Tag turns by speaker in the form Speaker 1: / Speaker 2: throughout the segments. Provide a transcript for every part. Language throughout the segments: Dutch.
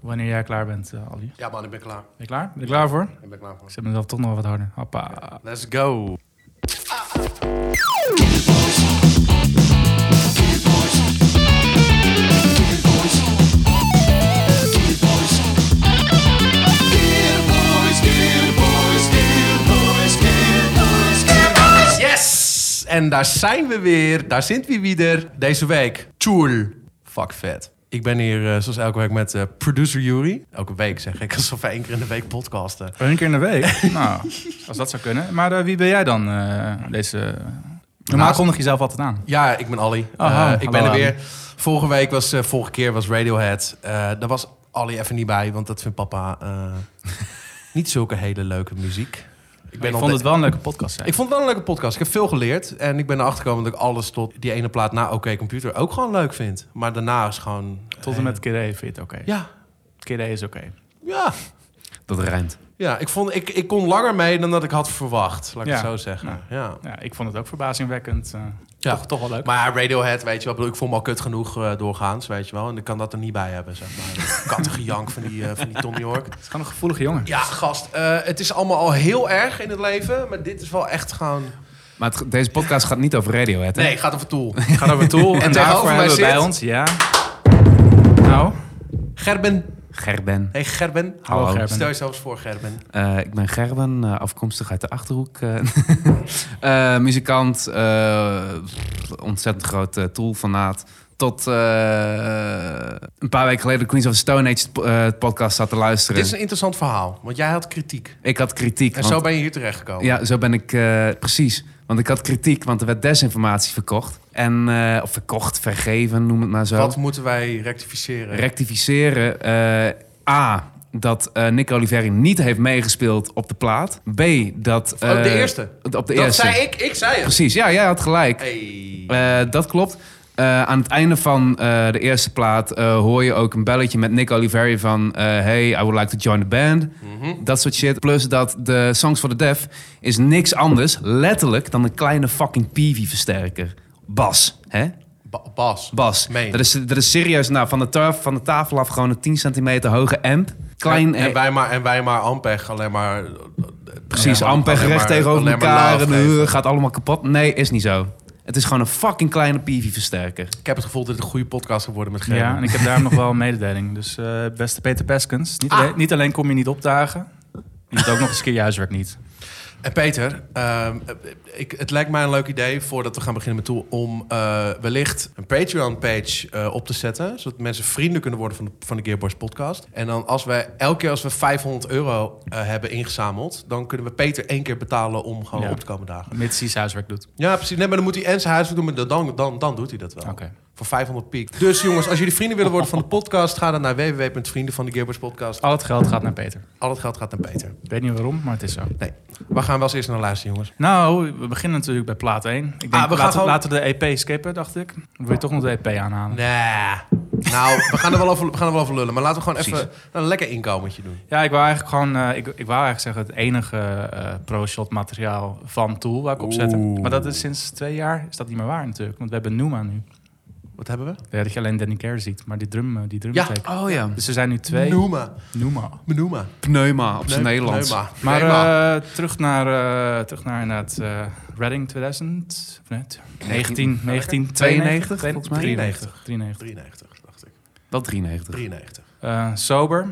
Speaker 1: Wanneer jij klaar bent, eh, Ali. Ben
Speaker 2: Ja man, ik ben klaar.
Speaker 1: je klaar? Ben je klaar voor?
Speaker 2: Ik ben klaar voor.
Speaker 1: Ik zet mezelf toch nog wat harder. Hoppa.
Speaker 2: Let's go. Yes! En daar zijn we weer. Daar zijn we weer. Deze week. Tjoel. Fuck vet. Ik ben hier eh, zoals elke week met eh, producer Jury. Elke week zeg ik, alsof wij één keer in de week podcasten.
Speaker 1: Eén keer in de week? nou, als dat zou kunnen. Maar eh, wie ben jij dan, eh, deze... Normaal
Speaker 2: Naast-
Speaker 1: kondig je zelf altijd aan.
Speaker 2: Ja, ik ben Ali.
Speaker 1: Aha,
Speaker 2: Eh, ik ben er
Speaker 1: hallo,
Speaker 2: weer.
Speaker 1: Ali.
Speaker 2: Vorige week was, eh, vorige keer was Radiohead. Eh daar was Ali even niet bij, want dat vindt papa eh, niet zulke hele leuke muziek.
Speaker 1: Ik,
Speaker 2: ben
Speaker 1: vond
Speaker 2: altijd-
Speaker 1: het wel een leuke podcast. Hè?
Speaker 2: Ik vond het wel een leuke podcast. Ik heb veel geleerd. En ik ben erachter gekomen dat ik alles tot die ene plaat na Oké Computer ook gewoon leuk vind. Maar daarna is gewoon... eh,
Speaker 1: Tot en met Kidé vind je het oké.
Speaker 2: Ja,
Speaker 1: Kidé is oké.
Speaker 2: ja.
Speaker 3: Dat rijmt.
Speaker 2: Ja, ik, vond, ik, ik kon langer mee dan dat ik had verwacht. Laat ik
Speaker 1: Ja.
Speaker 2: het zo zeggen.
Speaker 1: Ja.
Speaker 2: Ja.
Speaker 1: Ja, ik vond het ook verbazingwekkend. eh,
Speaker 2: Ja.
Speaker 1: toch, toch wel leuk.
Speaker 2: Maar Radiohead, weet je wel, ik bedoel, ik voel me al kut genoeg eh, doorgaans, weet je wel. En ik kan dat er niet bij hebben, zeg maar. Kattengejank van die, eh, van die Tom York.
Speaker 1: het is gewoon een gevoelige jongen.
Speaker 2: Ja, gast, eh, het is allemaal al heel erg in het leven, maar dit is wel echt gewoon...
Speaker 3: Maar het- deze podcast gaat niet over Radiohead, hè?
Speaker 2: Nee, gaat over Tool.
Speaker 1: Ga naar toe. En
Speaker 2: Tegenover
Speaker 1: daarvoor
Speaker 2: mij
Speaker 1: hebben we bij
Speaker 2: zit-
Speaker 1: ons, ja. Nou,
Speaker 2: Gerben.
Speaker 3: Gerben.
Speaker 2: Hey Gerben.
Speaker 1: hallo
Speaker 3: Hallo.
Speaker 1: Gerben.
Speaker 2: Stel jezelf eens voor, Gerben.
Speaker 3: Eh, ik ben Gerben, eh, afkomstig uit de Achterhoek. eh. Eh, muzikant, eh, pff, ontzettend groot eh, Tool-fanaat. Tot eh, een paar weken geleden de Queens of the Stone Age po- eh, podcast zat te luisteren.
Speaker 2: Dit is een interessant verhaal, want jij had kritiek.
Speaker 3: Ik had kritiek.
Speaker 2: En
Speaker 3: want-
Speaker 2: zo ben je hier terechtgekomen.
Speaker 3: Ja, zo ben ik eh, precies. Want ik had kritiek, want er werd desinformatie verkocht. En, eh, of verkocht, vergeven, noem het maar zo.
Speaker 2: Wat moeten wij rectificeren?
Speaker 3: rectificeren. eh, A, dat eh Nick Oliveri niet heeft meegespeeld op de plaat. B, dat...
Speaker 2: Oh, de
Speaker 3: eh,
Speaker 2: eerste.
Speaker 3: Op de
Speaker 2: dat
Speaker 3: eerste.
Speaker 2: zei ik, ik zei het.
Speaker 3: Precies, ja, jij had gelijk.
Speaker 2: Hey.
Speaker 3: Eh, dat klopt. Eh, aan het einde van eh, de eerste plaat eh, hoor je ook een belletje met Nick Oliveri van... eh, hey, I would like to join the band.
Speaker 2: Mhm.
Speaker 3: Dat soort shit. Plus dat de Songs for the Deaf is niks anders, letterlijk, dan een kleine fucking Peavy-versterker. Bas, hè?
Speaker 2: Ba- Bas.
Speaker 3: Bas.
Speaker 2: Meen.
Speaker 3: Dat is, dat is serieus, nou, van de, taf, van de tafel af gewoon een 10 centimeter hoge amp. Klein, eh,
Speaker 2: en, en wij maar, en wij maar Ampeg, alleen maar...
Speaker 3: precies,
Speaker 2: alleen maar-
Speaker 3: amper
Speaker 2: alleen
Speaker 3: recht
Speaker 2: maar-
Speaker 3: tegenover
Speaker 2: alleen maar
Speaker 3: elkaar. En
Speaker 2: laag geven.
Speaker 3: eh, gaat allemaal kapot. Nee, is niet zo. Het is gewoon een fucking kleine PV-versterker.
Speaker 2: Ik heb het gevoel dat het een goede podcast gaat worden met Gerben.
Speaker 1: Ja, en ik heb daarom nog wel een mededeling. Dus eh, beste Peter Peskens, niet, alleen, niet alleen kom je niet opdagen, je doet ook nog eens een keer je huiswerk niet.
Speaker 2: En Eh, Peter, ehm, ik, het lijkt mij een leuk idee voordat we gaan beginnen met Tool... om eh, wellicht een Patreon-page eh, op te zetten... zodat mensen vrienden kunnen worden van de, van de Gearbox podcast. En dan als wij elke keer als we 500 euro eh, hebben ingezameld... dan kunnen we Peter één keer betalen om gewoon
Speaker 1: Ja.
Speaker 2: op te komen dagen.
Speaker 1: Mits hij zijn huiswerk doet.
Speaker 2: Ja, precies. Nee, maar dan moet hij en zijn huiswerk doen, maar dan, dan, dan doet hij dat wel.
Speaker 1: Oké.
Speaker 2: Voor 500 piek. Dus jongens, als jullie vrienden willen worden van de podcast... ga dan naar www.vriendenvandegearboxpodcast.
Speaker 1: Al het geld gaat naar Peter.
Speaker 2: Al het geld gaat naar Peter.
Speaker 1: Ik weet niet waarom, maar het is zo.
Speaker 2: Nee, we gaan wel eens eerst naar luisteren, jongens.
Speaker 1: Nou, we beginnen natuurlijk bij plaat 1. Ik denk,
Speaker 2: Ah, we gaan
Speaker 1: laten,
Speaker 2: gewoon-
Speaker 1: laten we de EP skippen, dacht ik. Dan wil je toch nog de EP aanhalen.
Speaker 2: Nee. Nou, we gaan, er wel over, we gaan er wel over lullen. Maar laten we gewoon
Speaker 3: Precies.
Speaker 2: even een lekker inkomertje doen.
Speaker 1: Ja, ik wou eigenlijk gewoon, eh, ik, ik wou eigenlijk zeggen, het enige eh pro-shot materiaal van Tool waar ik op zette.
Speaker 2: Oeh.
Speaker 1: Maar dat is sinds twee jaar, is dat niet meer waar natuurlijk. Want we hebben Numa nu.
Speaker 2: Wat hebben we?
Speaker 1: Ja, dat je alleen Danny Kerr ziet, maar die drum, eh, die drum
Speaker 2: Ja.
Speaker 1: take.
Speaker 3: Oh ja.
Speaker 1: Dus er zijn nu twee.
Speaker 2: Noema.
Speaker 1: Numa.
Speaker 2: Noema.
Speaker 3: Pneuma op zijn
Speaker 2: Pneuma.
Speaker 3: Nederlands.
Speaker 2: Pneuma.
Speaker 1: Maar
Speaker 2: Pneuma.
Speaker 1: eh, terug naar, eh, terug naar inderdaad eh, Reading 2000, of net, 19, 1992,
Speaker 3: 92, volgens mij.
Speaker 1: 93. 93.
Speaker 2: 93, dacht ik.
Speaker 3: Wel 93.
Speaker 2: 93.
Speaker 1: Eh, sober.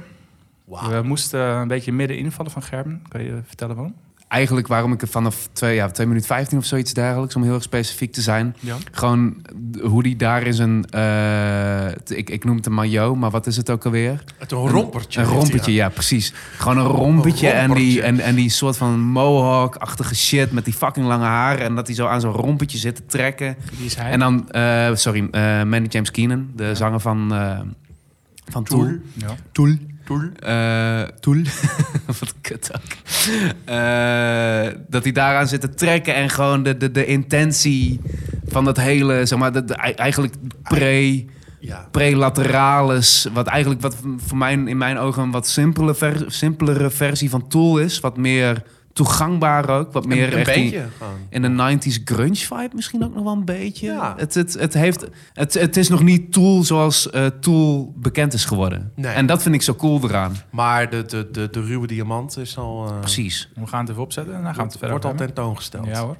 Speaker 2: Wauw.
Speaker 1: We moesten een beetje midden invallen van Gerben. Kan je vertellen waarom?
Speaker 3: Eigenlijk waarom ik er vanaf 2 ja, twee minuten 15 of zoiets dergelijks, om heel erg specifiek te zijn.
Speaker 1: Ja.
Speaker 3: Gewoon d- hoe die daar is een, eh, t- ik, ik noem het een maillot, maar wat is het ook alweer?
Speaker 2: Het een rompertje.
Speaker 3: Een
Speaker 2: heeft
Speaker 3: rompertje,
Speaker 2: hij
Speaker 3: ja, precies. Gewoon een rompertje, En,
Speaker 2: rompertje.
Speaker 3: die, en, en die soort van mohawk-achtige shit met die fucking lange haren. En dat hij zo aan zo'n rompertje zit te trekken.
Speaker 1: Die is hij.
Speaker 3: En dan, eh, sorry, eh Manny James Keenan, de zanger van, eh, van
Speaker 2: Tool.
Speaker 3: Tool.
Speaker 1: ja.
Speaker 3: Tool.
Speaker 2: Toel.
Speaker 3: Eh, Toel. Wat kut ook. Eh, dat hij daaraan zit te trekken en gewoon de, de, de intentie van dat hele, zeg maar, de, de- eigenlijk pre,
Speaker 2: Ja.
Speaker 3: pre-lateralis. Wat eigenlijk wat voor mij, in mijn ogen een wat simpele ver- simpelere versie van Tool is. Wat meer toegangbaar ook. Wat meer
Speaker 2: een, een
Speaker 3: echt die-
Speaker 2: beetje gewoon.
Speaker 3: in de 90s grunge vibe misschien ook nog wel een beetje.
Speaker 2: Ja.
Speaker 3: Het, het, het, heeft, het, het is nog niet Tool zoals eh, Tool bekend is geworden.
Speaker 2: Nee.
Speaker 3: En dat vind ik zo cool eraan.
Speaker 2: Maar de, de, de, de ruwe diamant is al... eh,
Speaker 3: Precies.
Speaker 1: We gaan het even opzetten en dan gaan we
Speaker 2: wordt,
Speaker 1: het verder
Speaker 2: wordt al
Speaker 1: opnemen.
Speaker 2: tentoongesteld.
Speaker 1: Ja hoor.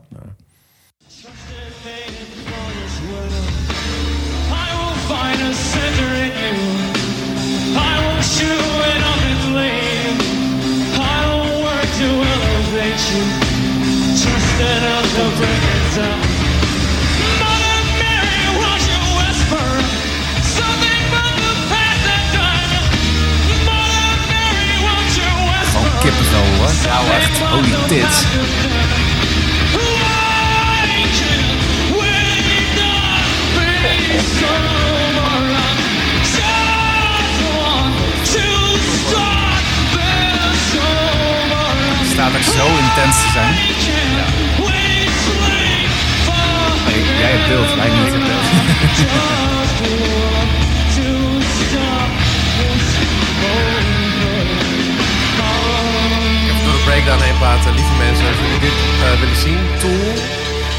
Speaker 4: I will find a center in you. I will chew it up and leave. I will work to elevate you. Trust that I'll go break it down. Mother Mary, won't you whisper something about the past that time? Mother Mary, won't you whisper?
Speaker 3: Gewoon kippenvel hoor. Nou echt, holy tits.
Speaker 1: Staat er zo intens te zijn.
Speaker 3: jij hebt beeld, wij niet hebben
Speaker 2: Even door de breakdown heen praten. Lieve mensen, als jullie dit eh, willen zien. Tool,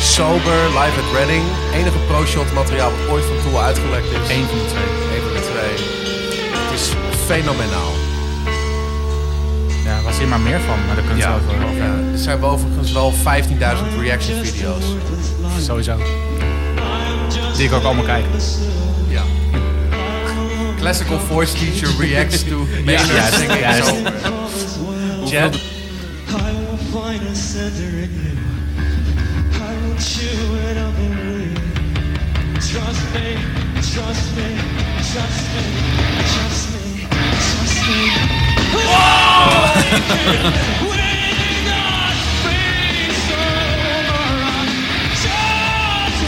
Speaker 2: Sober, Live at Reading. Enige pro-shot materiaal wat ooit van Tool uitgelekt is.
Speaker 1: Eén van de twee.
Speaker 2: Eén van de twee. Het is fenomenaal.
Speaker 1: Ja, was hier maar meer van, maar daar kunnen we
Speaker 2: Ja,
Speaker 1: het wel over hebben.
Speaker 2: er zijn wel overigens wel 15.000 reaction video's.
Speaker 1: eh, Sowieso. Die ik ook allemaal kijk.
Speaker 2: Ja. Classical voice teacher reacts to Maynard
Speaker 1: juist,
Speaker 2: singing
Speaker 1: juist.
Speaker 2: Sober. Jet,
Speaker 4: I will find a center in you. I will chew it up and leave. Trust me, trust me, trust me, trust me, trust me. Whoa!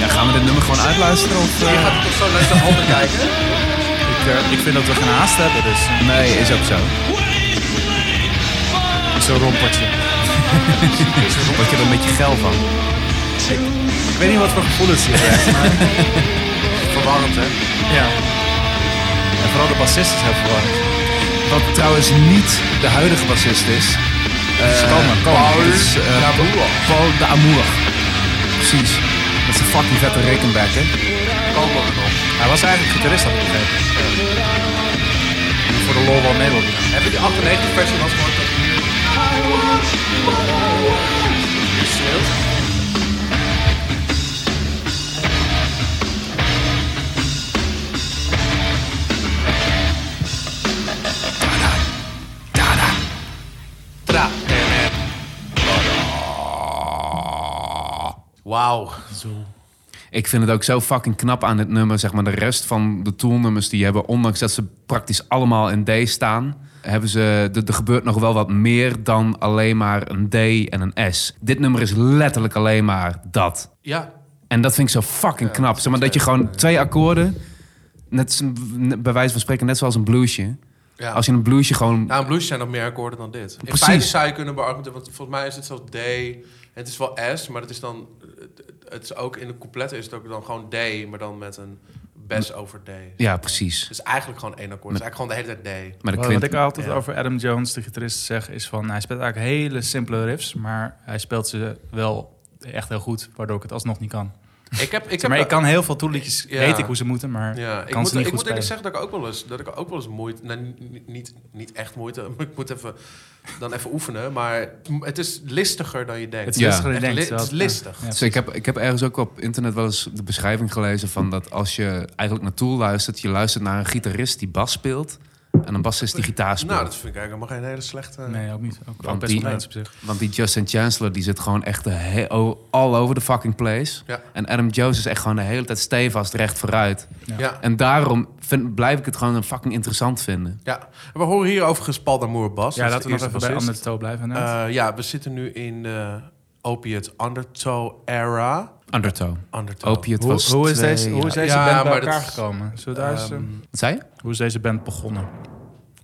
Speaker 3: Ja, gaan we dit nummer gewoon uitluisteren? Of, eh?
Speaker 2: je gaat toch zo naar zijn handen kijken?
Speaker 1: Ik, eh, ik vind dat we geen haast hebben, dus eh,
Speaker 3: Nee, is ook zo.
Speaker 1: zo'n rompertje.
Speaker 3: Word je er een beetje geil van.
Speaker 1: Ik weet niet wat voor gevoel het hier heeft, maar...
Speaker 2: Verwarrend, hè?
Speaker 1: Ja. En vooral de bassist is heel verwarrend.
Speaker 3: Wat trouwens niet de huidige bassist is. Eh,
Speaker 1: Komen, komen.
Speaker 3: Paul
Speaker 2: Dit
Speaker 3: is, eh,
Speaker 2: Damour.
Speaker 3: Paul Damour. Precies. Dat is een fucking vette rekkenbekken.
Speaker 2: Komen we nog.
Speaker 1: Hij was eigenlijk gitarist, had ik begrepen. Voor de lol wel mee wil doen.
Speaker 2: Heb je die 98 versie was gehoord? dat hier- Hier schreeuwt? Tra. Wauw.
Speaker 3: Ik vind het ook zo fucking knap aan dit nummer. Zeg maar de rest van de Tool-nummers die hebben, ondanks dat ze praktisch allemaal in D staan, hebben ze, er er gebeurt nog wel wat meer dan alleen maar een D en een S. Dit nummer is letterlijk alleen maar dat.
Speaker 2: Ja,
Speaker 3: En dat vind ik zo fucking knap. Zeg maar dat je gewoon twee akkoorden, net, als een- bij wijze van spreken, net zoals een bluesje.
Speaker 2: Ja.
Speaker 3: Als je een bluesje gewoon.
Speaker 2: Nou, in blues zijn nog meer akkoorden dan dit. In
Speaker 3: Precies.
Speaker 2: feite zou je kunnen beargumenteren, want volgens mij is het zelfs D. Het is wel S, maar het is dan... Het is ook in de coupletten is het ook dan gewoon D, maar dan met een best over D.
Speaker 3: Ja, precies.
Speaker 2: Dus eigenlijk gewoon één akkoord. Het is eigenlijk gewoon de hele tijd D.
Speaker 3: Maar de
Speaker 1: Wat,
Speaker 3: kwint-
Speaker 1: ik altijd
Speaker 2: Ja.
Speaker 1: over Adam Jones, de gitarist, zeg, is van... Hij speelt eigenlijk hele simpele riffs, maar hij speelt ze wel echt heel goed, waardoor ik het alsnog niet kan.
Speaker 2: Ik heb... Ik heb
Speaker 1: maar ik kan heel veel toeliedjes,
Speaker 2: Ja.
Speaker 1: weet ik hoe ze moeten, maar
Speaker 2: Ja, ik
Speaker 1: kan
Speaker 2: moet,
Speaker 1: ze niet
Speaker 2: ik
Speaker 1: goed
Speaker 2: moet
Speaker 1: spelen.
Speaker 2: eerlijk zeggen dat ik ook wel eens, dat ik ook wel eens moeite, nou, niet, niet, niet echt moeite, maar ik moet even, dan even oefenen. Maar het is listiger dan je denkt.
Speaker 1: Het
Speaker 3: Ja.
Speaker 1: is ja.
Speaker 2: Echt li- het is listig.
Speaker 1: Ja.
Speaker 3: Dus ik, heb, ik heb ergens ook op internet wel eens de beschrijving gelezen van dat als je eigenlijk naar Tool luistert, je luistert naar een gitarist die bas speelt en een bassist die gitaar speelt.
Speaker 2: Nou, dat vind ik eigenlijk helemaal geen hele slechte...
Speaker 1: Nee, ook niet. Ook, ook
Speaker 3: Want
Speaker 1: best
Speaker 3: die-
Speaker 1: wel eens op zich.
Speaker 3: Want die Justin Chancellor die zit gewoon echt de he- o- all over the fucking place.
Speaker 2: Ja.
Speaker 3: En Adam Jones is echt gewoon de hele tijd stevast recht vooruit.
Speaker 2: Ja.
Speaker 3: En daarom vind, blijf ik het gewoon een fucking interessant vinden.
Speaker 2: Ja, we horen hier overigens Paul Damour Bas.
Speaker 1: Ja,
Speaker 2: Dat is
Speaker 1: laten
Speaker 2: de
Speaker 1: we nog
Speaker 2: eerste
Speaker 1: even bij
Speaker 2: bassist.
Speaker 1: Undertow blijven. inderdaad.
Speaker 2: Eh, ja, we zitten nu in de opiate undertow era.
Speaker 3: Undertow.
Speaker 2: Undertow.
Speaker 3: Opiate was
Speaker 1: hoe, hoe is
Speaker 3: twee
Speaker 1: deze, hoe is
Speaker 3: jaar-
Speaker 1: deze
Speaker 2: Ja,
Speaker 1: band bij
Speaker 2: maar dat
Speaker 1: elkaar
Speaker 2: is,
Speaker 1: gekomen? Zullen we daar eens,
Speaker 2: ehm,
Speaker 1: eh,
Speaker 3: Wat zei je?
Speaker 1: hoe is deze band begonnen?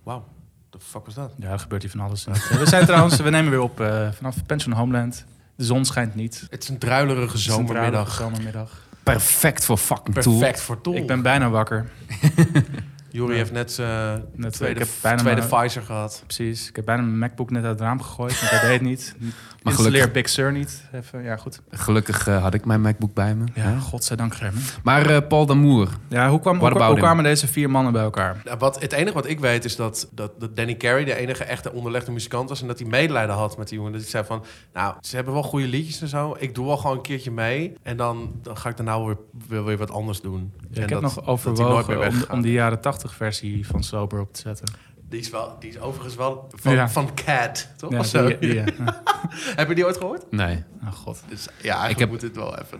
Speaker 2: Wauw, the fuck was dat?
Speaker 1: Ja, er gebeurt hier van alles. Eh, we zijn trouwens, we nemen weer op eh, vanaf Pension Homeland. De zon schijnt niet.
Speaker 2: Het is een druilerige zomermiddag.
Speaker 1: Zomermiddag.
Speaker 3: Perfect voor fucking Tool.
Speaker 2: Perfect voor Tool.
Speaker 1: Ik ben bijna wakker.
Speaker 2: Jori
Speaker 1: Ja.
Speaker 2: heeft net zijn
Speaker 1: Net,
Speaker 2: tweede,
Speaker 1: ik heb bijna
Speaker 2: tweede
Speaker 1: mijn-
Speaker 2: Pfizer gehad.
Speaker 1: Precies. Ik heb bijna mijn MacBook net uit het raam gegooid. Want hij deed niet.
Speaker 3: Maar
Speaker 1: Maar Installeer
Speaker 3: gelukkig-
Speaker 1: Big Sur niet. Even, ja, goed.
Speaker 3: Gelukkig eh, had ik mijn MacBook bij me.
Speaker 1: Ja, godzijdank Germen.
Speaker 3: Maar eh, Paul Damour,
Speaker 1: Ja, hoe, kwam,
Speaker 3: What
Speaker 1: hoe,
Speaker 3: about
Speaker 1: hoe kwamen deze vier mannen bij elkaar?
Speaker 2: Nou, wat, het enige wat ik weet is dat, dat, dat Danny Carey de enige echte onderlegde muzikant was. En dat hij medelijden had met die jongen. Dat hij zei van, nou, ze hebben wel goede liedjes en zo. Ik doe wel gewoon een keertje mee. En dan, dan ga ik daarna wel weer, weer, weer wat anders doen. en
Speaker 1: ik heb
Speaker 2: dat-
Speaker 1: nog
Speaker 2: dat hij nooit meer
Speaker 1: overwogen om,
Speaker 2: weggaat.
Speaker 1: om die jaren 80 versie van Sober op te zetten.
Speaker 2: Die is, wel, die is overigens wel van,
Speaker 1: Ja.
Speaker 2: van Cad, toch?
Speaker 1: Ja,
Speaker 2: Of zo.
Speaker 1: die- die- ja.
Speaker 2: Heb je die ooit gehoord?
Speaker 3: nee.
Speaker 1: Oh god.
Speaker 2: Dus, ja, ik
Speaker 3: heb-
Speaker 2: moet dit wel even...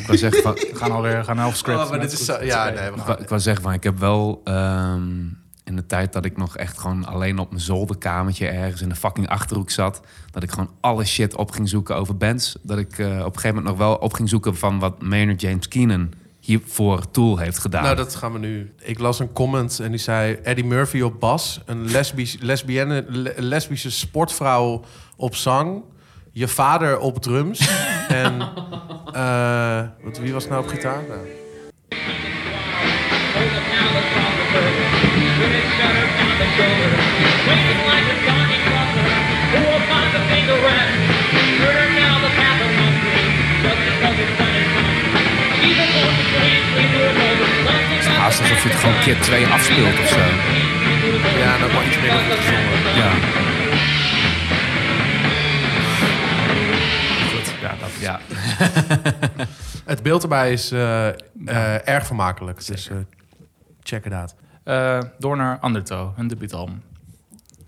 Speaker 3: Ik wou zeggen van,
Speaker 1: We gaan alweer we gaan half script.
Speaker 2: Oh, maar dit is zo, ja, nee, we
Speaker 3: ik
Speaker 2: gaan-
Speaker 3: wou, ik wou zeggen van, ik heb wel ehm, in de tijd dat ik nog echt gewoon alleen op mijn zolderkamertje ergens in de fucking Achterhoek zat, dat ik gewoon alle shit op ging zoeken over bands. Dat ik eh, op een gegeven moment nog wel op ging zoeken van wat Maynard James Keenan hiervoor Tool heeft gedaan.
Speaker 2: Nou, dat gaan we nu. Ik las een comment en die zei... Eddie Murphy op bas, een lesbisch, lesbienne, le- lesbische sportvrouw op zang... Je vader op drums en... eh, wat, wie was nou op gitaar? Nou,
Speaker 3: Haast alsof je het gewoon keer twee afspeelt of zo.
Speaker 2: Ja, en ook wel iets meer over gezongen.
Speaker 3: Ja,
Speaker 1: Ja, dat,
Speaker 3: ja.
Speaker 2: Het beeld erbij is eh, eh, erg vermakelijk. Dus eh, check it out.
Speaker 1: Eh, door naar Undertow, hun debuutalbum.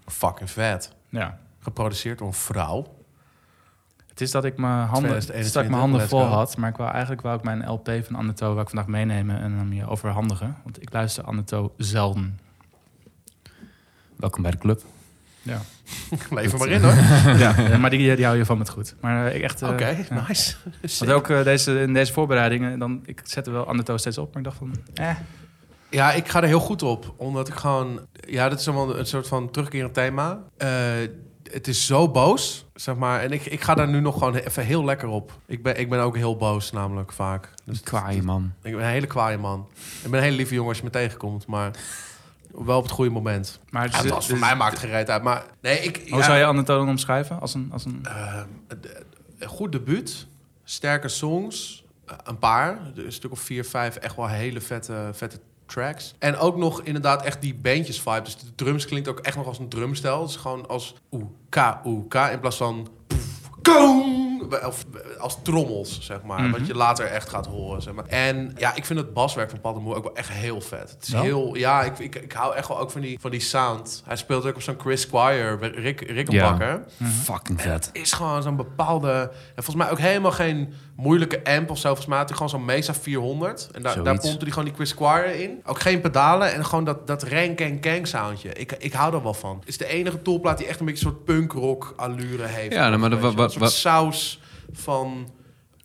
Speaker 2: Fucking vet.
Speaker 1: Ja.
Speaker 2: Geproduceerd door een vrouw.
Speaker 1: Het is dat ik mijn handen,
Speaker 2: 2021,
Speaker 1: stak mijn handen
Speaker 2: let's
Speaker 1: vol
Speaker 2: go.
Speaker 1: had, maar ik wou, eigenlijk wou ik mijn LP van Undertow, waar ik vandaag meenemen en hem je overhandigen. Want ik luister Undertow zelden.
Speaker 3: Welkom bij de club.
Speaker 1: Ja.
Speaker 2: Leef er maar in hoor.
Speaker 1: Eh, maar die, die hou je van met goed. Maar eh, ik echt... eh,
Speaker 2: Oké,
Speaker 1: ja.
Speaker 2: nice.
Speaker 1: Want ook eh, deze, in deze voorbereidingen, dan, ik zette wel Undertow steeds op, maar ik dacht van, eh.
Speaker 2: Ja, ik ga er heel goed op. Omdat ik gewoon... Ja, dat is allemaal een soort van terugkerend thema. Eh, het is zo boos, zeg maar. En ik, ik ga daar nu nog gewoon even heel lekker op. Ik ben, ik ben ook heel boos namelijk vaak. Dus
Speaker 3: Kwaai man.
Speaker 2: ik ben een hele kwaaie man. Ik ben een hele lieve jongen als je me tegenkomt. Maar wel op het goede moment. Dus
Speaker 1: Maar het
Speaker 2: Ja,
Speaker 1: is-
Speaker 2: dat was voor mij maakt geen reet uit. Maar nee, ik...
Speaker 1: Hoe
Speaker 2: ja,
Speaker 1: zou je Undertow dan omschrijven? Als een, als een...
Speaker 2: eh, een goed debuut. Sterke songs. eh, Een paar. Een stuk of vier, vijf. Echt wel hele vette, vette tracks. En ook nog inderdaad echt die bandjes vibe. Dus de drums klinkt ook echt nog als een drumstijl. Het is gewoon als oeh, k, oeh, k. In plaats van poef, koong. Of eh, als trommels, zeg maar.
Speaker 1: Mhm.
Speaker 2: Wat je later echt gaat horen, zeg maar. En ja, ik vind het baswerk van Paddemoe ook wel echt heel vet. Het is
Speaker 1: Ja?
Speaker 2: heel... Ja, ik, ik, ik hou echt wel ook van die, van die sound. Hij speelt ook op zo'n Chris Squire, Rick, Rickenbacker.
Speaker 3: Fucking vet.
Speaker 2: Het is gewoon zo'n bepaalde... En volgens mij ook helemaal geen moeilijke amp of zo. Volgens mij had hij gewoon zo'n Mesa 400. En daar, daar
Speaker 3: Zoiets.
Speaker 2: pompte hij gewoon die Chris Squire in. Ook geen pedalen en gewoon dat, dat rank en kang soundje. Ik, ik hou daar wel van. Het is de enige toolplaat die echt een beetje een soort punkrock allure heeft.
Speaker 3: Ja, nou, maar dat-
Speaker 2: Weet je,
Speaker 3: wat-
Speaker 2: Een soort
Speaker 3: wat-
Speaker 2: saus van...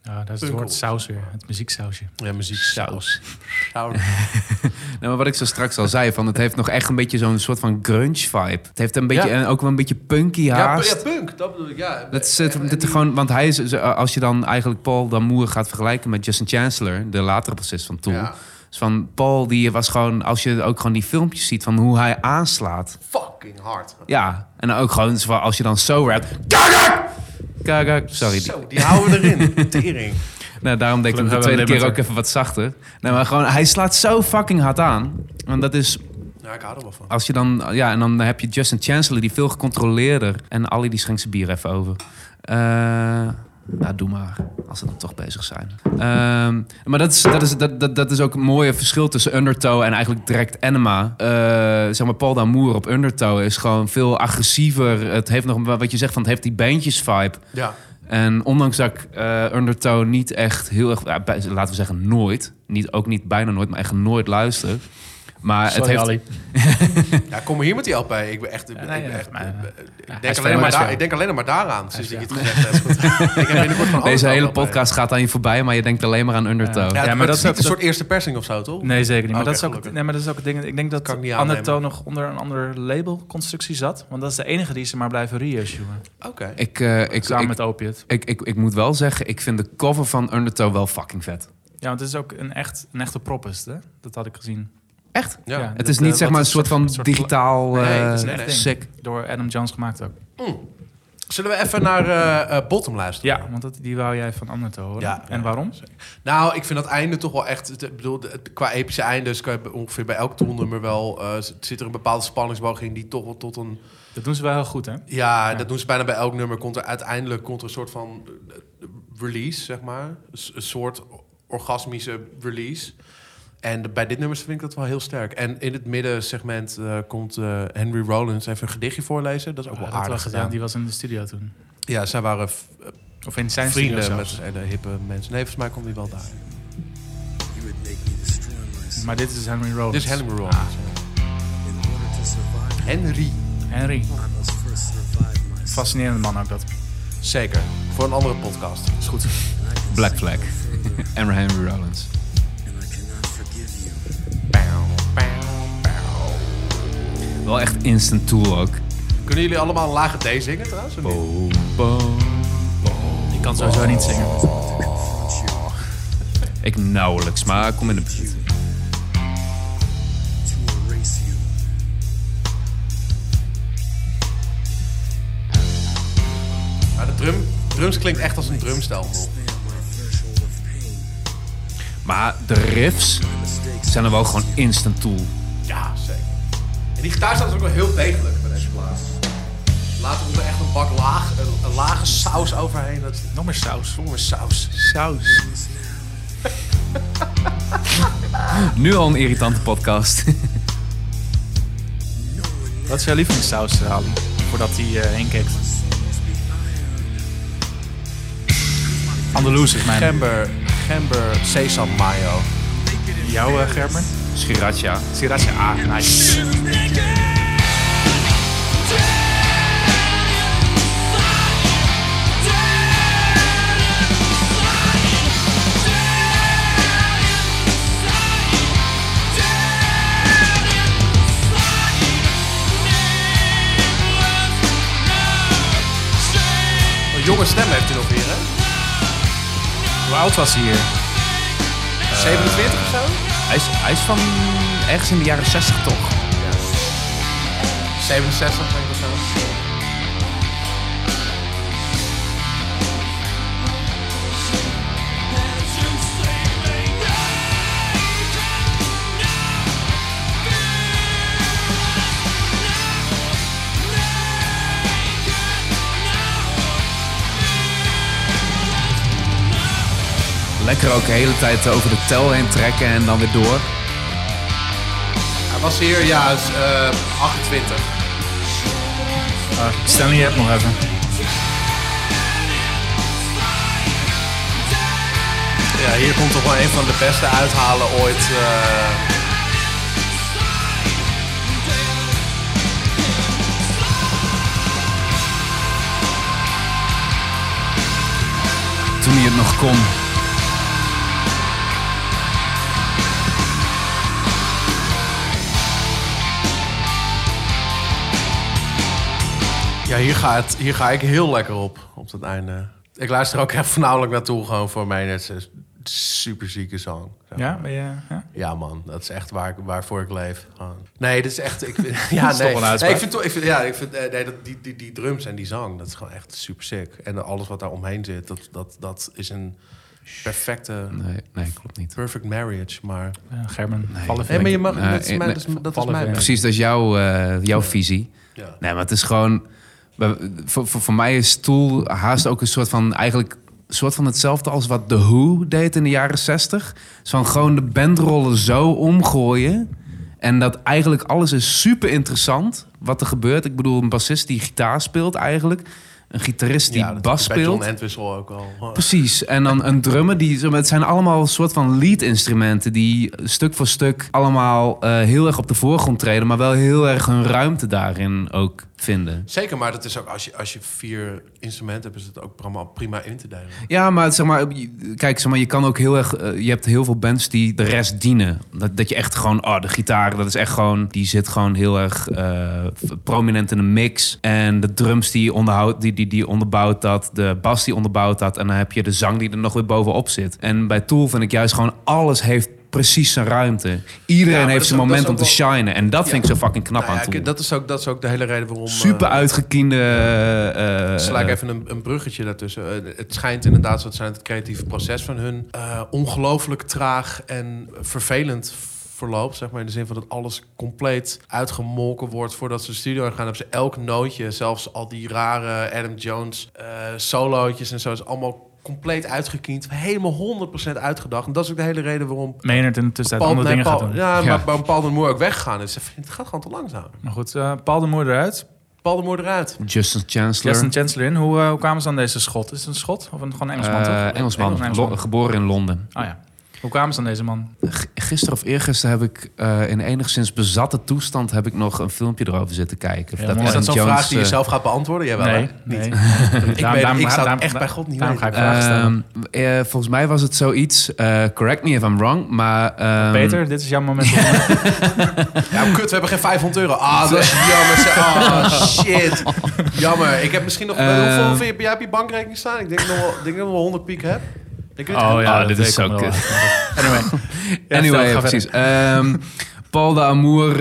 Speaker 1: Ja, dat is het
Speaker 2: Punk
Speaker 1: woord
Speaker 2: rock.
Speaker 1: saus weer. Het muzieksausje.
Speaker 2: Ja, muziek.
Speaker 1: Saus.
Speaker 3: Nou, maar wat ik zo straks al zei, van, het heeft nog echt een beetje zo'n soort van grunge vibe. Het heeft een beetje, en ook wel een beetje punky
Speaker 2: Ja, pu-
Speaker 3: haast.
Speaker 2: ja, punk. Dat bedoel ik, ja. Eh,
Speaker 3: Dat is het-
Speaker 2: En- en
Speaker 3: dit
Speaker 2: die-
Speaker 3: gewoon, want hij is, zo- als je dan eigenlijk Paul Damour gaat vergelijken met Justin Chancellor, de latere bassist van Tool.
Speaker 2: Ja.
Speaker 3: Is van Paul, die was gewoon, als je ook gewoon die filmpjes ziet van hoe hij aanslaat.
Speaker 2: Fucking hard.
Speaker 3: Ja, en ook gewoon zo van, als je dan zo rapt. Kagak! Sorry, die-
Speaker 2: Zo, die houden we erin. Tering.
Speaker 3: nou, daarom deed ik hem de
Speaker 1: Gelukkig hebben
Speaker 3: tweede
Speaker 1: we een
Speaker 3: keer ook
Speaker 1: limiter.
Speaker 3: even wat zachter. Nee, maar gewoon, hij slaat zo fucking hard aan. En dat is
Speaker 2: Ja, ik hou er wel van.
Speaker 3: Als je dan, ja, en dan heb je Justin Chancellor, die veel gecontroleerder. En Ali, die schenkt zijn bier even over. Eh, nou, doe maar. Als ze dan toch bezig zijn. Ehm, maar dat is, dat, is, dat, dat, dat is ook een mooie verschil tussen Undertow en eigenlijk direct Anima. Eh, zeg maar, Paul Damour op Undertow is gewoon veel agressiever. Het heeft nog, een- wat je zegt, van het heeft die bandjes-vibe.
Speaker 2: Ja.
Speaker 3: En ondanks dat ik eh, Undertow niet echt heel erg, ja, bij- laten we zeggen nooit, niet, ook niet bijna nooit, maar echt nooit luister. Maar het
Speaker 1: Sorry,
Speaker 3: heeft,
Speaker 1: Ali.
Speaker 2: Ja, kom maar hier met die LP. Ik ben echt... Ik, ben-
Speaker 1: nee,
Speaker 2: ik ben
Speaker 1: ja,
Speaker 2: echt
Speaker 1: maar,
Speaker 2: ik
Speaker 1: ja.
Speaker 2: ben- ik,
Speaker 1: hij
Speaker 2: denk
Speaker 1: is
Speaker 2: alleen maar
Speaker 1: fan,
Speaker 2: daar,
Speaker 1: ja.
Speaker 2: ik denk alleen nog maar daaraan, sinds
Speaker 1: Hij
Speaker 2: dat
Speaker 1: is
Speaker 2: je het gezegd hebt. ik heb binnenkort
Speaker 1: Oh,
Speaker 2: van alles
Speaker 3: Deze
Speaker 2: wel
Speaker 3: hele
Speaker 2: LP.
Speaker 3: podcast gaat aan je voorbij, maar je denkt alleen maar aan Undertow.
Speaker 2: Ja,
Speaker 1: Ja,
Speaker 2: maar
Speaker 1: maar
Speaker 2: dat is
Speaker 1: dat-
Speaker 2: niet een soort eerste persing of zo, toch?
Speaker 1: Nee, zeker niet. Maar,
Speaker 2: Oké,
Speaker 1: dat is ook,
Speaker 2: gelukkig.
Speaker 1: nee, maar dat is ook het ding. Ik denk dat
Speaker 2: Kan ik niet
Speaker 1: Undertow
Speaker 2: aannemen.
Speaker 1: nog onder een andere labelconstructie zat. Want dat is de enige die ze maar blijven reissuen.
Speaker 2: Oké.
Speaker 3: Ik, eh, ik,
Speaker 1: Samen
Speaker 3: ik,
Speaker 1: met Opiate.
Speaker 3: ik, ik, ik moet wel zeggen, ik vind de cover van Undertow wel fucking vet.
Speaker 1: Ja, want het is ook een, echt, een echte prop is het, hè? Dat had ik gezien.
Speaker 3: Echt?
Speaker 2: Ja.
Speaker 1: Ja.
Speaker 3: Het
Speaker 1: Dat,
Speaker 3: is niet
Speaker 1: eh,
Speaker 3: zeg
Speaker 1: wat
Speaker 3: maar een
Speaker 1: een
Speaker 3: soort van
Speaker 1: soort- soort
Speaker 3: digitaal
Speaker 2: Nee, het is
Speaker 3: eh,
Speaker 2: een echt
Speaker 1: ding.
Speaker 3: sick.
Speaker 1: Door Adam Jones gemaakt ook.
Speaker 2: Zullen we even naar eh, eh, Bottom luisteren?
Speaker 1: Ja, want dat, die wou jij van Amnato horen.
Speaker 2: Ja.
Speaker 1: en waarom?
Speaker 2: Nou, ik vind dat einde toch wel echt... het- Ik bedoel, het- qua epische eindes kan je bij- ongeveer bij elk toernummer wel... eh, z- zit er een bepaalde spanningsbooging die toch wel tot een...
Speaker 1: Dat doen ze wel heel goed, hè?
Speaker 2: Ja,
Speaker 1: Ja.
Speaker 2: dat doen ze bijna bij elk nummer. Komt er uiteindelijk komt er een soort van eh, release, zeg maar. S- Een soort orgasmische release. En de- bij dit nummer vind ik dat wel heel sterk. En in het middensegment eh, komt eh, Henry Rollins even een gedichtje voorlezen. Dat is ook
Speaker 1: Ja,
Speaker 2: wel
Speaker 1: Oh, dat
Speaker 2: aardig
Speaker 1: was- ja,
Speaker 2: gedaan.
Speaker 1: die was in de studio toen.
Speaker 2: Ja, zij waren v- eh,
Speaker 1: Of in zijn
Speaker 2: vrienden
Speaker 1: studio
Speaker 2: met
Speaker 1: zelfs.
Speaker 2: hele hippe mensen. Nee, volgens mij komt hij wel daar.
Speaker 5: You would make me destroy myself
Speaker 1: Maar dit is Henry Rollins.
Speaker 2: Dit is Henry Rollins.
Speaker 1: Ah.
Speaker 5: in order to survive.
Speaker 2: Henry.
Speaker 1: Henry.
Speaker 5: I must first survive myself.
Speaker 1: Fascinerende man ook dat.
Speaker 2: Zeker. Voor een andere podcast.
Speaker 1: Is goed.
Speaker 5: And I can
Speaker 3: Black
Speaker 5: see
Speaker 3: Flag.
Speaker 5: no further,
Speaker 3: Amber Henry Rollins.
Speaker 5: and I cannot forgive you.
Speaker 3: Wel echt instant tool ook.
Speaker 2: Kunnen jullie allemaal een lage D zingen trouwens? of niet?
Speaker 3: Boom, boom, boom.
Speaker 1: Ik kan sowieso niet zingen.
Speaker 3: Ik nauwelijks, maar kom in de buurt.
Speaker 5: To erase you.
Speaker 2: Maar de drum, drums klinkt echt als een drumstel.
Speaker 5: Span my threshold of pain.
Speaker 3: Maar de riffs
Speaker 5: My mistakes
Speaker 3: zijn er wel gewoon instant tool.
Speaker 2: Ja, zeker. En die gitaar staat dus ook wel heel degelijk bij deze plaats. Later komt er echt een bak laag, een, een lage saus overheen. Dat is
Speaker 1: Nog meer saus.
Speaker 2: jongen saus.
Speaker 1: Saus.
Speaker 3: Nu al een irritante podcast.
Speaker 1: Wat is jouw lievelingssaus, Ali? Voordat hij eh heen kijkt. Andalouse is mijn.
Speaker 2: Gember, gember, sesam mayo.
Speaker 1: Jouw eh, Gerber?
Speaker 3: Sriracha.
Speaker 1: Sriracha. Ah, nice.
Speaker 2: Een jonge stem heeft hij nog weer, hè?
Speaker 1: Hoe oud was hij hier?
Speaker 2: 47 of zo?
Speaker 3: Hij is, hij is van ergens in de jaren 60 toch?
Speaker 2: 67 denk ik of zo.
Speaker 3: Lekker ook de hele tijd over de tel heen trekken en dan weer door.
Speaker 2: Hij was hier, ja, is, eh, 28.
Speaker 1: Uh, Stanley hebt nog even.
Speaker 2: Ja, hier komt toch wel een van de beste uithalen ooit. eh.
Speaker 3: Toen hij het nog kon.
Speaker 2: Ja, hier, gaat, hier ga ik heel lekker op, op het einde. Ik luister ook echt voornamelijk naartoe, gewoon voor mijn super zieke song. zeg
Speaker 1: Ja,
Speaker 2: maar.
Speaker 1: ben je... Ja?
Speaker 2: Ja, man, dat is echt waar, ik- waarvoor ik leef. Gewoon. Nee, dit is echt. Ik vind, ja,
Speaker 1: is toch
Speaker 2: nee.
Speaker 1: wel een uitspraak.
Speaker 2: nee, ik vind, toch- ik vind, ja, ik vind eh, nee, dat, die, die, die drums en die zang, dat is gewoon echt super sick. En dan alles wat daar omheen zit, dat, dat, dat is een perfecte.
Speaker 3: Nee, nee, klopt niet.
Speaker 2: Perfect marriage, maar.
Speaker 1: Eh, Gerben.
Speaker 3: Nee.
Speaker 1: Vallen
Speaker 2: eh, Nee, maar je mag.
Speaker 3: Nee,
Speaker 2: dat is
Speaker 3: nee,
Speaker 2: mijn. dat is- Dat is
Speaker 1: vallen
Speaker 2: mijn.
Speaker 1: weg.
Speaker 3: Precies, dat is jouw, eh, jouw visie.
Speaker 2: Ja.
Speaker 3: Nee, maar het is gewoon... we- Voor, voor, voor mij is Tool haast ook een soort van... Eigenlijk soort van hetzelfde als wat The Who deed in de jaren 60. Zo'n gewoon de bandrollen zo omgooien. En dat eigenlijk alles is super interessant wat er gebeurt. Ik bedoel, een bassist die gitaar speelt eigenlijk. Een gitarist die
Speaker 2: Ja, dat
Speaker 3: bas
Speaker 2: is bij
Speaker 3: speelt.
Speaker 2: John Entwistle ook al.
Speaker 3: Precies. En dan een drummer. Die, zo- het zijn allemaal soort van lead-instrumenten die stuk voor stuk allemaal eh, heel erg op de voorgrond treden, maar wel heel erg hun ruimte daarin ook vinden.
Speaker 2: Zeker, maar dat is ook als je, als je vier instrumenten hebt, is het ook prima, prima in te delen. Nou
Speaker 3: Ja, maar zeg maar, je- kijk, zeg maar, je kan ook heel erg. eh, je hebt heel veel bands die de rest dienen. Dat, dat je echt gewoon, oh, de gitaar, dat is echt gewoon. Die zit gewoon heel erg eh, prominent in de mix. En de drums die onderhoudt, die, die, die onderbouwt dat. De bas die onderbouwt dat. En dan heb je de zang die er nog weer bovenop zit. En bij Tool vind ik juist gewoon alles heeft precies zijn ruimte. Iedereen
Speaker 2: Ja, maar
Speaker 3: heeft
Speaker 2: dat
Speaker 3: zijn
Speaker 2: is ook-
Speaker 3: moment om
Speaker 2: dat
Speaker 3: te
Speaker 2: is ook wel-
Speaker 3: shinen. En dat vind ik zo fucking knap
Speaker 2: Nou
Speaker 3: aan
Speaker 2: ja,
Speaker 3: toe.
Speaker 2: ik- dat, is ook, dat is ook de hele reden waarom... eh,
Speaker 3: Super uitgekiende... eh, eh,
Speaker 2: Sla ik even een, een bruggetje daartussen. Eh, het schijnt inderdaad zo te zijn dat het creatieve proces van hun eh, ongelooflijk traag en vervelend verloopt. Zeg maar in de zin van dat alles compleet uitgemolken wordt voordat ze de studio gaan. Hebben ze elk nootje, zelfs al die rare Adam Jones eh solootjes en zo, is allemaal compleet uitgekiend. Helemaal 100% uitgedacht. En dat is ook de hele reden waarom.
Speaker 1: Meenert in de tussentijd
Speaker 2: Paul,
Speaker 1: andere
Speaker 2: nee,
Speaker 1: dingen
Speaker 2: Paul-
Speaker 1: gaat doen.
Speaker 2: ja,
Speaker 3: Ja.
Speaker 2: maar waarom Paul de Moer ook weggegaan is. Ze vindt, Het gaat gewoon te langzaam.
Speaker 1: Maar goed, eh Paul de Moer eruit.
Speaker 2: Paul de Moer eruit.
Speaker 3: Justin Chancellor.
Speaker 1: Justin Chancellor in. Hoe, eh, hoe kwamen ze aan deze schot? Is het een schot of een, gewoon een Engelsman? toch?
Speaker 3: Eh, Engelsman,
Speaker 1: Engels-
Speaker 3: Lo- geboren in Londen.
Speaker 1: Oh ja. Hoe kwamen ze aan deze man?
Speaker 3: G- Gisteren of eergisteren heb ik eh, in enigszins bezatte toestand heb ik nog een filmpje erover zitten kijken.
Speaker 1: Ja,
Speaker 3: Dat
Speaker 1: mooi.
Speaker 2: Is dat
Speaker 3: Adam
Speaker 2: zo'n
Speaker 3: Jones,
Speaker 2: vraag die je
Speaker 3: eh,
Speaker 2: zelf gaat beantwoorden? Jawel, hè?
Speaker 1: nee,
Speaker 2: Niet.
Speaker 1: nee.
Speaker 2: Ik, weet,
Speaker 1: daarom-
Speaker 2: ik zou
Speaker 1: daarom-
Speaker 2: het echt bij God niet
Speaker 1: daarom
Speaker 2: weten.
Speaker 1: ga ik vragen stellen.
Speaker 3: Ehm, eh, volgens mij was het zoiets. eh, correct me if I'm wrong, maar. ehm,
Speaker 1: Peter, dit is jouw moment. om-
Speaker 2: Ja, Nou, kut, we hebben geen 500 euro. Ah, dat is jammer. zeg. Ah, shit. Jammer. Ik heb misschien nog...
Speaker 3: Ehm.
Speaker 1: Eh,
Speaker 2: hoeveel heb je- heb jij op je bankrekening staan? Ik denk nog wel, ik denk nog wel 100 piek heb. Denk je dat-
Speaker 1: Oh ja,
Speaker 3: Oh, dit
Speaker 1: dat
Speaker 3: is
Speaker 1: weet ik
Speaker 3: zo
Speaker 1: ook wel. Anyway. Ja,
Speaker 3: Anyway,
Speaker 1: vertel, ga
Speaker 3: precies. Ehm, Paul de Amour,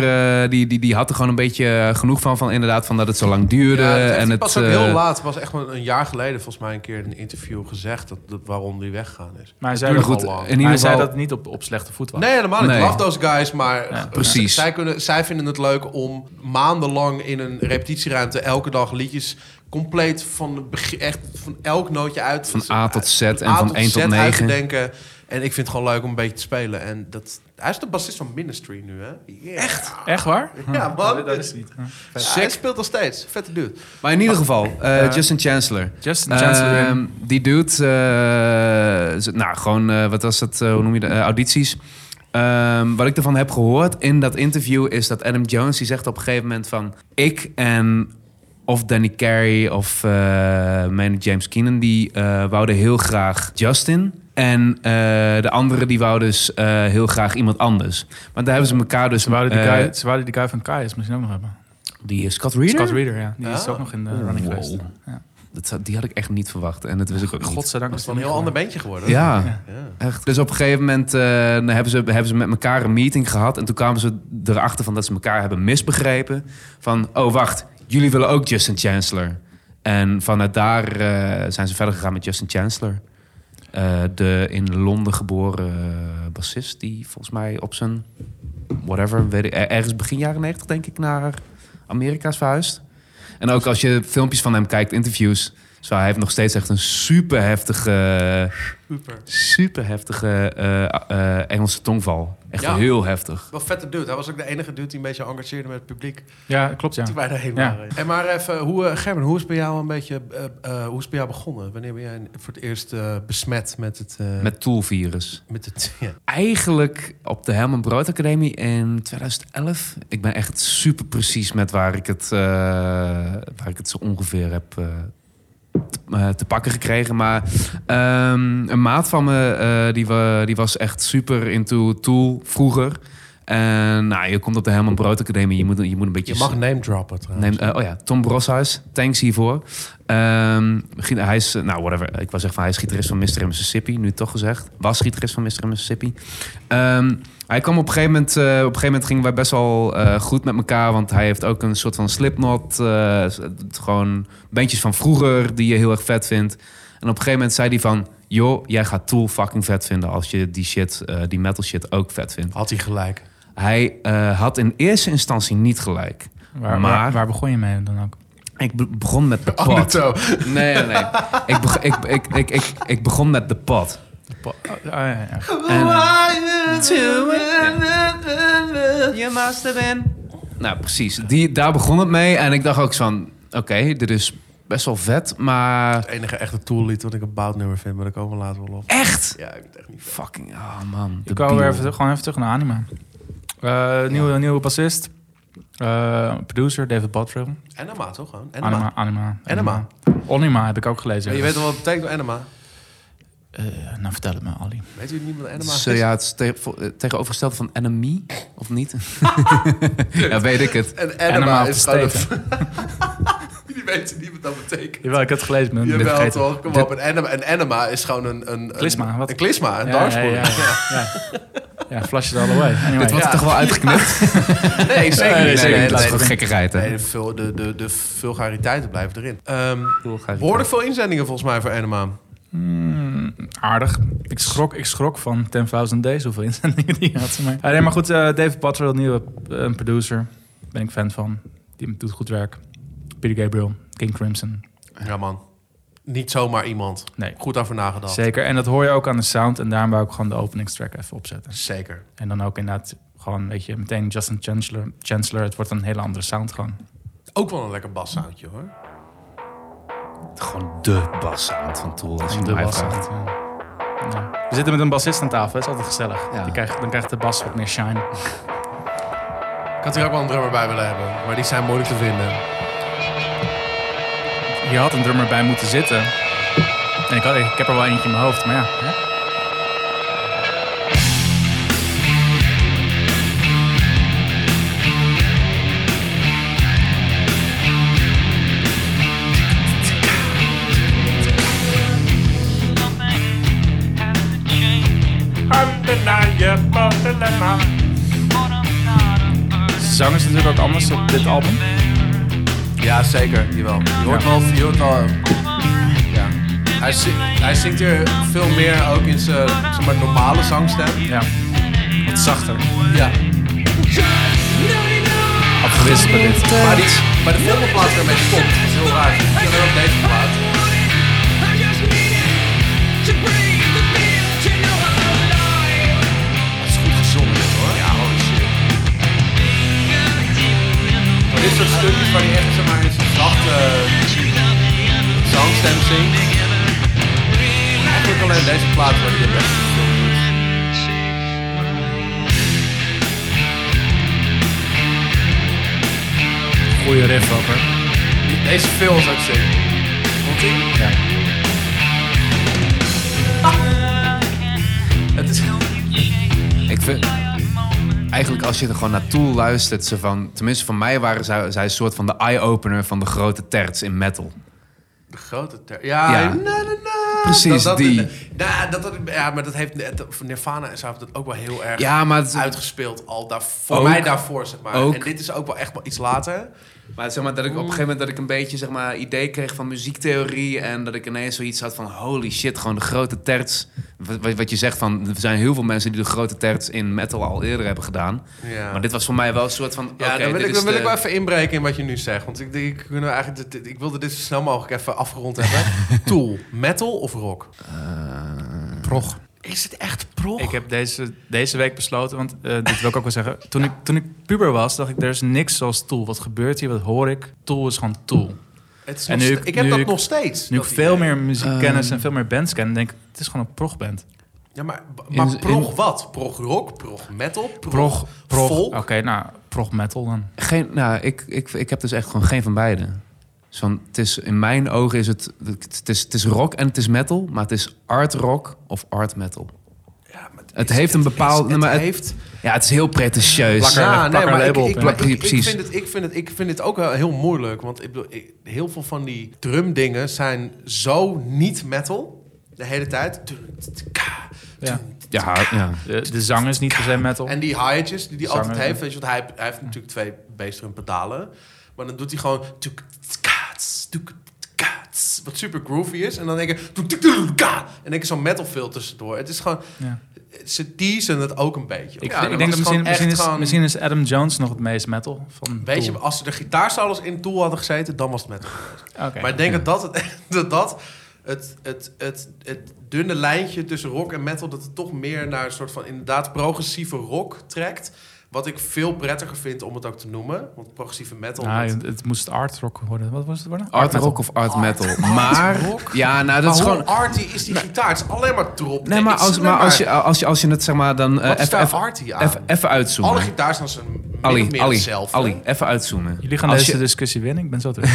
Speaker 3: eh, die, die, die had er gewoon een beetje eh, genoeg van, van inderdaad, van dat het zo lang duurde.
Speaker 2: Ja, het,
Speaker 3: en
Speaker 2: en
Speaker 3: het,
Speaker 2: pas ook
Speaker 3: eh,
Speaker 2: heel laat. Het was echt wel een jaar geleden volgens mij een keer in een interview gezegd... Dat, dat waarom die weggaan is.
Speaker 1: Maar hij zei,
Speaker 3: Maar
Speaker 1: dat,
Speaker 3: goed,
Speaker 2: al lang.
Speaker 3: in
Speaker 1: hij
Speaker 3: ieder
Speaker 1: zei
Speaker 3: geval.
Speaker 1: dat het niet op, op slechte voet was.
Speaker 2: Nee, helemaal niet.
Speaker 3: Nee.
Speaker 2: Love those guys, maar
Speaker 1: Ja,
Speaker 3: precies.
Speaker 2: Zij, kunnen, zij vinden het leuk om maandenlang in een repetitieruimte elke dag liedjes compleet van het begin- echt van elk nootje uit
Speaker 3: Van A tot Z en
Speaker 2: A
Speaker 3: van 1 tot
Speaker 2: Z
Speaker 3: 9.
Speaker 2: uit te denken. En ik vind het gewoon leuk om een beetje te spelen. En dat, hij is de bassist van Ministry nu, hè? Echt?
Speaker 1: Echt waar?
Speaker 2: Ja, man.
Speaker 1: Dat is niet.
Speaker 2: Hij speelt nog steeds. Vette dude.
Speaker 3: Maar in ieder geval, eh, Justin Chancellor.
Speaker 1: Justin Chancellor.
Speaker 3: Ehm, die dude, eh, z- nou gewoon, eh, wat was dat, eh, hoe noem je dat, Eh, audities. Ehm, wat ik ervan heb gehoord in dat interview is dat Adam Jones, die zegt op een gegeven moment van... Ik en of Danny Carey of eh Maynard James Keenan, die eh, wouden heel graag Justin. En eh, de anderen die wouden dus eh, heel graag iemand anders. Maar daar hebben ze elkaar dus...
Speaker 1: Ze wouden, die
Speaker 3: eh,
Speaker 1: guy, ze wouden die guy van Kai is misschien ook nog hebben.
Speaker 3: die eh, Scott Reeder?
Speaker 1: Scott Reader, ja. Die is
Speaker 2: Ah.
Speaker 1: ook nog in de running
Speaker 3: Oh. Wow.
Speaker 1: geweest. Ja.
Speaker 3: Dat zou- die had ik echt niet verwacht. En dat wist ik ook niet.
Speaker 1: Godzijdank
Speaker 2: Dat is
Speaker 1: is
Speaker 2: dan een heel ander bandje geworden.
Speaker 3: Ja,
Speaker 2: Ja.
Speaker 3: echt. Dus op een gegeven moment eh, hebben, ze, hebben ze met elkaar een meeting gehad. En toen kwamen ze erachter van dat ze elkaar hebben misbegrepen. Van, oh wacht, jullie willen ook Justin Chancellor. En vanuit daar eh, zijn ze verder gegaan met Justin Chancellor. Eh, de in Londen geboren eh, bassist die volgens mij op zijn... Whatever, weet ik, er- ergens begin jaren 90 denk ik naar Amerika is verhuisd. En ook als je filmpjes van hem kijkt, interviews... Zo, hij heeft nog steeds echt een super heftige
Speaker 2: Super.
Speaker 3: super heftige eh, eh, Engelse tongval. Echt
Speaker 2: Ja.
Speaker 3: heel heftig.
Speaker 2: Wel vette dude. Hij was ook de enige dude die een beetje engageerde met het publiek.
Speaker 1: Ja, klopt ja.
Speaker 2: Toen wij daarheen
Speaker 1: Ja.
Speaker 2: waren. En maar even, hoe, eh, Gerben, hoe is bij jou een beetje, eh, eh, hoe is bij jou begonnen? Wanneer ben jij voor het eerst eh, besmet met het... eh,
Speaker 3: Met toolvirus.
Speaker 2: met het ja.
Speaker 3: Eigenlijk op de Helm en Brood Academie in 2011. Ik ben echt super precies met waar ik het, eh, waar ik het zo ongeveer heb eh, te, eh, te pakken gekregen. Maar ehm, een maat van me, eh, die, wa- die was echt super into Tool vroeger. En nou, je komt op de Helm en Brood Academie, je moet, je moet een beetje...
Speaker 2: Je mag name droppen
Speaker 3: Neem,
Speaker 2: trouwens.
Speaker 3: eh, oh ja, Tom Broshuis. Thanks hiervoor. Ehm, gi- hij is, eh, nou whatever, ik was zeggen van hij is gitarist van Mr. in Mississippi. Nu toch gezegd. Was gitarist van Mr. in Mississippi. Ehm, hij kwam op een gegeven moment, eh, op een gegeven moment gingen wij best wel eh, goed met elkaar. Want hij heeft ook een soort van slipnot. eh, s- het- gewoon bandjes van vroeger die je heel erg vet vindt. En op een gegeven moment zei hij van... joh, jij gaat Tool fucking vet vinden als je die shit, eh, die metal shit ook vet vindt.
Speaker 2: Had hij gelijk.
Speaker 3: Hij eh, had in eerste instantie niet gelijk.
Speaker 1: Waar,
Speaker 3: Maar-
Speaker 1: waar, waar begon je mee dan ook?
Speaker 3: Ik be- begon met de
Speaker 2: Oh,
Speaker 3: pot. Nee, nee, nee. Ik, beg- ik, ik, ik, ik, ik begon met de pot.
Speaker 1: Oh, ja, ja.
Speaker 3: You must have been. Nou, precies. Die, daar begon het mee. En ik dacht ook zo van... Oké, dit is best wel vet, maar...
Speaker 2: Het enige echte toollied wat ik een boutnummer vind, maar daar komen we later wel op.
Speaker 3: Echt?
Speaker 2: Ja, ik weet echt niet.
Speaker 3: Fucking, oh man.
Speaker 1: Ik wou weer
Speaker 3: debiel.
Speaker 1: even, terug- gewoon even terug naar Anima. Eh nieuwe, nieuwe bassist. Eh, producer David Bottrill.
Speaker 2: Enema toch gewoon? Enema.
Speaker 1: Anima. Anima.
Speaker 2: Enema.
Speaker 1: Onima heb ik ook gelezen.
Speaker 2: Ja, je weet al wat het betekent enema.
Speaker 1: Eh, nou, vertel het me, Ali.
Speaker 2: Weet u niet wat enema is?
Speaker 3: Zo, ja, het is te- vo- eh, tegenovergesteld van enemy, of niet? ja, weet ik het.
Speaker 2: Een
Speaker 1: Enema
Speaker 2: enema
Speaker 1: op
Speaker 2: is
Speaker 1: de
Speaker 2: gewoon een... Jullie weten niet wat dat betekent.
Speaker 1: Jawel, ik had het gelezen. maar ik ben
Speaker 2: Jawel
Speaker 1: vergeten.
Speaker 2: toch, kom op. Een enema, een enema is gewoon een... Een
Speaker 1: Klisma,
Speaker 2: een-
Speaker 1: wat?
Speaker 2: Een klisma, een
Speaker 1: Ja,
Speaker 2: dartspoor.
Speaker 1: ja, ja, ja. Ja, flash it all away. Anyway.
Speaker 3: Dit wordt er toch wel uitgeknipt?
Speaker 2: Nee,
Speaker 3: Nee,
Speaker 2: zeker
Speaker 3: nee,
Speaker 2: niet.
Speaker 3: nee,
Speaker 2: Nee,
Speaker 3: dat is
Speaker 2: nee,
Speaker 3: gewoon gekkigheid, hè?
Speaker 2: nee, de, vul- de, de, de vulgariteiten blijven erin. Ehm
Speaker 3: Vulgariteit.
Speaker 2: behoorlijk veel inzendingen volgens mij voor Enema.
Speaker 1: Mm, aardig. Ik schrok, ik schrok van 10.000 Days, hoeveel inzendingen die had. Maar, Ah, nee, maar goed, eh, David Butler, de nieuwe eh, producer. Ben ik fan van. Die doet goed werk. Peter Gabriel, King Crimson.
Speaker 2: Ja man, niet zomaar iemand.
Speaker 1: Nee,
Speaker 2: Goed over nagedacht.
Speaker 1: zeker. En dat hoor je ook aan de sound. En daarom wou ik gewoon de openingstrack even opzetten.
Speaker 2: Zeker.
Speaker 1: En dan ook inderdaad gewoon, weet je, meteen Justin Chancellor. Chancellor het wordt een hele andere sound gewoon.
Speaker 2: Ook wel een lekker bassoundje hoor.
Speaker 3: Gewoon de bassound van Tool, als je
Speaker 1: De
Speaker 3: mij
Speaker 1: bas.
Speaker 3: vraagt.
Speaker 1: echt, ja. Ja. We zitten met een bassist aan tafel, hè. dat is altijd gezellig.
Speaker 3: Ja.
Speaker 1: Die krijgt, dan krijgt de bas wat meer shine.
Speaker 2: Ik had hier ook wel een drummer bij willen hebben, maar die zijn moeilijk te vinden.
Speaker 1: Je had een drummer bij moeten zitten. En ik, had, ik heb er wel eentje in mijn hoofd, maar ja. hè? Zang is natuurlijk ook anders op dit album.
Speaker 2: Ja, zeker. Jawel. Je hoort wel, je hoort wel. ehm, Ja. Hij, zi- hij zingt hier veel meer ook in zijn zeg maar, normale zangstem.
Speaker 1: Ja. Wat zachter.
Speaker 2: Ja.
Speaker 1: Afgewisseld bij dit.
Speaker 2: Maar, die, maar de volgende plaat weer een beetje stopt. Dat is heel raar. Ik ben ook op deze plaat. Het is goed gezongen dit, hoor. Ja, holy shit. Maar dit soort stukjes waar je echt zeg maar, in zijn zachte zangstem zingt. Eigenlijk alleen deze plaat waar je het beste gezongen is.
Speaker 1: Goeie riff ook, hoor.
Speaker 2: Deze film is ook sick. Komt ie? Ja. Ah. Het is...
Speaker 3: Ik vind... Eigenlijk als je er gewoon naar Tool luistert, ze van, tenminste voor mij waren zij, zij een soort van de eye-opener van de grote terts in metal.
Speaker 2: De grote ter... Ja,
Speaker 3: Ja.
Speaker 2: na, na, na.
Speaker 3: Precies, die.
Speaker 2: Nou, dat, dat, ja, maar dat heeft dat- Nirvana en zo heeft dat ook wel heel erg
Speaker 3: Ja, maar het-
Speaker 2: uitgespeeld. Al daar, voor
Speaker 3: Ook.
Speaker 2: mij daarvoor, zeg maar.
Speaker 3: Ook.
Speaker 2: En dit is ook wel echt wel iets later.
Speaker 3: Maar zeg maar dat ik op een gegeven moment dat ik een beetje zeg maar idee kreeg van muziektheorie en dat ik ineens zoiets had van holy shit, gewoon de grote terts. Wat, wat- wat je zegt van, er zijn heel veel mensen die de grote terts in metal al eerder hebben gedaan.
Speaker 2: Ja.
Speaker 3: Maar dit was voor mij wel een soort van, oké,
Speaker 2: Ja, dan wil,
Speaker 3: dit
Speaker 2: ik,
Speaker 3: is
Speaker 2: dan wil
Speaker 3: de-
Speaker 2: ik wel even inbreken in wat je nu zegt. Want ik, ik, kunnen we eigenlijk, dit- dit- ik wilde dit zo snel mogelijk even afgerond hebben. Tool, metal of rock? prog. Is het echt prog?
Speaker 1: Ik heb deze, deze week besloten, want eh, dit wil ik ook wel zeggen. Toen ik, toen ik puber was, dacht ik, er is niks zoals Tool. Wat gebeurt hier? Wat hoor ik? Tool is gewoon Tool.
Speaker 2: Het is
Speaker 1: En
Speaker 2: nog
Speaker 1: nu
Speaker 2: st-
Speaker 1: ik-
Speaker 2: ik heb
Speaker 1: nu
Speaker 2: dat
Speaker 1: ik-
Speaker 2: nog steeds.
Speaker 1: Nu ik
Speaker 2: dat
Speaker 1: veel
Speaker 2: idee.
Speaker 1: meer
Speaker 2: ehm,
Speaker 1: muziekkennis en veel meer bands ken, denk ik, het is gewoon een progband.
Speaker 2: Ja, maar, maar
Speaker 3: in-
Speaker 2: prog wat? Prog rock, prog metal, prog,
Speaker 1: Prog, prog.
Speaker 2: folk?
Speaker 1: Oké, nou, prog metal dan.
Speaker 3: Geen, nou, ik, ik, ik heb dus echt gewoon geen van beide. Dus van, het is, in mijn ogen is het, het is, het is rock en het is metal, maar het is art rock of art metal.
Speaker 2: Ja, maar
Speaker 3: Het
Speaker 2: is-
Speaker 3: heeft een
Speaker 2: het is-
Speaker 3: bepaald-
Speaker 2: Het,
Speaker 3: maar het-
Speaker 2: heeft...
Speaker 3: Ja, het is heel pretentieus.
Speaker 1: Plakker.
Speaker 2: Ja,
Speaker 1: plak er
Speaker 2: maar
Speaker 1: label
Speaker 2: ik,
Speaker 1: op,
Speaker 2: ik,
Speaker 1: ja.
Speaker 2: ik- ik- ik
Speaker 3: Precies.
Speaker 2: vind het, ik, vind het, ik vind het ook wel heel moeilijk. Want ik bedoel, ik- heel veel van die drumdingen zijn zo niet metal. De hele tijd.
Speaker 1: Ja.
Speaker 3: Ja, ja.
Speaker 1: De, de zang is niet per se metal.
Speaker 2: En die hi-hatjes die hij altijd
Speaker 1: Zanger.
Speaker 2: heeft. Weet je, want hij, hij heeft natuurlijk twee bassdrum pedalen. Maar dan doet hij gewoon... tuk, tkats, tuk, tkats, Wat super groovy is. En dan denk ik... tuk, tuk, tuk, ka. En denk ik zo'n metal veel tussendoor. Het is gewoon...
Speaker 1: Ja.
Speaker 2: Ze teasen het ook een beetje.
Speaker 1: Ik,
Speaker 2: Ja,
Speaker 1: ik
Speaker 2: want
Speaker 1: denk
Speaker 2: het
Speaker 1: dat
Speaker 2: is
Speaker 1: misschien,
Speaker 2: gewoon
Speaker 1: misschien,
Speaker 2: echt
Speaker 1: is,
Speaker 2: gewoon-
Speaker 1: misschien is Adam Jones nog het meest metal. Van
Speaker 2: Weet je,
Speaker 1: Tool.
Speaker 2: als ze de gitaarsolos in Tool hadden gezeten, dan was het metal.
Speaker 1: Oké.
Speaker 2: Maar ik denk dat dat, het, dat, dat het, het, het, het dunne lijntje tussen rock en metal... dat het toch meer naar een soort van inderdaad progressieve rock trekt... Wat ik veel prettiger vind om het ook te noemen. Want progressieve metal...
Speaker 1: Nou,
Speaker 2: dat-
Speaker 1: het, het moest art rock worden. Wat was het worden?
Speaker 3: Art rock of art metal. Maar,
Speaker 2: Oh, rock?
Speaker 3: ja, nou,
Speaker 2: maar
Speaker 3: dat is
Speaker 2: hoe oh,
Speaker 3: gewoon...
Speaker 2: arty is die gitaar? Het is alleen maar drop.
Speaker 3: Nee, maar als, maar als, je, als, je, als je het zeg maar dan... eh,
Speaker 2: Wat is
Speaker 3: even-
Speaker 2: daar
Speaker 3: even-
Speaker 2: arty aan?
Speaker 3: even- Even uitzoomen.
Speaker 2: Alle gitaars zijn zijn min of
Speaker 3: Ali,
Speaker 2: meer
Speaker 3: Ali,
Speaker 2: hetzelfde.
Speaker 3: Ali, even uitzoomen.
Speaker 1: Jullie gaan
Speaker 3: Als
Speaker 1: deze
Speaker 3: je-
Speaker 1: discussie winnen. Ik ben zo terug.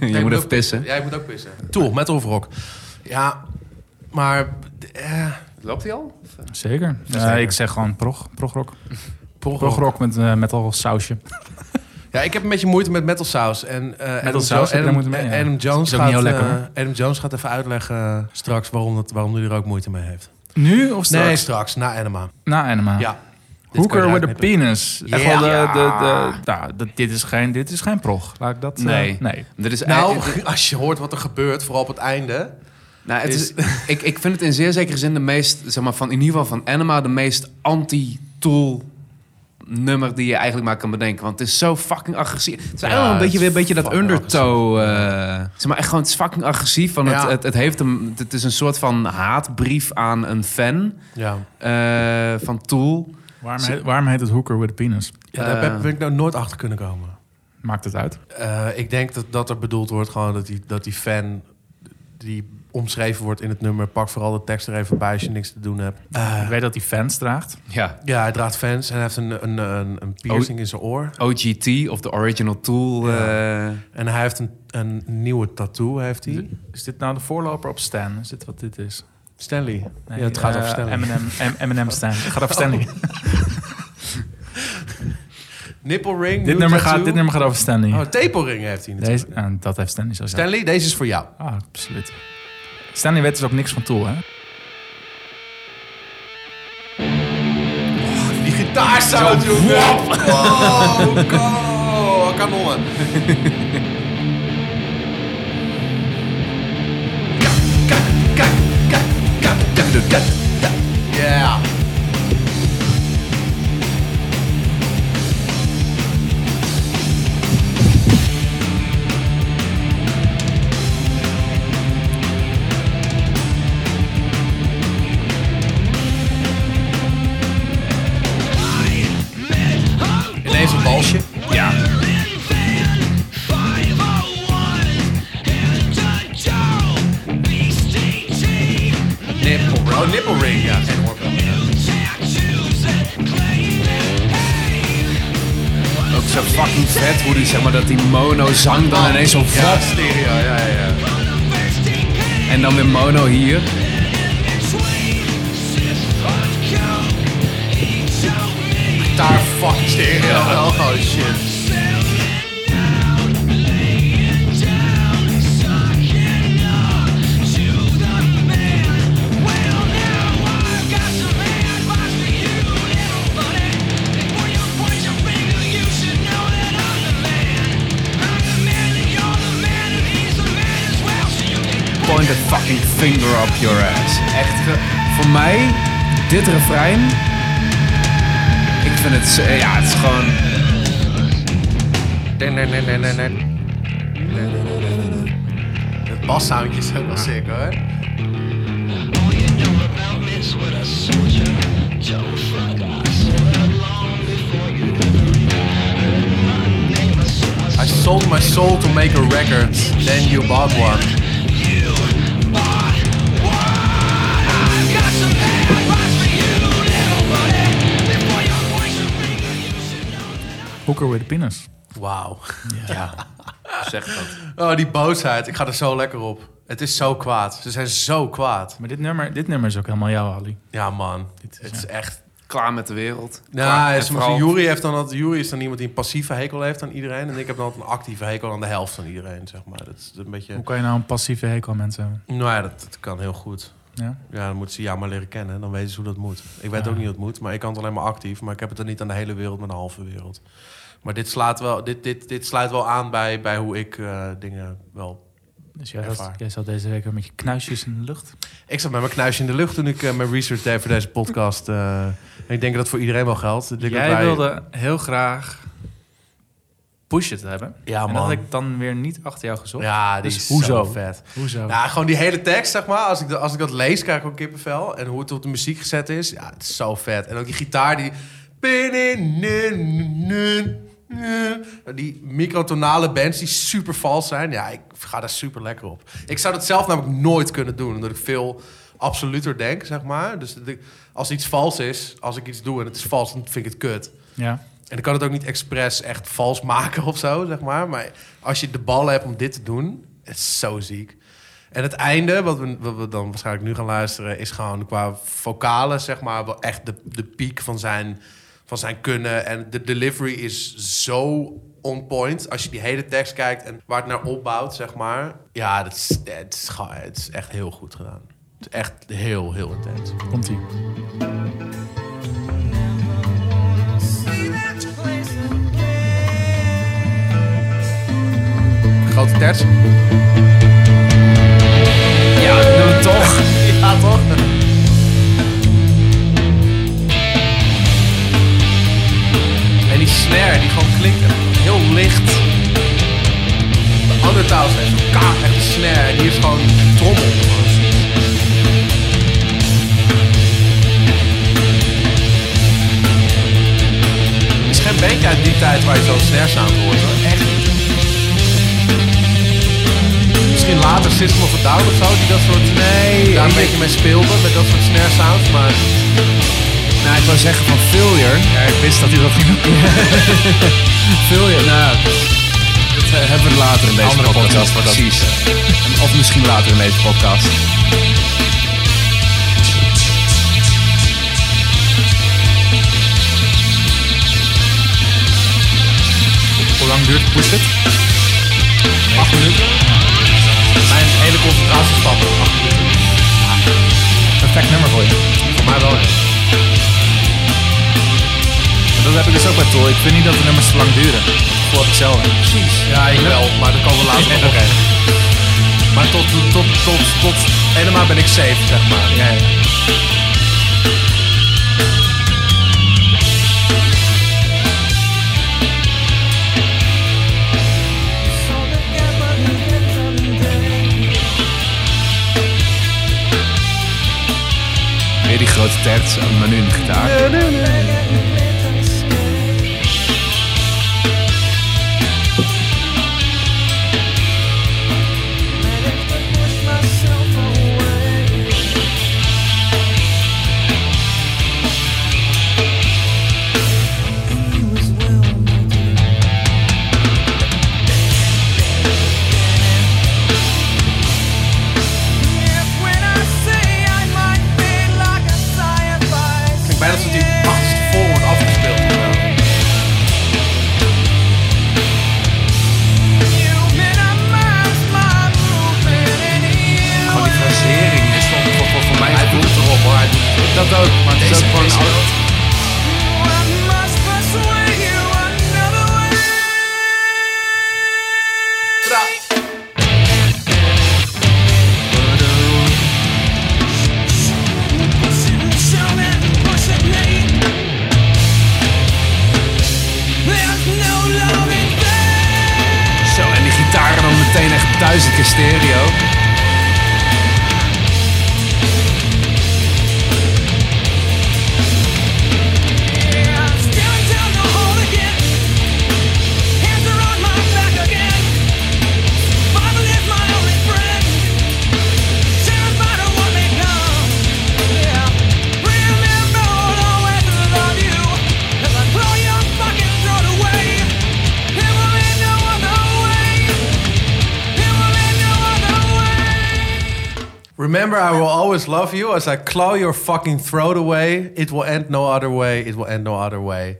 Speaker 2: Jij
Speaker 3: Je moet even pissen.
Speaker 2: Jij moet ook pissen. Tool, metal of rock? Ja, maar... eh,
Speaker 3: Loopt hij al?
Speaker 1: Zeker. Eh,
Speaker 2: Zeker.
Speaker 1: ik zeg gewoon prog, progrock.
Speaker 2: Progrock.
Speaker 1: Progrock met eh, metal sausje.
Speaker 2: Ja, ik heb een beetje moeite met metal saus. En, eh, Adam,
Speaker 1: saus,
Speaker 2: Jo-
Speaker 1: heb je daar
Speaker 2: Adam,
Speaker 1: moeite mee, ja.
Speaker 2: Adam Jones
Speaker 1: Is ook niet
Speaker 2: gaat,
Speaker 1: heel lekker,
Speaker 2: eh,
Speaker 1: hoor.
Speaker 2: Adam Jones gaat even uitleggen straks waarom, dat, waarom hij er ook moeite mee heeft.
Speaker 1: Nu of straks?
Speaker 2: Nee, straks, na Anima.
Speaker 1: Na Anima.
Speaker 2: Ja. Dit kan je
Speaker 1: Hooker with a
Speaker 2: eruit knippen.
Speaker 1: penis. Echt
Speaker 2: Ja.
Speaker 1: wel de, de,
Speaker 3: Ja.
Speaker 1: de, nou, dat- dit, is geen, dit is geen prog. Laat ik dat... eh,
Speaker 3: Nee.
Speaker 1: nee.
Speaker 3: Dit is eh, dit-
Speaker 2: Nou, als je hoort wat er gebeurt, vooral op het einde.
Speaker 3: nou, het is, ik, ik vind het in zeer zekere zin de meest, zeg maar, van, in ieder geval van Anima, de meest anti-tool nummer die je eigenlijk maar kan bedenken. Want het is zo fucking agressief. Het is eigenlijk wel een
Speaker 2: het
Speaker 3: beetje,
Speaker 2: is
Speaker 3: weer een beetje dat
Speaker 2: fucking
Speaker 3: undertow. eh, zeg maar echt gewoon, het is fucking agressief. Van
Speaker 2: Ja.
Speaker 3: het, het, het, heeft een, het is een soort van haatbrief aan een fan
Speaker 2: Ja.
Speaker 3: eh, van Tool.
Speaker 1: Waarom heet, waarom heet het Hooker with a penis?
Speaker 2: daar
Speaker 3: Eh.
Speaker 2: ben- ben ik nou nooit achter kunnen komen.
Speaker 1: Maakt het uit?
Speaker 2: Eh, ik denk dat, dat er bedoeld wordt gewoon dat die, dat die fan die omschreven wordt in het nummer. Pak vooral de tekst er even bij als je niks te doen hebt. Eh,
Speaker 1: Ik weet dat hij fans draagt.
Speaker 3: Ja.
Speaker 2: ja, hij draagt fans en hij heeft een, een, een, een piercing in zijn oor.
Speaker 3: OGT of de original Tool. eh,
Speaker 2: En hij heeft een, een nieuwe tattoo, heeft hij.
Speaker 1: Is dit nou de voorloper op Stan? Is dit wat dit is?
Speaker 2: Stanley.
Speaker 1: Nee,
Speaker 2: ja, het gaat
Speaker 1: eh,
Speaker 2: over Stanley.
Speaker 1: Eminem, Em- Eminem Stan. Het gaat over Stanley.
Speaker 2: Nipple ring,
Speaker 1: dit,
Speaker 2: nieuwe
Speaker 1: nummer gaat,
Speaker 2: tattoo.
Speaker 1: dit nummer gaat over Stanley.
Speaker 2: Oh, tepelring heeft hij natuurlijk.
Speaker 1: Deze, en dat heeft Stanley zo gezegd.
Speaker 2: Stanley, deze is voor jou.
Speaker 1: Ah, absoluut. Stanley weet dus ook niks van Tool, hè?
Speaker 2: Die gitaarsound, jongen. Wow, go, kanonnen. Yeah. Ineens een balsje. Nipple, bro.
Speaker 3: Oh,
Speaker 2: Nipple ring, ja. Geen oorbel.
Speaker 3: Ook zo fucking vet hoe die, zeg maar, dat die mono zang dan ineens zo
Speaker 2: Ja,
Speaker 3: vlot.
Speaker 2: stereo, ja, ja, ja.
Speaker 3: En dan weer mono hier.
Speaker 2: Gitaar, fucking stereo. Oh, shit.
Speaker 3: Point the fucking finger up your ass. Echt, eh, voor mij, dit refrein. Ik vind het, zo- ja, het is gewoon...
Speaker 2: Het bassoundje is ook wel sick, hoor. I sold my soul to make a record, then you bought one.
Speaker 1: Hooker with a penis.
Speaker 2: Wauw.
Speaker 3: Ja, zeg dat.
Speaker 2: Oh, die boosheid. Ik ga er zo lekker op. Het is zo kwaad. Ze zijn zo kwaad.
Speaker 1: Maar dit nummer, dit nummer is ook helemaal jou, Ali.
Speaker 2: Ja, man. Het is echt...
Speaker 3: Klaar met de wereld.
Speaker 2: Nou,
Speaker 3: en
Speaker 2: is,
Speaker 3: vooral-
Speaker 2: Jury, heeft dan altijd, Jury is dan iemand die een passieve hekel heeft aan iedereen. En ik heb dan altijd een actieve hekel aan de helft van iedereen, zeg maar. Dat is een beetje...
Speaker 1: Hoe kan je nou een passieve hekel aan mensen hebben?
Speaker 2: Nou ja, dat, dat kan heel goed.
Speaker 1: Ja?
Speaker 2: Ja, dan moeten ze ja maar leren kennen. Dan weten ze hoe dat moet. Ik weet ook niet hoe het moet, maar ik kan het alleen maar actief. Maar ik heb het dan niet aan de hele wereld, maar de halve wereld. Maar dit, slaat wel, dit, dit, dit sluit wel aan bij, bij hoe ik eh, dingen wel...
Speaker 1: Dus jij,
Speaker 2: Ervaar.
Speaker 1: zat, jij zat deze week weer met je knuisjes in de lucht.
Speaker 2: Ik zat met mijn knuisje in de lucht toen ik eh, mijn research deed voor deze podcast. eh. en ik denk dat dat voor iedereen wel geldt. Ik denk dat
Speaker 1: Jij
Speaker 2: wij-
Speaker 1: wilde heel graag push it hebben.
Speaker 2: Ja,
Speaker 1: en dat
Speaker 2: man.
Speaker 1: had ik dan weer niet achter jou gezocht.
Speaker 2: Ja, die
Speaker 1: Dus
Speaker 2: is
Speaker 1: hoezo?
Speaker 2: zo vet.
Speaker 1: Hoezo?
Speaker 2: Nou, gewoon die hele tekst, zeg maar. Als ik, dat- als ik dat lees, krijg ik ook kippenvel. En hoe het op de muziek gezet is, ja, het is zo vet. En ook die gitaar, die... Die microtonale bands die super vals zijn. Ja, ik ga daar super lekker op. Ik zou dat zelf namelijk nooit kunnen doen. Omdat ik veel absoluter denk, zeg maar. Dus dat ik- als iets vals is, als ik iets doe en het is vals, dan vind ik het kut.
Speaker 1: Ja.
Speaker 2: En ik kan het ook niet expres echt vals maken of zo, zeg maar. Maar als je de bal hebt om dit te doen, het is zo ziek. En het einde, wat we, wat we dan waarschijnlijk nu gaan luisteren, is gewoon qua vocalen, zeg maar, wel echt de, de piek van zijn, van zijn kunnen. En de delivery is zo on point. Als je die hele tekst kijkt en waar het naar opbouwt, zeg maar. Ja, dat is, dat is, gewoon- het is echt heel goed gedaan. Het is echt heel, heel intens.
Speaker 1: Komt ie.
Speaker 2: Grote terts.
Speaker 3: Ja, dat doen we toch.
Speaker 2: Ja, toch? En die snare die gewoon klinkt echt heel licht. De andere taal is echt kaak, echt een snare. En hier is gewoon trommel. Er is geen bandje uit die tijd waar je zo'n snare sound hoort. hoor. Echt. Misschien later System of a Down of zo, die dat soort... Nee, daar een
Speaker 3: ik-
Speaker 2: beetje mee speelde, met dat soort snare sounds, maar...
Speaker 3: Nou, ik wou zeggen van failure. Ja, ik wist dat hij dat ging doen. failure, nou, dat eh, hebben we later in deze
Speaker 2: Andere
Speaker 3: podcast.
Speaker 2: podcast wordt dat-
Speaker 3: precies. En- Of misschien later in deze podcast.
Speaker 1: Hoe lang duurt Push It?
Speaker 2: Acht minuten. Mijn hele concentratie is stappen. Acht minuten.
Speaker 1: Perfect nummer voor je.
Speaker 2: Voor mij wel. hè.
Speaker 1: Maar Dat heb ik dus ook bij Tool. Ik vind niet dat de nummers te lang duren. Dat voel ik zelf. Precies.
Speaker 2: Ja, ik wel, maar dat kan we later nog op. Maar tot, tot, tot, tot helemaal ben ik safe, zeg maar.
Speaker 1: Ja, ja.
Speaker 3: Weer die grote terts, maar nu in de gitaar.
Speaker 2: Ik ben dat ze die achterste voor wordt afgespeeld.
Speaker 3: Gewoon die frasering is voor, voor, voor, voor mij...
Speaker 2: Hij doet het erop hoor, hij doet het erop.
Speaker 3: Dat ook, maar
Speaker 2: Het is ook gewoon
Speaker 3: deze-
Speaker 2: oud.
Speaker 3: Zo, en die gitaren dan meteen echt duizend keer stereo.
Speaker 2: Remember, I will always love you. As I claw your fucking throat away, it will end no other way. It will end no other way.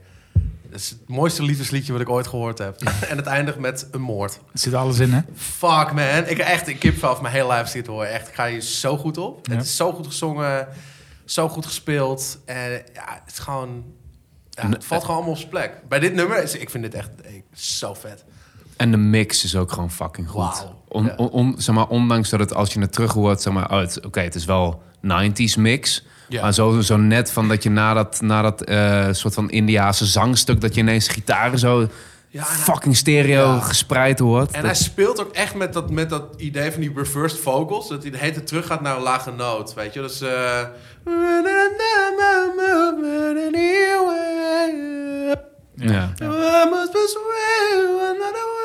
Speaker 2: Dat is het mooiste liefdesliedje wat ik ooit gehoord heb. en het eindigt met een moord.
Speaker 1: Er zit alles in, hè?
Speaker 2: Fuck man, ik echt een kip vanaf mijn hele live zit hoor. Echt, ik ga hier zo goed op. Het is zo goed gezongen, zo goed gespeeld. En ja, het is gewoon. Ja, het valt gewoon allemaal op zijn plek. Bij dit nummer, is, ik vind dit echt ik- zo vet.
Speaker 3: En de mix is ook gewoon fucking goed.
Speaker 2: Wauw.
Speaker 3: On-
Speaker 2: Ja.
Speaker 3: on- on- zeg maar, ondanks dat het als je het terug hoort, zeg maar, oh, het- oké, het is wel 90s mix.
Speaker 2: Ja.
Speaker 3: Maar zo, zo net van dat je na dat, na dat eh, soort van Indiaanse zangstuk, dat je ineens gitaren zo
Speaker 2: Ja, en-
Speaker 3: fucking stereo
Speaker 2: Ja.
Speaker 3: gespreid hoort.
Speaker 2: En
Speaker 3: Dat-
Speaker 2: hij speelt ook echt met dat, met dat idee van die reversed vocals. Dat hij de hele tijd terug gaat naar een lage noot. Weet je, dat is. eh,
Speaker 3: ja.
Speaker 2: I must persuade another way.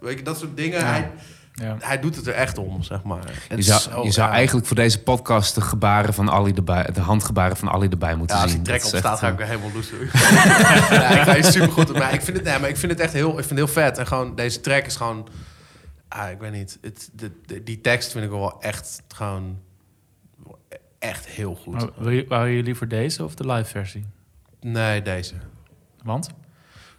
Speaker 2: Weet je, dat soort dingen. Hij,
Speaker 1: Ja.
Speaker 2: hij doet het er echt om, zeg maar. En
Speaker 3: Je zou,
Speaker 2: zo
Speaker 3: je zou
Speaker 2: raar.
Speaker 3: eigenlijk voor deze podcast de, gebaren van Ali erbij, de handgebaren van Ali erbij moeten
Speaker 2: Ja, als
Speaker 3: zien.
Speaker 2: die trek
Speaker 3: Dat
Speaker 2: op
Speaker 3: is echt,
Speaker 2: staat, ga ik
Speaker 3: eh,
Speaker 2: weer helemaal loes doen. ja, ik ga je supergoed op. Maar ik vind het, nee, maar ik vind het echt heel, ik vind het heel vet. En gewoon, deze track is gewoon... Ah, ik weet niet. Het, de, de- die tekst vind ik wel echt gewoon... Echt heel goed.
Speaker 1: Maar wil je- Wou je liever deze of de live versie?
Speaker 2: Nee, deze.
Speaker 1: Want?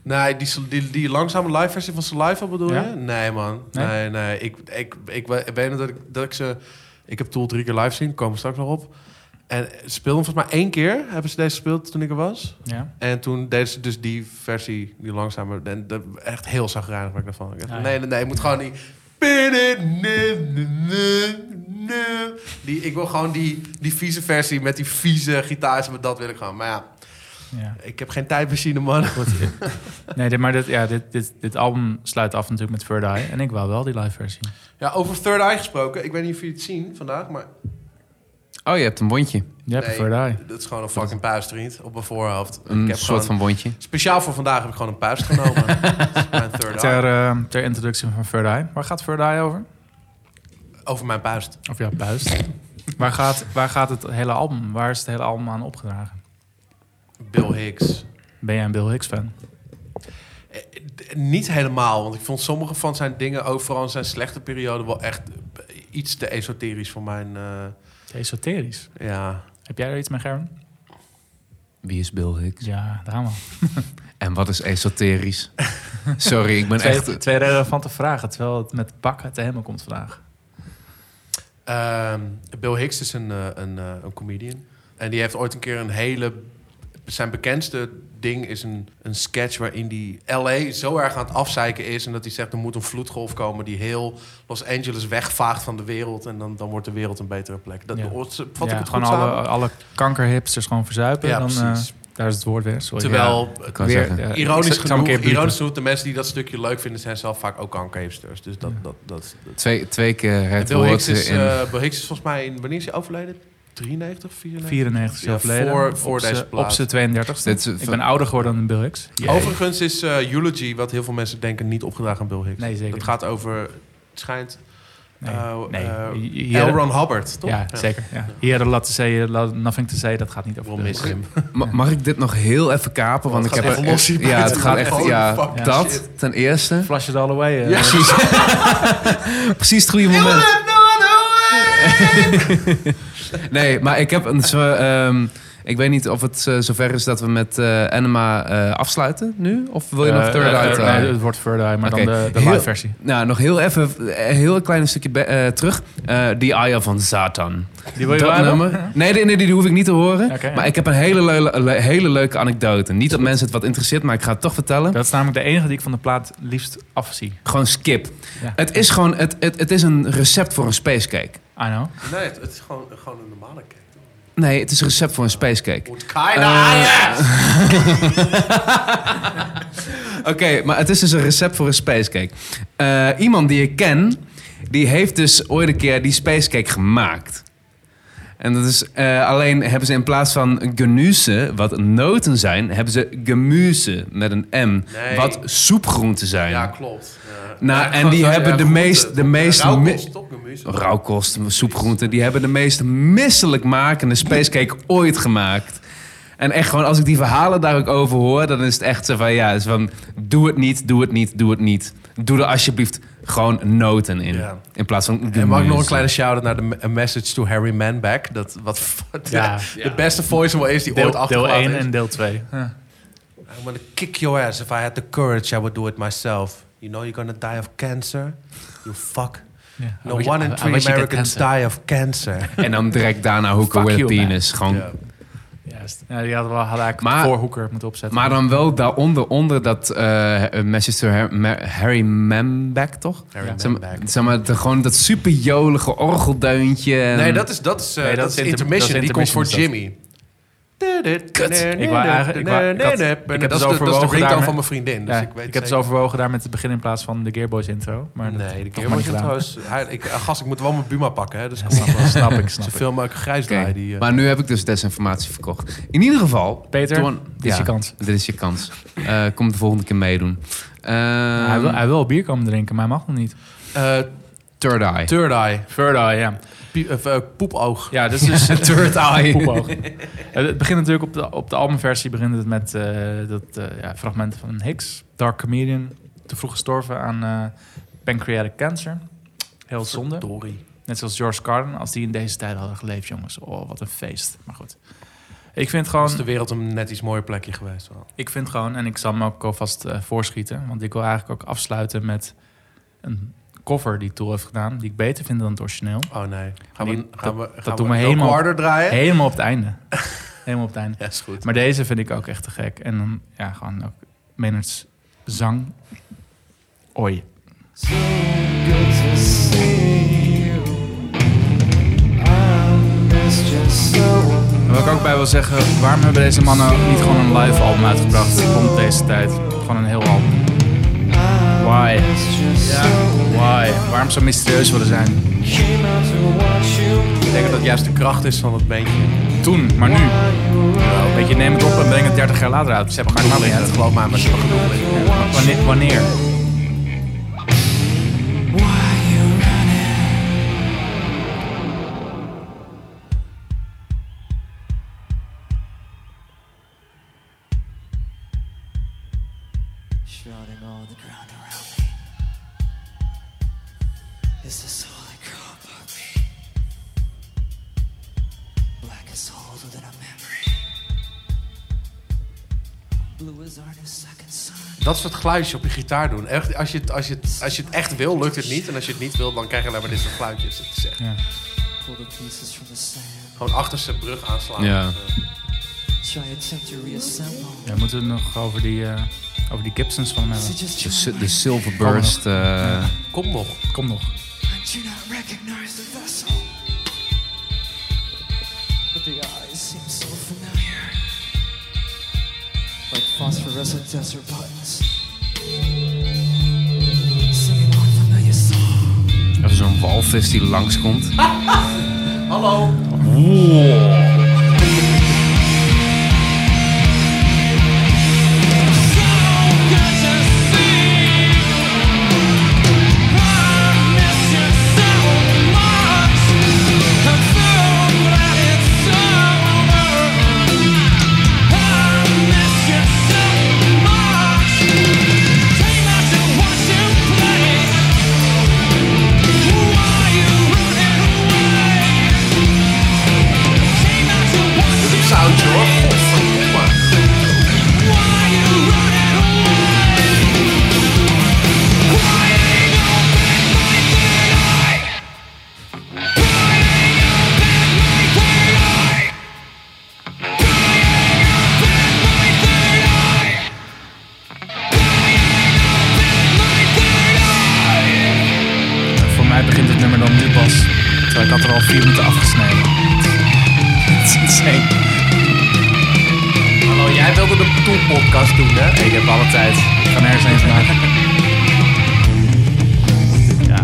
Speaker 2: Nee, die, die, die langzame live versie van Saliva bedoel
Speaker 1: Ja?
Speaker 2: je? Nee, man.
Speaker 1: Nee?
Speaker 2: Nee, nee. Ik, ik, ik, we- ik weet nog dat ik, dat ik ze Ik heb Tool drie keer live zien, komen we straks nog op. En ze speelden volgens mij één keer, hebben ze deze gespeeld toen ik er was.
Speaker 1: Ja.
Speaker 2: En toen deden ze dus die versie, die langzamer. En dat, echt heel zagrijnig werd ik daarvan. Ik dacht,
Speaker 1: Ah, ja.
Speaker 2: Nee, nee, nee, je moet gewoon die... die ik wil gewoon die, die vieze versie met die vieze gitaars. Maar dat wil ik gewoon. Maar ja,
Speaker 1: ja.
Speaker 2: ik heb geen tijdmachine, man.
Speaker 1: Nee, dit, maar dit, ja, dit, dit, dit album sluit af natuurlijk met Third Eye. En ik wou wel die live versie.
Speaker 2: Ja, over Third Eye gesproken. Ik weet niet of jullie het zien vandaag, maar...
Speaker 3: Oh, je hebt een wondje.
Speaker 1: Je hebt
Speaker 2: nee,
Speaker 1: een Third Eye.
Speaker 2: Dat is gewoon een fucking puist, vriend. Op mijn voorhoofd.
Speaker 3: Een
Speaker 2: ik heb
Speaker 3: soort
Speaker 2: gewoon-
Speaker 3: van wondje.
Speaker 2: Speciaal voor vandaag heb ik gewoon een puist genomen. Dat is mijn Third Eye.
Speaker 1: Ter, eh, ter introductie van Third Eye. Waar gaat Third Eye over?
Speaker 2: Over mijn puist.
Speaker 1: Of jouw puist. waar, gaat, waar gaat het hele album? Waar is het hele album aan opgedragen?
Speaker 2: Bill Hicks.
Speaker 1: Ben jij een Bill Hicks fan?
Speaker 2: Eh, d- Niet helemaal, want ik vond sommige van zijn dingen, ook vooral in zijn slechte periode, wel echt eh, iets te esoterisch voor mijn. eh,
Speaker 1: Esoterisch.
Speaker 2: ja.
Speaker 1: Heb jij er iets mee, Gerben?
Speaker 3: Wie is Bill Hicks?
Speaker 1: Ja, daar man.
Speaker 3: En wat is esoterisch? Sorry, ik ben
Speaker 1: Twee,
Speaker 3: echt...
Speaker 1: twee relevante vragen, terwijl het met bakken te helemaal komt vandaag.
Speaker 2: Ehm, Bill Hicks is een, eh, een, eh, een comedian. En die heeft ooit een keer een hele. Zijn bekendste ding is een, een sketch waarin die LA zo erg aan het afzeiken is. En dat hij zegt: er moet een vloedgolf komen die heel Los Angeles wegvaagt van de wereld. En dan, dan wordt de wereld een betere plek. Dat
Speaker 1: Ja.
Speaker 2: vat
Speaker 1: ja,
Speaker 2: ik het
Speaker 1: gewoon
Speaker 2: goed samen?
Speaker 1: alle, alle kankerhipsters gewoon verzuipen.
Speaker 2: Ja,
Speaker 1: dan, eh,
Speaker 2: precies.
Speaker 1: daar is het woord weer. Sorry.
Speaker 2: Terwijl
Speaker 3: Ik wou
Speaker 1: Weer,
Speaker 3: zeggen.
Speaker 1: ja, ik
Speaker 2: Ironisch
Speaker 1: zal- ik zal hem een
Speaker 2: genoeg,
Speaker 1: keer
Speaker 2: ironisch
Speaker 1: bliepen.
Speaker 2: genoeg, de mensen die dat stukje leuk vinden, zijn zelf vaak ook kankerhipsters. Dus dat... dat, dat, dat.
Speaker 3: Twee, twee keer het
Speaker 2: Bill, Hicks
Speaker 3: woord
Speaker 2: is,
Speaker 3: in...
Speaker 2: eh, Bill Hicks is volgens mij, in, wanneer is hij overleden? 93, 94?
Speaker 1: 94
Speaker 2: Ja,
Speaker 1: jaar geleden.
Speaker 2: voor- voor
Speaker 1: op
Speaker 2: deze
Speaker 1: z'n-
Speaker 2: plaat.
Speaker 1: Op z'n 32
Speaker 3: Dit is
Speaker 1: Ik
Speaker 3: van-
Speaker 1: ben ouder geworden dan Bill Hicks.
Speaker 2: Overigens is eh, Eulogy, wat heel veel mensen denken, niet opgedragen aan Bill Hicks.
Speaker 1: Nee, zeker
Speaker 2: Dat
Speaker 1: niet.
Speaker 2: gaat over, het schijnt,
Speaker 1: Nee,
Speaker 2: eh,
Speaker 1: nee.
Speaker 2: eh,
Speaker 1: Hier-
Speaker 2: L.
Speaker 1: hier-
Speaker 2: Ron Hubbard, toch?
Speaker 1: Ja, zeker. Ja. Hier hadden laten zeggen, nothing to say, dat gaat niet over
Speaker 2: We'll
Speaker 1: Bill
Speaker 2: miss
Speaker 1: Hicks.
Speaker 2: him.
Speaker 3: Ma- mag ik dit nog heel even kapen? Want
Speaker 2: Het
Speaker 3: ik
Speaker 2: gaat
Speaker 3: heb
Speaker 2: echt los hier,
Speaker 3: Ja,
Speaker 2: maar
Speaker 3: het
Speaker 2: het
Speaker 3: gaat
Speaker 2: gaat
Speaker 3: echt...
Speaker 2: gewoon
Speaker 3: Ja,
Speaker 2: fucking
Speaker 3: dat
Speaker 2: shit.
Speaker 3: ten eerste.
Speaker 1: Flash it all away. eh.
Speaker 3: Precies. Precies het goede moment. Nee, maar ik heb een. zo- ehm, ik weet niet of het eh, zover is dat we met eh Anima eh, afsluiten nu. Of wil je nog
Speaker 1: Eh,
Speaker 3: Third
Speaker 1: eh,
Speaker 3: Eye
Speaker 1: eh,
Speaker 3: draaien?
Speaker 1: nee, het wordt Third Eye, maar
Speaker 3: Oké.
Speaker 1: dan de, de
Speaker 3: Heel-
Speaker 1: live versie.
Speaker 3: Nou, nog heel even, een heel klein stukje be- eh, terug. Eh The Eye van Satan.
Speaker 1: Die wil je
Speaker 3: dat
Speaker 1: wel hebben?
Speaker 3: nummer? Nee, nee, nee, die hoef ik niet te horen.
Speaker 1: Oké, ja.
Speaker 3: Maar ik heb een hele, leule- le- hele leuke anekdote. Niet dat mensen het wat interesseert, maar ik ga het toch vertellen.
Speaker 1: Dat is namelijk de enige die ik van de plaat liefst afzie.
Speaker 3: Gewoon skip.
Speaker 1: Ja.
Speaker 3: Het is gewoon, het, het, het is een recept voor een spacecake.
Speaker 1: I know.
Speaker 2: Nee, het, het is gewoon, gewoon een normale cake.
Speaker 3: Nee, het is een recept voor een spacecake.
Speaker 2: Moet keiner-
Speaker 3: Oké, maar het is dus een recept voor een spacecake. Eh, iemand die ik ken, die heeft dus ooit een keer die spacecake gemaakt. En dat is, eh, alleen hebben ze in plaats van genuse, wat noten zijn, hebben ze gemuse met een M,
Speaker 2: Nee.
Speaker 3: wat soepgroenten zijn.
Speaker 2: Ja, klopt. Ja.
Speaker 3: Nou,
Speaker 2: Ja,
Speaker 3: en
Speaker 2: gewoon
Speaker 3: die
Speaker 2: zo-
Speaker 3: hebben
Speaker 2: ja,
Speaker 3: de
Speaker 2: goed,
Speaker 3: meest-
Speaker 2: eh,
Speaker 3: de meest-
Speaker 2: Rauwkost, toch? Gemüse.
Speaker 3: rauwkost, soepgroenten. Die hebben de meest misselijkmakende spacecake ooit gemaakt. En echt gewoon, als ik die verhalen daar ook over hoor, dan is het echt zo van, ja, het is van, doe het niet, doe het niet, doe het niet. Doe er alsjeblieft gewoon noten in.
Speaker 2: Ja.
Speaker 3: In plaats van...
Speaker 2: En mag ik nog een kleine shout-out naar de me- A Message to Harry Manback. Dat wat
Speaker 1: Ja.
Speaker 2: de, beste voice is die ooit
Speaker 1: Deel, deel
Speaker 2: achtergelaten
Speaker 1: 1
Speaker 2: is.
Speaker 1: en deel 2.
Speaker 2: I'm gonna kick your ass. If I had the courage, I would do it myself. You know you're gonna die of cancer? You fuck. No one in three Americans die of cancer.
Speaker 3: En dan direct daarna hoeken
Speaker 1: Fuck
Speaker 3: with
Speaker 1: you, man.
Speaker 3: penis. Gewoon,
Speaker 2: Ja.
Speaker 1: Juist. Ja, die hadden we hadden eigenlijk
Speaker 3: Maar-
Speaker 1: voor Hoeker moeten opzetten.
Speaker 3: Maar dan wel daaronder, onder dat eh message to Har- Ma- Harry Manbeck, toch?
Speaker 2: Harry
Speaker 3: Zeg maar-
Speaker 2: Manback.
Speaker 3: Zeg maar, de- gewoon dat superjolige orgelduintje. en-
Speaker 2: Nee, dat is, dat is, eh,
Speaker 1: Nee, dat
Speaker 2: dat
Speaker 1: is
Speaker 2: is
Speaker 1: inter-
Speaker 2: intermission.
Speaker 1: dat is
Speaker 2: Die komt voor
Speaker 1: intermission,
Speaker 2: Jimmy. Kut.
Speaker 1: Ik wou eigenlijk- ik wou- ik had- ik heb het
Speaker 2: dat, is de- dat is de
Speaker 1: overwogen
Speaker 2: ringtone
Speaker 1: daar,
Speaker 2: van
Speaker 1: maar-
Speaker 2: mijn vriendin. Dus
Speaker 1: Ja,
Speaker 2: ik, weet
Speaker 1: ik heb het
Speaker 2: zeker.
Speaker 1: overwogen daar met het begin in plaats van de Gearboys intro. Maar dat
Speaker 2: Nee, de
Speaker 1: heb ik maar
Speaker 2: Gearbox
Speaker 1: niet gedaan.
Speaker 2: trouwens. Hij- ik- eh, Gast, ik moet wel mijn Buma pakken, hè? Dus kom
Speaker 1: Snap,
Speaker 2: op.
Speaker 1: ik, snap ik, snap
Speaker 2: Ze
Speaker 1: ik.
Speaker 2: filmen ook grijs
Speaker 3: Oké,
Speaker 2: draaien. Die, eh,
Speaker 3: maar nu heb ik dus desinformatie verkocht. In ieder geval...
Speaker 1: Peter,
Speaker 3: Toen-
Speaker 1: dit is je kans.
Speaker 3: Dit is je kans. Eh, kom de volgende keer meedoen. Ehm,
Speaker 1: hij, wil, hij wil bier komen drinken, maar hij mag nog niet.
Speaker 2: eh,
Speaker 3: Third eye.
Speaker 2: Third eye.
Speaker 1: Third eye, ja.
Speaker 2: Pie- of, eh, poepoog.
Speaker 1: Ja, dus, dus
Speaker 3: Third eye.
Speaker 1: Poepoog. Ja, het begint natuurlijk op de, op de albumversie begint het met eh, dat eh, ja, fragment van Hicks, Dark Comedian, te vroeg gestorven aan eh, pancreatic cancer. Heel zonde.
Speaker 2: Dory.
Speaker 1: Net zoals George Carlin, als die in deze tijd hadden geleefd, jongens. Oh, wat een feest. Maar goed. Ik vind
Speaker 2: Was Dus de
Speaker 1: gewoon,
Speaker 2: wereld een net iets mooier plekje geweest wel.
Speaker 1: ik vind gewoon en ik zal hem ook alvast eh, voorschieten, want ik wil eigenlijk ook afsluiten met een cover die Tool heeft gedaan, die ik beter vind dan het origineel.
Speaker 2: Oh nee. Gaan
Speaker 1: Die-
Speaker 2: we, gaan we, gaan
Speaker 1: dat
Speaker 2: we
Speaker 1: doen we
Speaker 2: No
Speaker 1: helemaal-
Speaker 2: Quarter draaien?
Speaker 1: Helemaal op het einde. Helemaal op het einde.
Speaker 2: Ja, is goed.
Speaker 1: Maar deze vind ik ook echt te gek. En dan, ja, gewoon ook Menards zang. Oi. En wat ik ook bij wil zeggen, waarom hebben deze mannen ook niet gewoon een live album uitgebracht rond deze tijd? Gewoon een heel album. Why? Why? Waarom zo mysterieus willen zijn?
Speaker 2: Ik denk dat dat juist de kracht is van het beentje.
Speaker 1: Toen, maar nu. Weet je, neem het op en breng het 30 jaar later uit. Ze hebben gewoon
Speaker 2: Nou,
Speaker 1: niet
Speaker 2: ja, dat
Speaker 1: uit.
Speaker 2: geloof maar, maar ze hebben genoeg liggen.
Speaker 1: Wanneer? wanneer?
Speaker 6: shrouding all the ground around me. Is this all I grow above me? Black is older than a memory. Blue is our new second sun.
Speaker 2: Dat soort geluidjes op je gitaar doen. Echt, als, je het, als, je het, als je het echt wil, lukt het niet. En als je het niet wil, dan krijg je alleen maar dit soort geluidjes. Dat is echt
Speaker 6: Pull the pieces from the sand.
Speaker 2: gewoon achterste brug aanslaan. Eh,
Speaker 3: Ja.
Speaker 6: Try attempt to reassemble.
Speaker 1: Ja, moeten we het nog over die, eh, over die Gibsons van eh, hebben?
Speaker 6: Is it just
Speaker 3: De,
Speaker 6: you?
Speaker 3: si- de Silverburst. eh,
Speaker 2: Kom nog.
Speaker 1: Kom nog.
Speaker 6: And do not recognize the vessel. But the eyes seem so familiar. Like phosphorescent desert buttons. Singing one familiar song.
Speaker 3: Of zo'n walvis die langskomt.
Speaker 2: Ah! Hallo. Soundje hoor. Godverdomme.
Speaker 1: Voor mij begint het nummer dan nu pas. Terwijl ik had er al vier minuten afgesneden. Het is insane.
Speaker 2: Hallo, jij wilde de Tool-podcast doen, hè?
Speaker 1: Ik heb alle tijd. Ik ga nergens heen vandaag. Ja.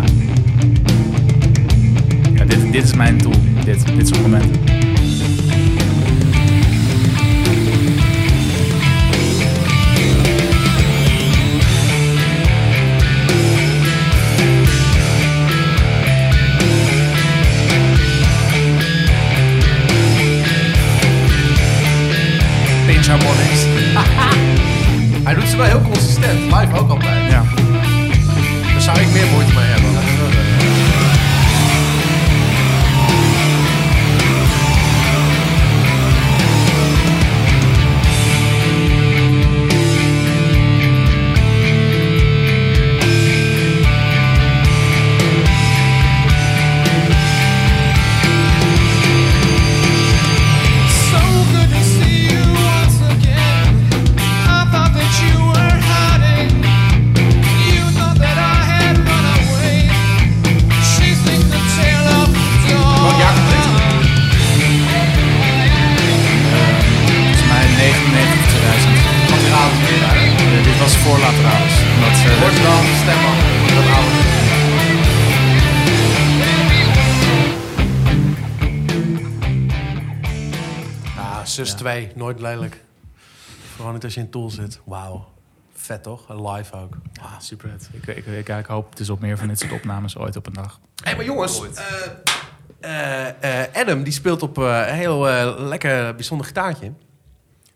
Speaker 1: ja dit, dit is mijn tool. Dit, dit is het moment. Ninja Mornings.
Speaker 2: Hij doet ze wel heel consistent. Live ook altijd.
Speaker 1: Ja.
Speaker 2: Daar zou ik meer moeite mee hebben. Oh, Jacob Licht.
Speaker 1: Volgens mij 99 2000.
Speaker 2: Lateraal.
Speaker 1: Ja, dit was voor Lateralis. Omdat eh, ze...
Speaker 2: Wordt dan stemmen. Dat oude. Ah, zus 2. Nooit lelijk. Vooral niet als je in Tool zit. Wauw. Vet toch? Live ook.
Speaker 1: Ah, super vet. Ik, ik, ik, ik hoop dus op meer van dit soort opnames ooit op een dag.
Speaker 2: Hé, hey, maar jongens. eh, eh, eh, Adam die speelt op eh, een heel eh, lekker bijzonder gitaartje.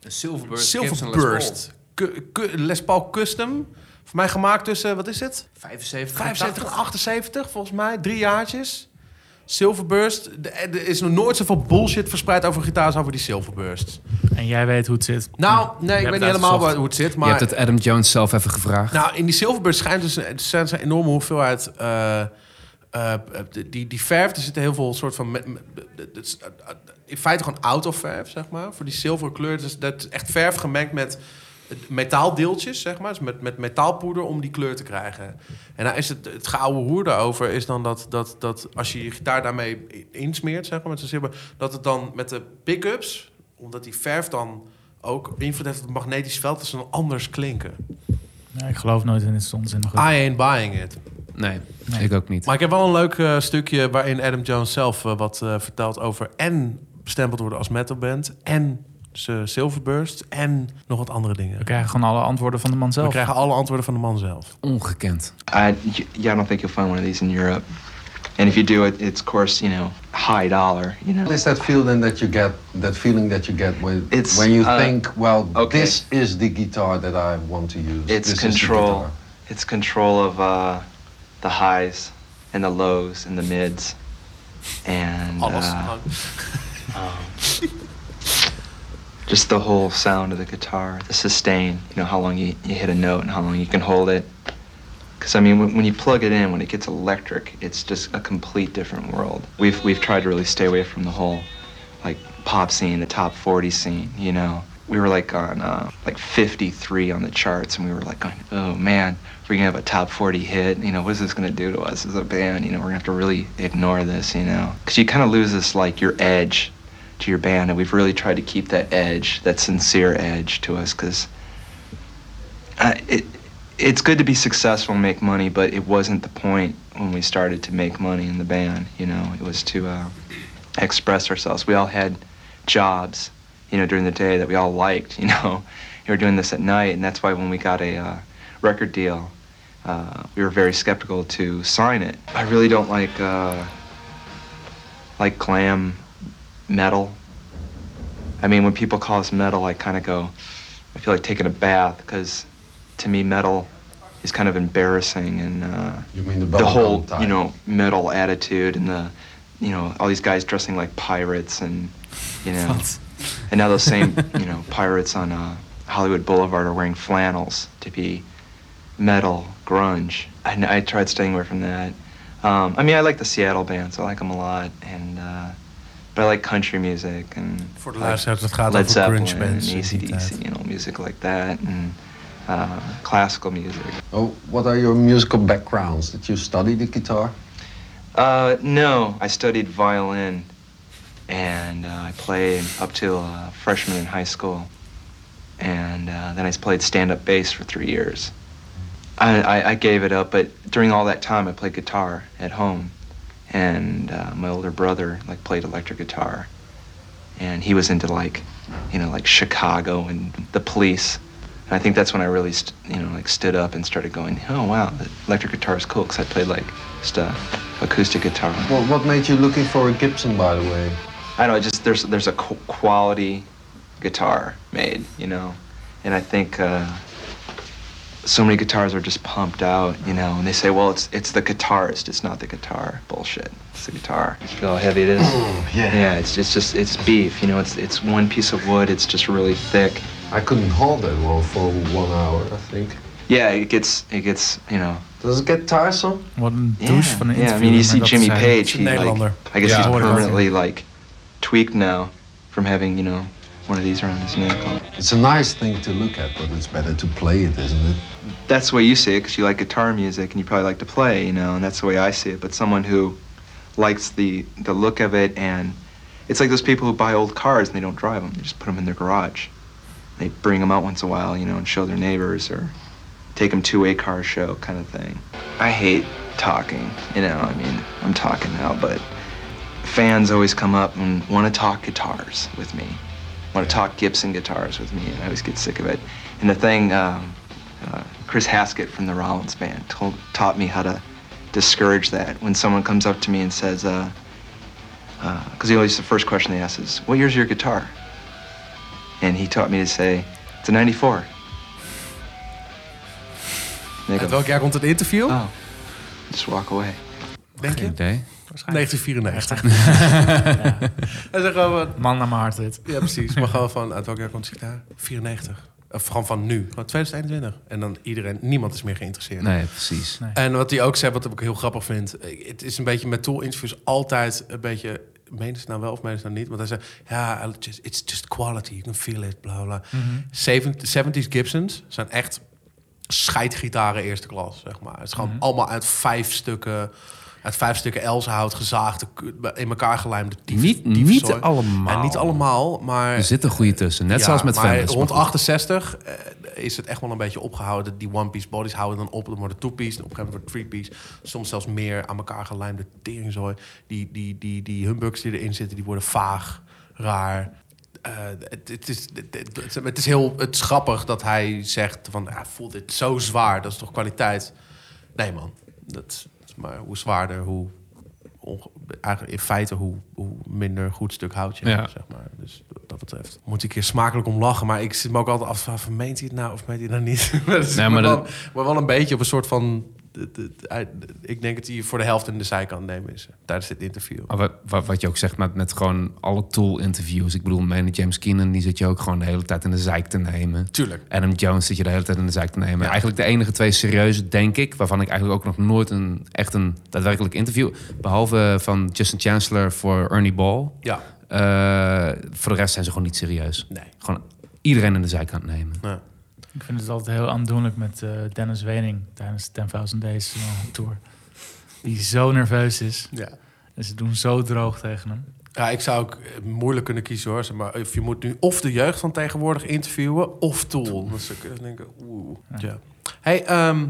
Speaker 3: Silverburst.
Speaker 2: Silverburst. Ku- ku- Les Paul Custom. Voor mij gemaakt tussen, wat is het?
Speaker 3: 75.
Speaker 2: 75 en 78 volgens mij. Drie jaartjes. Silverburst, de- eh, er is nog nooit zoveel bullshit verspreid over gitaars als over die Silverburst.
Speaker 1: En jij weet hoe het zit.
Speaker 2: Nou,
Speaker 1: Ja.
Speaker 2: nee,
Speaker 1: Je
Speaker 2: ik weet
Speaker 1: hebt
Speaker 2: niet
Speaker 1: het
Speaker 2: helemaal
Speaker 1: uitgezocht.
Speaker 2: waar, hoe het zit, maar...
Speaker 3: Je hebt het Adam Jones zelf even gevraagd.
Speaker 2: Nou, in die Silverbird schijnt dus een, zijn een enorme hoeveelheid. eh, eh, die, die verf, er zitten heel veel soort van. me- me- dat is, eh, eh, In feite gewoon autoverf, zeg maar. Voor die zilverkleur. Dus dat is echt verf gemengd met metaaldeeltjes, zeg maar. Dus met, met metaalpoeder om die kleur te krijgen. En dan is het, het gouden hoer daarover is dan dat, dat, dat als je je gitaar daarmee insmeert, zeg maar, met zo'n silver, dat het dan met de pick-ups, omdat die verf dan ook invloed heeft op het magnetisch veld, dat ze dan anders klinken.
Speaker 1: Nee, ik geloof nooit in dit onzin.
Speaker 7: Ah.
Speaker 2: I ain't buying it.
Speaker 3: nee,
Speaker 1: Nee.
Speaker 3: ik ook niet.
Speaker 2: Maar ik heb wel een leuk eh, stukje waarin Adam Jones zelf eh, wat eh, vertelt over en bestempeld worden als metalband en ze Silverburst en nog wat andere dingen.
Speaker 1: We krijgen gewoon alle antwoorden van de man zelf.
Speaker 2: We krijgen alle antwoorden van de man zelf.
Speaker 3: Ongekend.
Speaker 7: I, yeah, I don't think you'll find one of these in Europe. And if you do, it, it's of course, you know, high dollar. You know,
Speaker 8: What is that feeling that you get? That feeling that you get with
Speaker 7: It's,
Speaker 8: when you
Speaker 7: uh,
Speaker 8: think, well,
Speaker 7: okay.
Speaker 8: this is the guitar that I want to use.
Speaker 7: it's
Speaker 8: this Is the
Speaker 7: control.
Speaker 8: guitar.
Speaker 7: It's control of uh, the highs and the lows and the mids, and
Speaker 2: Alles.
Speaker 7: uh, just the whole sound of the guitar, the sustain. You know, how long you, you hit a note and how long you can hold it. Because I mean, when, when you plug it in, when it gets electric, it's just a complete different world. We've we've tried to really stay away from the whole, like pop scene, the top 40 scene. You know, we were like on uh, like 53 on the charts, and we were like, going, oh man, we're gonna have a top 40 hit. You know, what is this gonna do to us as a band? You know, we're gonna have to really ignore this. You know, because you kind of lose this like your edge to your band, and we've really tried to keep that edge, that sincere edge to us, because uh, it it's good to be successful and make money, but it wasn't the point when we started to make money in the band. You know, it was to uh, express ourselves. We all had jobs, you know, during the day that we all liked. You know, we were doing this at night, and that's why when we got a uh, record deal, uh, we were very skeptical to sign it. I really don't like uh, like glam metal. I mean, when people call us metal, I kind of go, I feel like taking a bath because to me, metal is kind of embarrassing and uh,
Speaker 8: You mean the,
Speaker 7: the whole,
Speaker 8: bubblegum type.
Speaker 7: you know, metal attitude and the, you know, all these guys dressing like pirates and, you know,
Speaker 1: Wat?
Speaker 7: and now those same, you know, pirates on uh, Hollywood Boulevard are wearing flannels to be metal, grunge. And I tried staying away from that. Um, I mean, I like the Seattle bands. I like them a lot, and uh, but I like country music and
Speaker 2: Voor de
Speaker 7: I like
Speaker 2: luisteraars, het gaat
Speaker 7: Led
Speaker 2: over
Speaker 7: Zeppelin
Speaker 2: grunge
Speaker 7: and
Speaker 2: bands. in die tijd.
Speaker 7: ACDC, you know, music like that, and uh, classical music.
Speaker 8: Oh, what are your musical backgrounds? Did you study the guitar?
Speaker 7: Uh, no, I studied violin, and uh, I played up till uh, freshman in high school, and uh, then I played stand-up bass for three years. I, I, I gave it up, but during all that time, I played guitar at home, and uh, my older brother like played electric guitar, and he was into like, you know, like Chicago and the Police. And I think that's when I really, st- you know, like stood up and started going, oh wow, the electric guitar is cool because I played like just uh, acoustic guitar.
Speaker 8: What, what made you looking for a Gibson, by the way?
Speaker 7: I don't know, just there's there's a qu- quality guitar made, you know, and I think uh, so many guitars are just pumped out, you know, and they say, well, it's it's the guitarist, it's not the guitar. Bullshit. It's the guitar. You feel how heavy it is?
Speaker 8: yeah.
Speaker 7: Yeah, it's just just it's beef, you know. It's it's one piece of wood. It's just really thick.
Speaker 8: I couldn't hold that one for one hour, I think.
Speaker 7: Yeah, it gets it gets you know.
Speaker 8: Does it get tiresome?
Speaker 1: Wat een
Speaker 7: Yeah,
Speaker 1: douche van een
Speaker 7: yeah. I
Speaker 1: interview.
Speaker 7: mean, you see Jimmy Page.
Speaker 2: een
Speaker 7: He, like,
Speaker 2: Nederlander.
Speaker 7: I guess
Speaker 3: Ja,
Speaker 7: he's
Speaker 1: hoor ik al.
Speaker 7: permanently like tweaked now from having you know one of these around his neck.
Speaker 8: It's a nice thing to look at, but it's better to play it, isn't it?
Speaker 7: that's the way you see it because you like guitar music and you probably like to play, you know, and that's the way I see it. But someone who likes the the look of it and it's like those people who buy old cars and they don't drive them; they just put them in their garage. They bring them out once in a while, you know, and show their neighbors or take them to a car show kind of thing. I hate talking, you know. I mean, I'm talking now, but fans always come up and want to talk guitars with me, want to talk Gibson guitars with me, and I always get sick of it. And the thing, um, uh, Chris Haskett from the Rollins Band told, taught me how to discourage that. When someone comes up to me and says, because uh, 'cause he always the first question they ask is, "What year's your guitar?" And he taught me to say, "It's a '94."
Speaker 2: Uit
Speaker 7: They go, Ah,
Speaker 2: welk jaar komt het interview?
Speaker 7: "Oh," just walk away.
Speaker 2: Denk je?
Speaker 3: Geen idee.
Speaker 2: 1994. Hij zegt gewoon van...
Speaker 1: Man naar mijn hart dit.
Speaker 2: Ja, precies. Maar gewoon van... Uit welk jaar komt die gitaar? 94. Of gewoon van nu. Gewoon 2021. En dan iedereen... Niemand is meer geïnteresseerd.
Speaker 3: Nee, precies.
Speaker 2: En wat hij ook zei, wat ik heel grappig vind... eh, Het is een beetje met Tool-interviews altijd een beetje... Meen ze nou wel of meen ze nou niet? Want hij zei... Ja, I just- it's just quality. You can feel it, bla bla.
Speaker 3: Mhm.
Speaker 2: 70 70s Gibsons zijn echt scheidgitaren eerste klas, zeg maar. Het is
Speaker 3: Mhm.
Speaker 2: gewoon allemaal uit vijf stukken... Uit vijf stukken elzenhout gezaagde, ku- in elkaar gelijmde. dief-
Speaker 3: Niet-
Speaker 2: diefzooi.
Speaker 3: niet allemaal.
Speaker 2: Ja, niet allemaal, maar...
Speaker 3: Er zit een goede tussen. Net zoals met
Speaker 2: maar
Speaker 3: Fenders.
Speaker 2: rond
Speaker 3: maar goed.
Speaker 2: 68 eh, is het echt wel een beetje opgehouden. Die one-piece bodies houden dan op. Dan worden two-piece, en op een gegeven moment wordt three-piece. Soms zelfs meer aan elkaar gelijmde teringzooi. Die, die, die, die humbugs die erin zitten, die worden vaag, raar. Eh, het, het, is, het, het- het is heel het is grappig dat hij zegt van... Ja, voelt dit zo zwaar, dat is toch kwaliteit? Nee man, dat is maar hoe zwaarder, hoe... onge- eigenlijk in feite hoe, hoe minder goed stuk hout je
Speaker 3: Ja.
Speaker 2: hebt, zeg maar. Dus wat dat betreft moet ik hier smakelijk om lachen. Maar ik zit me ook altijd af te vragen, van, meent hij het nou of meent hij het nou niet? Dat is
Speaker 3: Nee,
Speaker 2: maar,
Speaker 3: maar
Speaker 2: wel,
Speaker 3: dat-
Speaker 2: maar wel een beetje op een soort van... Ik denk dat hij voor de helft in de zijkant nemen is eh, tijdens dit interview.
Speaker 3: Maar Wat, wat, wat je ook zegt met, met gewoon alle Tool-interviews. Ik bedoel, Mene James Keenan, die zit je ook gewoon de hele tijd in de zeik te nemen.
Speaker 2: Tuurlijk.
Speaker 3: Adam Jones zit je de hele tijd in de zeik te nemen. Eigenlijk de enige twee serieuze, denk ik, waarvan ik eigenlijk ook nog nooit een echt een daadwerkelijk interview... Behalve van Justin Chancellor voor Ernie Ball.
Speaker 2: Ja.
Speaker 3: Eh, voor de rest zijn ze gewoon niet serieus.
Speaker 2: Nee.
Speaker 3: Gewoon iedereen in de zijkant nemen.
Speaker 2: Ja.
Speaker 1: Ik vind het altijd heel aandoenlijk met eh, Dennis Wening tijdens 10.000 Days eh, Tour. Die zo nerveus is.
Speaker 2: Ja.
Speaker 1: En ze doen zo droog tegen hem.
Speaker 2: Ja, ik zou ook eh, moeilijk kunnen kiezen hoor. Zeg Maar of je moet nu of de jeugd van tegenwoordig interviewen of Tool. Dus ik eh, denk, oeh. Ja. Hey, ehm,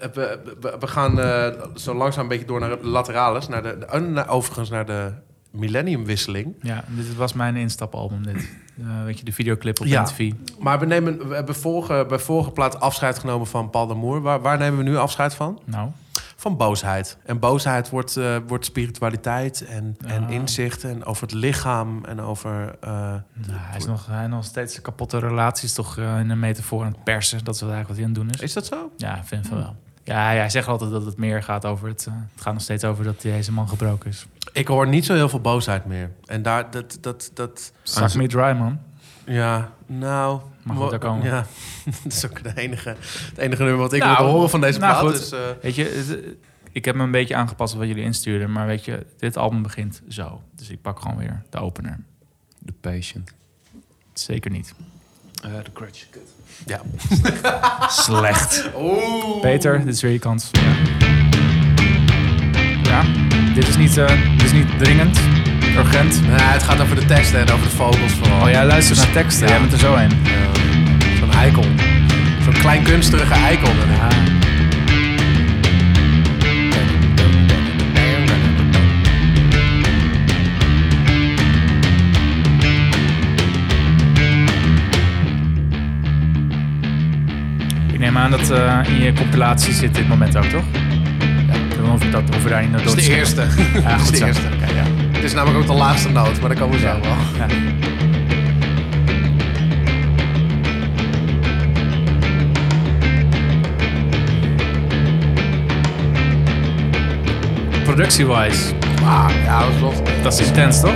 Speaker 2: we, we, we gaan eh, zo langzaam een beetje door naar de lateralis. Naar de, de- naar- overigens naar de millenniumwisseling.
Speaker 1: Ja, dit was mijn instapalbum. Dit. Eh, weet je, de videoclip op
Speaker 2: Ja.
Speaker 1: MTV.
Speaker 2: Maar we, nemen, we hebben vorige, bij vorige plaat afscheid genomen van Paul de Moer. Waar, waar nemen we nu afscheid van?
Speaker 1: Nou,
Speaker 2: Van boosheid. En boosheid wordt, eh, wordt spiritualiteit en, en
Speaker 1: Ah.
Speaker 2: inzicht. En over het lichaam en over... eh,
Speaker 1: nou, hij, is nog, hij heeft nog steeds de kapotte relaties toch eh, in een metafoor aan het persen. Dat is eigenlijk wat hij aan het doen is.
Speaker 2: is dat zo?
Speaker 1: Ja, ik vind van wel. Ja, hij, hij zegt altijd dat het meer gaat over het... eh, het gaat nog steeds over dat deze man gebroken is.
Speaker 2: Ik hoor niet zo heel veel boosheid meer. En daar, dat, dat, dat,
Speaker 1: Suck me dry, man.
Speaker 2: ja, nou...
Speaker 1: Mag goed, daar komen we.
Speaker 2: Ja, dat is ook de enige, het enige nummer wat ik
Speaker 1: Nou,
Speaker 2: wil horen van deze
Speaker 1: nou
Speaker 2: plaat.
Speaker 1: goed.
Speaker 2: Dus, eh,
Speaker 1: Weet je, het- ik heb me een beetje aangepast op wat jullie instuurden. Maar weet je, dit album begint zo. Dus ik pak gewoon weer de opener.
Speaker 3: The Patient.
Speaker 1: Zeker niet. Eh,
Speaker 3: De The Crutch.
Speaker 2: ja.
Speaker 3: Slecht.
Speaker 1: Peter, dit is weer je kans. Ja, dit is niet, eh, dit is niet dringend, urgent.
Speaker 2: Nou, het gaat over de teksten en over de vogels vooral.
Speaker 1: Oh, jij luistert naar teksten. Jij bent er zo een.
Speaker 2: Zo'n eikel. Zo'n klein kunstige eikel. ben ik.
Speaker 1: Ah. Ik neem aan dat eh, in je compilatie zit dit moment ook, toch? Ja. Of, dat, of we daar niet naar
Speaker 2: Dat is de eerste.
Speaker 1: Ja,
Speaker 2: dat is
Speaker 1: goed
Speaker 2: de
Speaker 1: zo.
Speaker 2: eerste. Oké, ja. Het is namelijk ook de laatste noot, maar daar komen we zo wel.
Speaker 1: Ja. Productie-wise,
Speaker 2: Ah, ja, dat is wel...
Speaker 1: dat is intens toch?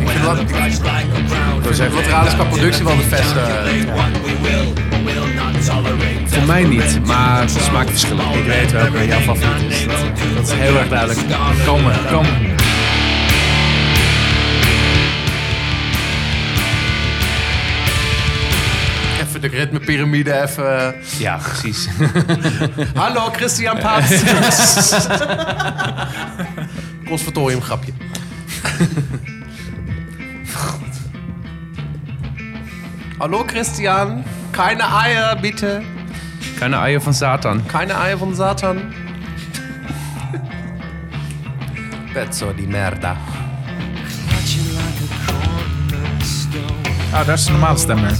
Speaker 2: Ik vind dat... Ik vind Lateralis qua productie wel de eh. beste.
Speaker 3: Voor mij niet, maar smaakverschillen.
Speaker 1: Ik weet welke jouw favoriet is. Dat is heel erg duidelijk. Komen, komen.
Speaker 2: Even de ritmepyramide, even... eh,
Speaker 3: Ja, precies.
Speaker 2: Hallo, Christian Paas. Conservatorium grapje. Hallo Christian, keine Eier bitte.
Speaker 3: Keine Eier nou van Satan.
Speaker 2: Keine Eier von Satan. Pezzo di merda.
Speaker 1: Ah, daar is de normale stem weer.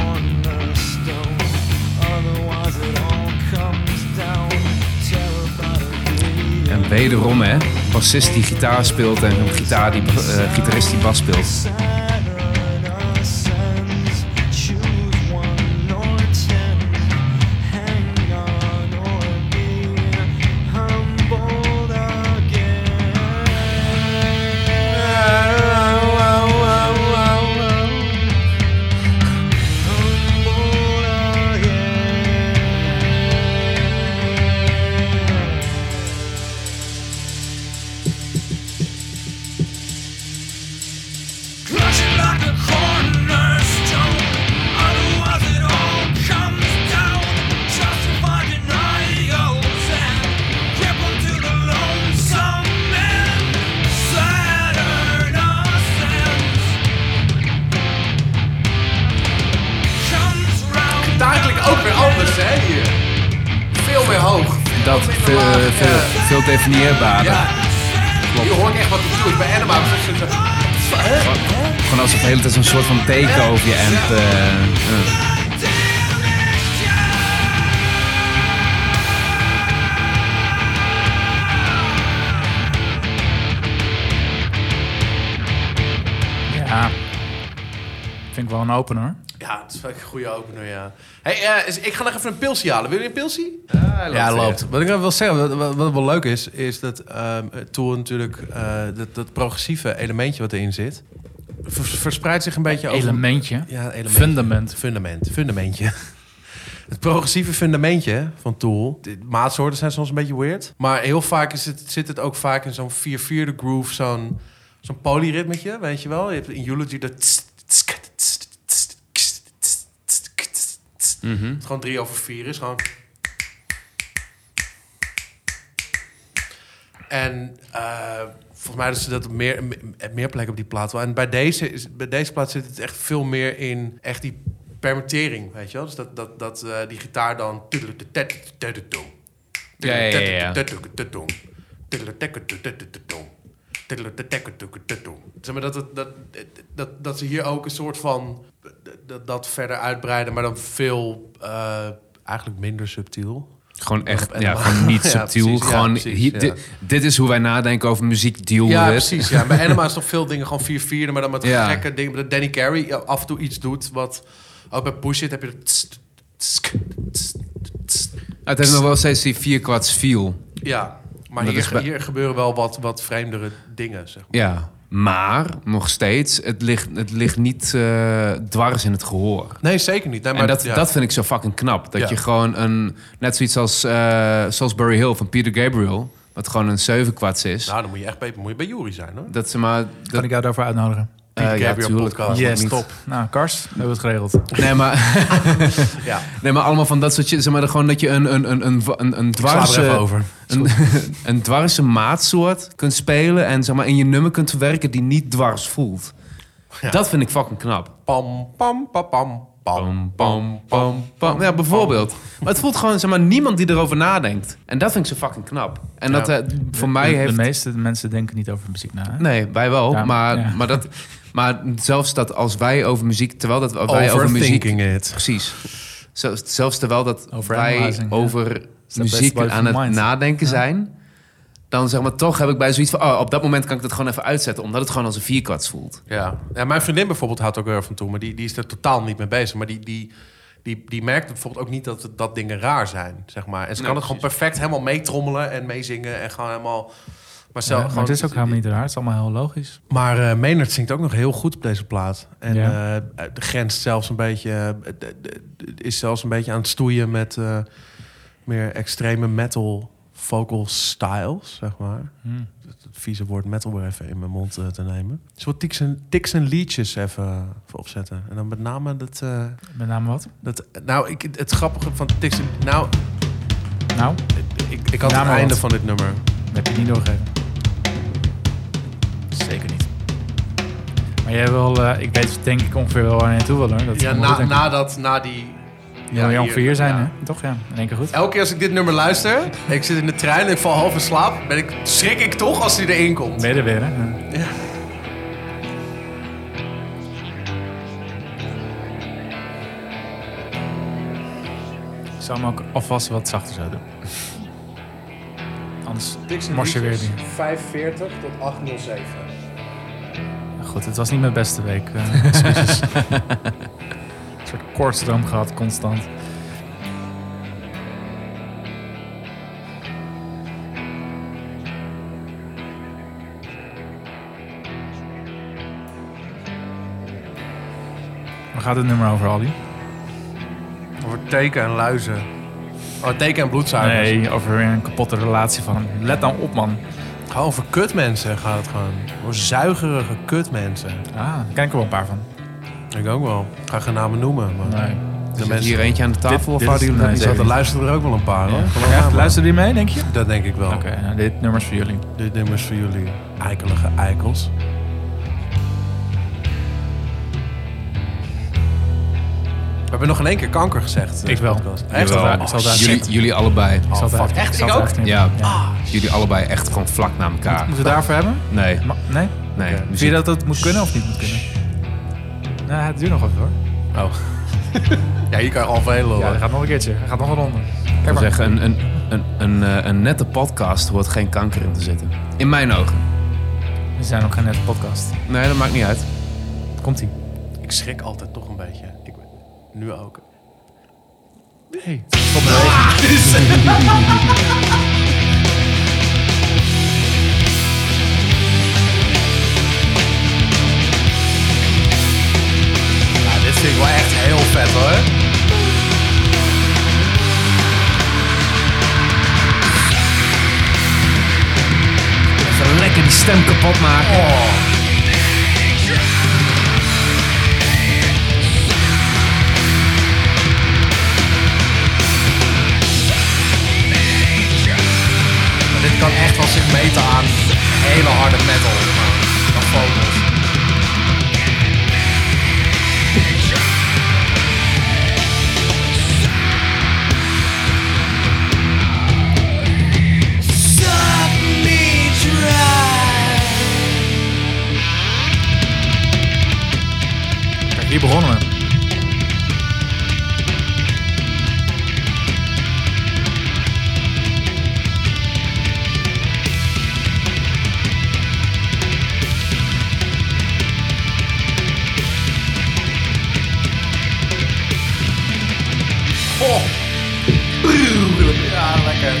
Speaker 6: Otherwise it all comes down. Terrified of being
Speaker 3: En wederom, hè, bassist die gitaar speelt en een gitaar die, eh, gitarist die bas speelt.
Speaker 2: Eigenlijk ook weer anders, hè, hier. Veel meer hoog.
Speaker 3: Dat
Speaker 2: minder
Speaker 3: veel,
Speaker 2: laag, ja.
Speaker 3: veel, veel definieerbaarder.
Speaker 2: Ja. Je hoort echt wat het doet bij Anima.
Speaker 3: Gewoon alsof de hele tijd zo'n soort van teken over je amp. eh, eh.
Speaker 1: Ja. Vind ik wel een opener.
Speaker 2: Ja, dat is wel een goede opener, ja. Hey, eh, is- ik ga nog even een pilsie halen. Wil je een pilsie? Ja, hij loopt. Wat ik wil zeggen, wat, wat, wat wel leuk is, is dat ehm Tool natuurlijk eh, dat, dat progressieve elementje wat erin zit, vers- verspreidt zich een beetje over...
Speaker 1: Elementje.
Speaker 2: Ja, een element.
Speaker 1: Fundament.
Speaker 2: Fundament. Fundamentje. Het progressieve fundamentje van Tool. De maatsoorten zijn soms een beetje weird. Maar heel vaak is het, zit het ook vaak in zo'n 4 4 groove, zo'n zo'n polyritmetje, weet je wel? Je hebt in Eulogy dat... tss, tss, kat, tss, tss, tss, tss, tss, tss, tss. Het gewoon 3 over 4 is, gewoon... En eh, volgens mij is dat op meer, me- meer plekken op die plaat wel. En bij deze, is, bij deze plaat zit het echt veel meer in echt die permittering, weet je wel? Dus dat, dat, dat eh, die gitaar dan...
Speaker 3: Ja, ja, ja, ja.
Speaker 2: Zeg maar dat, het- dat, dat, dat ze hier ook een soort van... Dat, dat verder uitbreiden, maar dan veel... eh, eigenlijk minder subtiel.
Speaker 3: Gewoon echt,
Speaker 2: En
Speaker 3: ja,
Speaker 2: dan-
Speaker 3: gewoon niet
Speaker 2: Ja,
Speaker 3: subtiel.
Speaker 2: precies, ja,
Speaker 3: gewoon,
Speaker 2: precies,
Speaker 3: hier-
Speaker 2: ja.
Speaker 3: dit, dit is hoe wij nadenken over muziek deal
Speaker 2: Ja,
Speaker 3: with.
Speaker 2: precies. Ja. Bij Anima is toch veel dingen gewoon vier vierde, maar dan met
Speaker 3: Ja.
Speaker 2: gekke dingen. Dat Danny Carey ja, af en toe iets doet wat... Ook bij Push It heb je... dat tss, tss, tss, tss.
Speaker 3: Ah, Het heeft nog wel steeds die vierkwarts feel.
Speaker 2: Ja, maar
Speaker 3: Dat
Speaker 2: hier,
Speaker 3: is bij-
Speaker 2: hier gebeuren wel wat, wat vreemdere dingen, zeg maar.
Speaker 3: Ja. Maar, nog steeds, het ligt, het ligt niet eh, dwars in het gehoor.
Speaker 2: Nee, zeker niet. Nee, maar
Speaker 3: en dat,
Speaker 2: ja.
Speaker 3: dat vind ik zo fucking knap. Dat
Speaker 2: Ja.
Speaker 3: je gewoon een... Net zoiets als eh Salisbury Hill van Peter Gabriel. Wat gewoon een zevenkwats is.
Speaker 2: Nou, dan moet je echt bij, moet je bij Jury zijn, hoor.
Speaker 3: dat ze maar...
Speaker 1: Kan
Speaker 3: Dat,
Speaker 1: ik jou daarvoor uitnodigen?
Speaker 3: eh,
Speaker 2: Peter
Speaker 3: ja,
Speaker 2: Gabriel
Speaker 3: tuurlijk.
Speaker 2: podcast.
Speaker 1: yes,
Speaker 3: niet.
Speaker 1: top. Nou, Kars, we hebben het geregeld.
Speaker 3: Nee, maar,
Speaker 2: Ja.
Speaker 3: nee, maar allemaal van dat soort shit. Zeg maar gewoon dat je een, een, een, een, een, een dwarse...
Speaker 2: over.
Speaker 3: een, een dwarse maatsoort kunt spelen en zeg maar in je nummer kunt verwerken die niet dwars voelt.
Speaker 2: Ja.
Speaker 3: Dat vind ik fucking knap.
Speaker 2: Pam, pam, pam, pam, pam, pam, pam, pam.
Speaker 3: Ja, bijvoorbeeld. Maar het voelt gewoon zeg maar niemand die erover nadenkt. En dat vind ik zo fucking knap. En dat
Speaker 2: Ja.
Speaker 3: eh, voor mij
Speaker 1: de,
Speaker 3: heeft
Speaker 1: de meeste mensen denken niet over muziek na. Hè?
Speaker 3: nee, wij wel,
Speaker 1: Ja,
Speaker 3: maar
Speaker 1: ja.
Speaker 3: maar dat maar zelfs dat als wij over muziek terwijl dat wij over muziek
Speaker 2: Overthinking it.
Speaker 3: precies. Zelfs, zelfs terwijl dat wij
Speaker 1: Overanalyzing, ja.
Speaker 3: over
Speaker 1: the
Speaker 3: muziek
Speaker 1: best way
Speaker 3: aan
Speaker 1: for
Speaker 3: het
Speaker 1: mind.
Speaker 3: nadenken zijn, dan zeg maar toch heb ik bij zoiets van, oh, op dat moment kan ik dat gewoon even uitzetten, omdat het gewoon als een vierkwarts voelt.
Speaker 2: Ja. ja, mijn vriendin bijvoorbeeld houdt ook heel erg van toe, maar die, die is er totaal niet mee bezig. Maar die, die, die, die merkt bijvoorbeeld ook niet dat, het- dat dingen raar zijn, zeg maar. En ze kan het gewoon perfect helemaal meetrommelen en meezingen en gewoon helemaal... Maar,
Speaker 1: Ja,
Speaker 2: zelf,
Speaker 1: maar
Speaker 2: gewoon,
Speaker 1: het is ook helemaal niet raar. Het is allemaal heel logisch.
Speaker 2: maar eh, Maynard zingt ook nog heel goed op deze plaat. En
Speaker 1: Ja.
Speaker 2: eh, de grenst zelfs een beetje... eh, de- de- de- is zelfs een beetje aan het stoeien met eh, meer extreme metal vocal styles, zeg maar.
Speaker 1: Hmm.
Speaker 2: Het vieze woord metal weer even in mijn mond eh, te nemen. Dus wat tics en, tics en liedjes even eh, voor opzetten. En dan met name dat... eh,
Speaker 1: Met name wat?
Speaker 2: dat nou, ik, het grappige van tics en- Nou,
Speaker 1: Nou,
Speaker 2: ik, ik had
Speaker 1: Name
Speaker 2: het einde
Speaker 1: wat?
Speaker 2: van dit nummer.
Speaker 1: dat heb je niet doorgegeven. Zeker niet. Maar jij wil, eh, ik weet denk ik ongeveer wel waar je naartoe wil hoor. Dat
Speaker 2: Ja, na, nadat, na die...
Speaker 1: ja, je ongeveer hier zijn
Speaker 2: ja.
Speaker 1: hè? Toch ja, in één keer goed.
Speaker 2: Elke keer als ik dit nummer luister, ik zit in de trein en ik val half in slaap, ben ik, schrik ik toch als hij erin komt.
Speaker 1: Ben je er weer hè? Ja. Ik zou hem ook alvast wat zachter zo doen. Anders anders mors je weer neer.
Speaker 2: 540 tot 807.
Speaker 1: Goed, het was niet mijn beste week. eh, excuses. een soort koortsdroom gehad, constant. Waar gaat het nummer over, Aldi?
Speaker 2: Over teken en luizen. Oh, teken en bloedzuigers.
Speaker 1: Nee, over weer een kapotte relatie van hem. Let dan op, man.
Speaker 2: Gewoon over kutmensen gaat het gewoon. Over zuigerige kutmensen.
Speaker 1: Ah, ken ik er wel een paar van.
Speaker 2: Ik ook wel. Ik ga geen namen noemen. Maar
Speaker 1: Nee.
Speaker 2: de
Speaker 3: Zit
Speaker 2: mensen
Speaker 3: hier eentje aan de tafel of
Speaker 1: dit
Speaker 3: houden
Speaker 1: is-
Speaker 3: jullie dat
Speaker 1: nee,
Speaker 3: niet
Speaker 1: zeker
Speaker 3: zo?
Speaker 2: Er luisteren er ook wel een paar hoor. Geloof mij
Speaker 1: Ja,
Speaker 2: maar.
Speaker 1: luister die mee, denk je?
Speaker 2: Dat denk ik wel.
Speaker 1: Oké, nou, dit nummer is voor jullie.
Speaker 2: Dit nummer is voor jullie. Eikelige eikels. We hebben nog geen één keer kanker gezegd. eh,
Speaker 1: Ik wel.
Speaker 2: podcast.
Speaker 1: Ik
Speaker 2: Echt?
Speaker 1: zal
Speaker 2: wel.
Speaker 1: daar- ik zal daar-
Speaker 3: Jullie, jullie allebei.
Speaker 1: Ik zal
Speaker 2: fuck.
Speaker 1: daar-
Speaker 2: Echt,
Speaker 1: zal
Speaker 2: ik
Speaker 1: daar
Speaker 2: ook?
Speaker 1: echt Ah. niet-
Speaker 3: Ja. Jullie allebei echt gewoon vlak na elkaar.
Speaker 1: Moeten we daarvoor hebben?
Speaker 3: Nee,
Speaker 1: Ma- nee?
Speaker 3: nee.
Speaker 1: Oké. Vind je
Speaker 3: muziek-
Speaker 1: dat dat moet kunnen of niet moet kunnen? Nou, het duurt nog even hoor.
Speaker 2: Oh. ja, hier kan je al veel hoor.
Speaker 1: Ja, hij gaat nog een keertje. Hij gaat nog een ronde.
Speaker 3: Ik
Speaker 1: Kijk
Speaker 3: wil
Speaker 1: maar.
Speaker 3: zeggen, een, een, een, een, eh, een nette podcast hoort geen kanker in te zitten. In mijn ogen.
Speaker 1: We zijn nog geen nette podcast.
Speaker 3: Nee, dat maakt niet uit.
Speaker 1: Komt ie.
Speaker 2: Ik schrik altijd toch een beetje. Ik, nu ook. Nee. Nou, dit vind ik wel echt heel vet hoor.
Speaker 3: Even lekker die stem kapot maken.
Speaker 2: Oh. Maar dit kan echt wel zich meten aan hele harde metal. Dat focus.
Speaker 1: Kijk, hier begonnen we.
Speaker 2: Ja, lekker.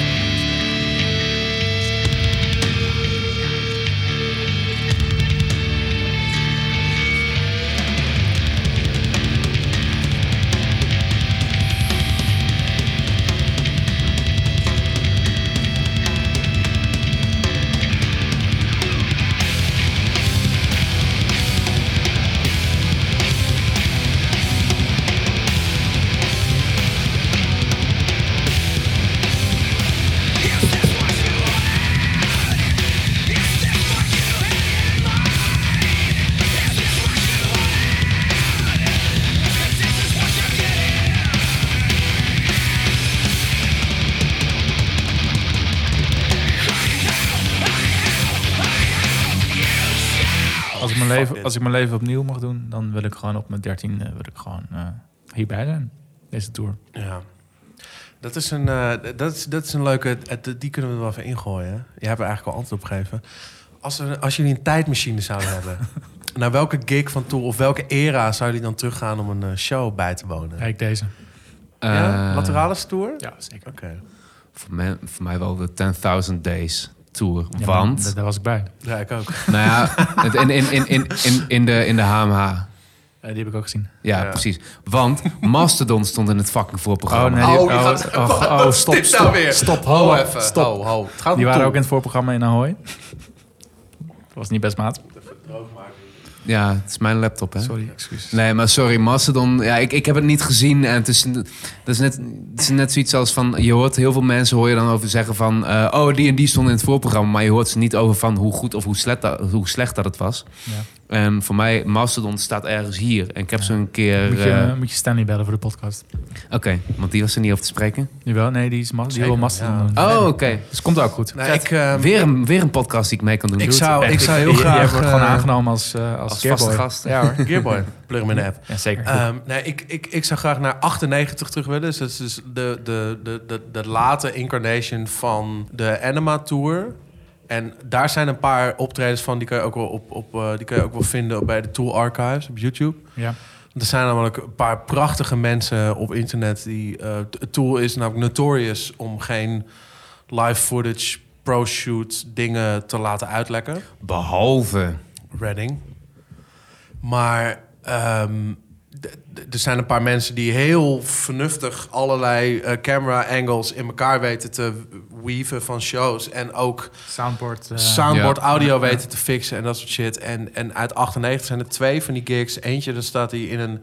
Speaker 1: Als ik, mijn leven,
Speaker 2: dit.
Speaker 1: als ik mijn leven opnieuw mag doen, dan wil ik gewoon op mijn 13 wil ik gewoon eh, hierbij zijn. Deze tour.
Speaker 2: Ja. Dat is een, eh, dat is, dat is een leuke. eh, Die kunnen we er wel even ingooien. hè? Jij hebt er eigenlijk al antwoord op gegeven. Als, er, als jullie een tijdmachine zouden hebben, naar welke gig van toe of welke era zou jullie dan teruggaan om een eh, show bij te wonen?
Speaker 1: Kijk deze.
Speaker 2: ja?
Speaker 3: Eh,
Speaker 2: Lateralis tour?
Speaker 1: Ja, zeker.
Speaker 2: Oké.
Speaker 3: Voor mij, voor mij wel de 10.000 Days Tour.
Speaker 1: Ja,
Speaker 3: want,
Speaker 1: Daar, daar was ik bij.
Speaker 2: Ja, ik ook.
Speaker 3: nou ja, het- in, in, in, in, in, in, de, in de HMH.
Speaker 1: Eh, die heb ik ook gezien.
Speaker 3: Ja,
Speaker 2: Ja.
Speaker 3: precies. Want Mastodon stond in het fucking voorprogramma.
Speaker 1: Oh, nee.
Speaker 2: je
Speaker 1: oh,
Speaker 2: gaat-
Speaker 1: oh,
Speaker 2: Wat
Speaker 1: oh,
Speaker 2: is
Speaker 1: stop,
Speaker 2: dit
Speaker 1: stop,
Speaker 2: nou weer?
Speaker 1: stop,
Speaker 2: Ho,
Speaker 1: ho,
Speaker 2: even.
Speaker 1: stop.
Speaker 2: Ho, ho. Het gaat om
Speaker 1: Die waren
Speaker 2: toe.
Speaker 1: ook in het voorprogramma in Ahoy. Dat was niet best maat.
Speaker 3: Ja, het is mijn laptop, hè?
Speaker 1: Sorry, excuses.
Speaker 3: Nee, maar sorry, Mastodon. Ja, ik, ik heb het niet gezien. En het, is, dat is net, het is net zoiets als van... Je hoort heel veel mensen hoor je dan over zeggen van... eh, oh, die en die stonden in het voorprogramma. Maar je hoort ze niet over van hoe goed of hoe slecht dat, hoe slecht dat het was.
Speaker 1: Ja.
Speaker 3: En voor mij, Mastodon staat ergens hier. En ik heb
Speaker 1: Ja.
Speaker 3: ze een keer...
Speaker 1: Moet je,
Speaker 3: eh,
Speaker 1: moet je Stanley bellen voor de podcast?
Speaker 3: Oké, want die was er niet over te spreken.
Speaker 1: Jawel, nee, die is ma- die
Speaker 2: Zeker,
Speaker 1: wil Mastodon. doen.
Speaker 3: Oh, oké.
Speaker 1: Dus komt ook goed.
Speaker 2: Nou, ik, ehm,
Speaker 3: Weer, een, weer een podcast die ik mee kan doen.
Speaker 2: Ik
Speaker 3: Doe het.
Speaker 2: zou-
Speaker 1: Echt,
Speaker 2: Oh, ik zou heel
Speaker 1: je-
Speaker 2: graag,
Speaker 1: Je wordt gewoon
Speaker 2: eh,
Speaker 1: aangenomen als, eh als,
Speaker 3: Als
Speaker 1: Gearboy.
Speaker 3: vaste gast.
Speaker 1: Ja hoor.
Speaker 2: Gearboy, plug me in de app.
Speaker 1: Ja, zeker.
Speaker 2: Ehm, nee, ik, ik, ik zou graag naar 98 terug willen. Dus dat is dus de, de, de, de, de late incarnation van de Anima Tour. En daar zijn een paar optredens van, die kan je ook wel, op, op, eh, die kan je ook wel vinden bij de Tool Archives op YouTube.
Speaker 1: ja.
Speaker 2: Er zijn namelijk een paar prachtige mensen op internet die... eh, T- Tool is namelijk notorious om geen live footage, pro-shoot dingen te laten uitlekken.
Speaker 3: Behalve...
Speaker 2: Redding. Maar ehm, d- d- er zijn een paar mensen die heel vernuftig allerlei eh, camera angles in elkaar weten te weaven van shows. En ook
Speaker 1: Soundboard.
Speaker 2: soundboard eh,
Speaker 3: ja.
Speaker 2: audio weten te fixen en dat soort shit. En, en uit 98 zijn er twee van die gigs. Eentje, daar staat hij in een,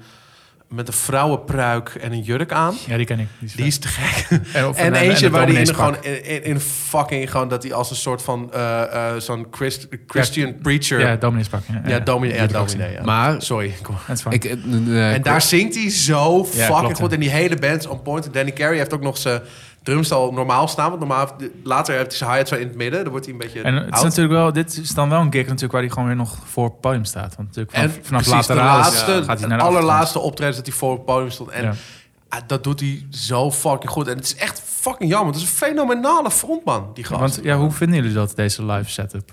Speaker 2: met een vrouwenpruik en een jurk aan.
Speaker 1: Ja, die ken ik. Die is
Speaker 2: Die
Speaker 1: vet.
Speaker 2: is te gek.
Speaker 1: En, of-
Speaker 2: En
Speaker 1: en-
Speaker 2: eentje
Speaker 1: en
Speaker 2: waar hij in,
Speaker 1: domineespak.
Speaker 2: gewoon in, in, in fucking gewoon dat hij als een soort van eh, eh, zo'n Christ- Christian preacher
Speaker 1: Ja, domineespak.
Speaker 2: ja, dominee. Ja,
Speaker 1: Dat heb ik ook
Speaker 2: dominee ja.
Speaker 3: Maar-
Speaker 2: Sorry. kom.
Speaker 1: Dat is fijn.
Speaker 3: Ik, eh, eh,
Speaker 2: Eh, En daar zingt hij zo
Speaker 1: Ja,
Speaker 2: fucking
Speaker 1: klopt, ja.
Speaker 2: goed. En die hele band is on point. En Danny Carey heeft ook nog zijn drumstel normaal staan. Want normaal, heeft- later heeft hij zijn hi-hat zo in het midden. Dan wordt hij een beetje
Speaker 1: en het is
Speaker 2: oud.
Speaker 1: natuurlijk wel, dit is dan wel een gig natuurlijk waar hij gewoon weer nog voor het podium staat. Want natuurlijk vanaf,
Speaker 2: en
Speaker 1: vanaf
Speaker 2: precies de
Speaker 1: lateralis
Speaker 2: laatste,
Speaker 1: gaat hij
Speaker 2: het
Speaker 1: naar de achtergrond.
Speaker 2: allerlaatste optreden dat hij voor het podium stond. En
Speaker 1: Ja.
Speaker 2: ah, dat doet hij zo fucking goed. En het is echt fucking jammer. Het is een fenomenale frontman, die gast.
Speaker 1: Want ja, hoe vinden jullie dat, deze live setup?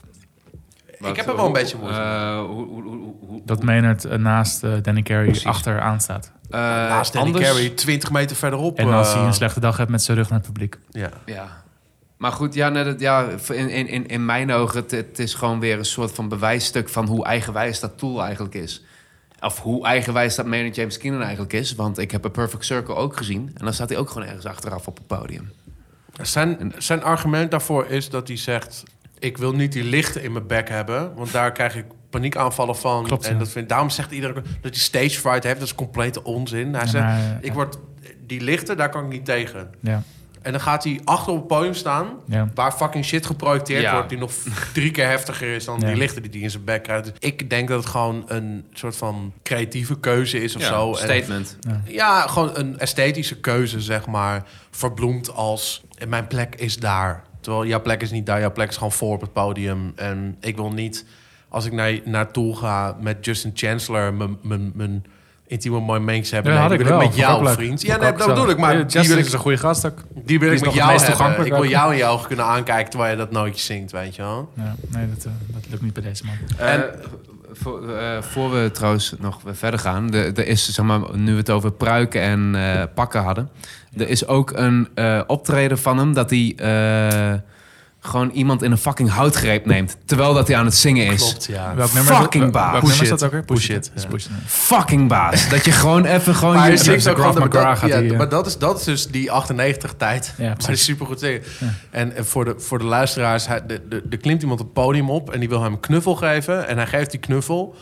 Speaker 2: ik heb er wel een beetje moeite mee.
Speaker 3: Eh, hoe- hoe- hoe- hoe-
Speaker 1: Dat Maynard eh, naast eh, Danny Carey achteraan staat.
Speaker 3: eh,
Speaker 2: Naast Danny
Speaker 3: anders-
Speaker 2: Carey, 20 meter verderop.
Speaker 1: En als hij
Speaker 2: eh,
Speaker 1: een slechte dag heeft met zijn rug naar het publiek.
Speaker 2: ja.
Speaker 3: Ja. Maar goed, ja, net, het- ja, in, in, in, in mijn ogen, het, het is gewoon weer een soort van bewijsstuk van hoe eigenwijs dat tool eigenlijk is. Of hoe eigenwijs dat Maynard James Keenan eigenlijk is. Want ik heb een Perfect Circle ook gezien. En dan staat hij ook gewoon ergens achteraf op het podium.
Speaker 2: Zijn, zijn argument daarvoor is dat hij zegt... ik wil niet die lichten in mijn bek hebben... want daar krijg ik paniekaanvallen van.
Speaker 1: Klopt,
Speaker 2: en
Speaker 1: ja.
Speaker 2: dat vind, daarom zegt iedereen dat hij stage fright heeft. Dat is complete onzin. Hij
Speaker 1: Ja,
Speaker 2: zegt,
Speaker 1: maar,
Speaker 2: ik word, die lichten, daar kan ik niet tegen.
Speaker 1: Ja,
Speaker 2: En dan gaat hij achter op het podium staan...
Speaker 1: ja.
Speaker 2: waar fucking shit geprojecteerd
Speaker 3: Ja.
Speaker 2: wordt... die nog drie keer heftiger is dan
Speaker 1: Ja.
Speaker 2: die lichten die hij in zijn bek krijgt. Dus ik denk dat het gewoon een soort van creatieve keuze is of zo. En-
Speaker 3: statement.
Speaker 2: ja, gewoon een esthetische keuze, zeg maar. Verbloemd als "En mijn plek is daar. Terwijl jouw plek is niet daar, jouw plek is gewoon voor op het podium. En ik wil niet, als ik naar, naartoe ga met Justin Chancellor, mijn- mijn mijn intieme momentjes hebben.
Speaker 1: Ja,
Speaker 2: Nee,
Speaker 1: had ik
Speaker 2: die wil
Speaker 1: wel.
Speaker 2: ik met
Speaker 1: Vond ik ook
Speaker 2: jou,
Speaker 1: leuk.
Speaker 2: vriend. Ja,
Speaker 1: Vond ik
Speaker 2: nee,
Speaker 1: ook
Speaker 2: dat
Speaker 1: zo.
Speaker 2: bedoel ik. Maar
Speaker 1: Ja,
Speaker 2: die wil
Speaker 1: Justin is een
Speaker 2: ik,
Speaker 1: goede gast ook.
Speaker 2: die wil
Speaker 1: die
Speaker 2: ik
Speaker 1: is
Speaker 2: met
Speaker 1: nog het
Speaker 2: jou
Speaker 1: meest
Speaker 2: hebben. Ik
Speaker 1: toegankelijk
Speaker 2: wil
Speaker 1: ook.
Speaker 2: jou in je ogen kunnen aankijken terwijl je dat nootje zingt, weet je wel.
Speaker 1: Ja, nee, dat, eh, dat lukt niet bij deze man.
Speaker 3: En voor, eh, voor we trouwens nog verder gaan, de- er is zeg maar, nu we het over pruiken en eh, pakken hadden, er is ook een eh, optreden van hem dat hij eh, gewoon iemand in een fucking houtgreep neemt, terwijl dat hij aan het zingen is.
Speaker 2: Klopt, ja.
Speaker 1: Welk nummer is dat-
Speaker 3: fucking baas.
Speaker 1: Welk
Speaker 2: Push
Speaker 1: nummer is dat
Speaker 2: it.
Speaker 1: ook weer?
Speaker 2: Push it,
Speaker 1: Dat is
Speaker 2: ja.
Speaker 1: Push it, ja.
Speaker 3: Fucking baas. Dat je gewoon even gewoon.
Speaker 2: Maar
Speaker 3: je-
Speaker 2: hij
Speaker 1: dat
Speaker 2: zingt
Speaker 1: Oh, is de
Speaker 2: ook gewoon...
Speaker 1: Graf
Speaker 2: de-
Speaker 1: McGraw
Speaker 2: dat-
Speaker 1: gaat
Speaker 2: ja,
Speaker 1: die, eh.
Speaker 2: Maar dat is, dat is dus die 98-tijd.
Speaker 1: Ja,
Speaker 2: maar
Speaker 1: precies.
Speaker 2: hij is supergoed zingen. En, en voor de, voor de luisteraars... hij- de- de- er klimt iemand het podium op... en die wil hem een knuffel geven. En hij geeft die knuffel.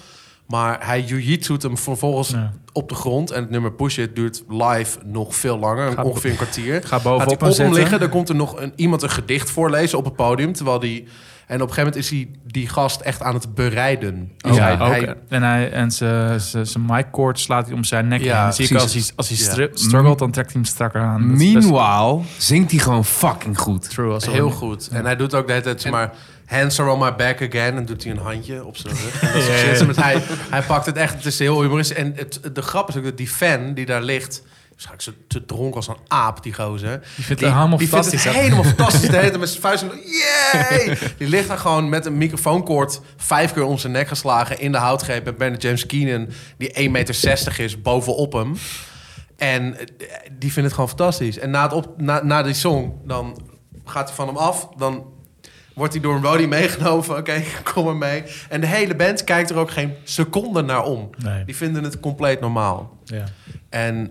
Speaker 2: Maar hij jujitsu't hem vervolgens
Speaker 1: Ja.
Speaker 2: op de grond. En het nummer Push It duurt live nog veel langer.
Speaker 1: Gaat-
Speaker 2: ongeveer een kwartier.
Speaker 1: Gaat bovenop
Speaker 2: Gaat hij
Speaker 1: hem
Speaker 2: op hem
Speaker 1: zitten.
Speaker 2: liggen. Dan komt er nog een, iemand een gedicht voorlezen op het podium. Terwijl die... En op een gegeven moment is hij die gast echt aan het bereiden. Dus
Speaker 1: ja,
Speaker 2: hij-
Speaker 1: ook.
Speaker 2: hij-
Speaker 1: en Oh, hij, en zijn- zijn zijn mic cord slaat hij om zijn nek.
Speaker 2: Ja,
Speaker 1: Ja, zie ik als
Speaker 3: precies.
Speaker 1: hij, als hij
Speaker 2: Ja.
Speaker 1: stru- struggelt, dan trekt hij hem strakker aan. Dat is best
Speaker 3: Meanwhile zingt hij gewoon fucking goed.
Speaker 1: True, als
Speaker 2: Heel goed. En hij doet ook de hele tijd, zeg maar, hands are on my back again. En doet hij een handje op zijn rug. En dat soort shit. Maar hij, hij pakt het echt, het is heel humoristisch. En het, de grap is ook dat die fan die daar ligt... Waarschijnlijk zo te dronken als een aap, die gozer. Die
Speaker 1: vindt het helemaal
Speaker 2: die vindt het
Speaker 1: fantastisch, hè?
Speaker 2: helemaal fantastisch. De hele tijd met zijn vuist. en- Yay! Die ligt daar gewoon met een microfoonkoord vijf keer om zijn nek geslagen in de houtgreep. En Bernard James Keenan, die 1,60 meter is, bovenop hem. En eh, die vindt het gewoon fantastisch. En na, het op, na, na die song, dan gaat hij van hem af. Dan wordt hij door een Rody meegenomen. van, Oké, kom maar mee. En de hele band kijkt er ook geen seconde naar om.
Speaker 1: Nee.
Speaker 2: Die vinden het compleet normaal.
Speaker 1: Ja.
Speaker 2: En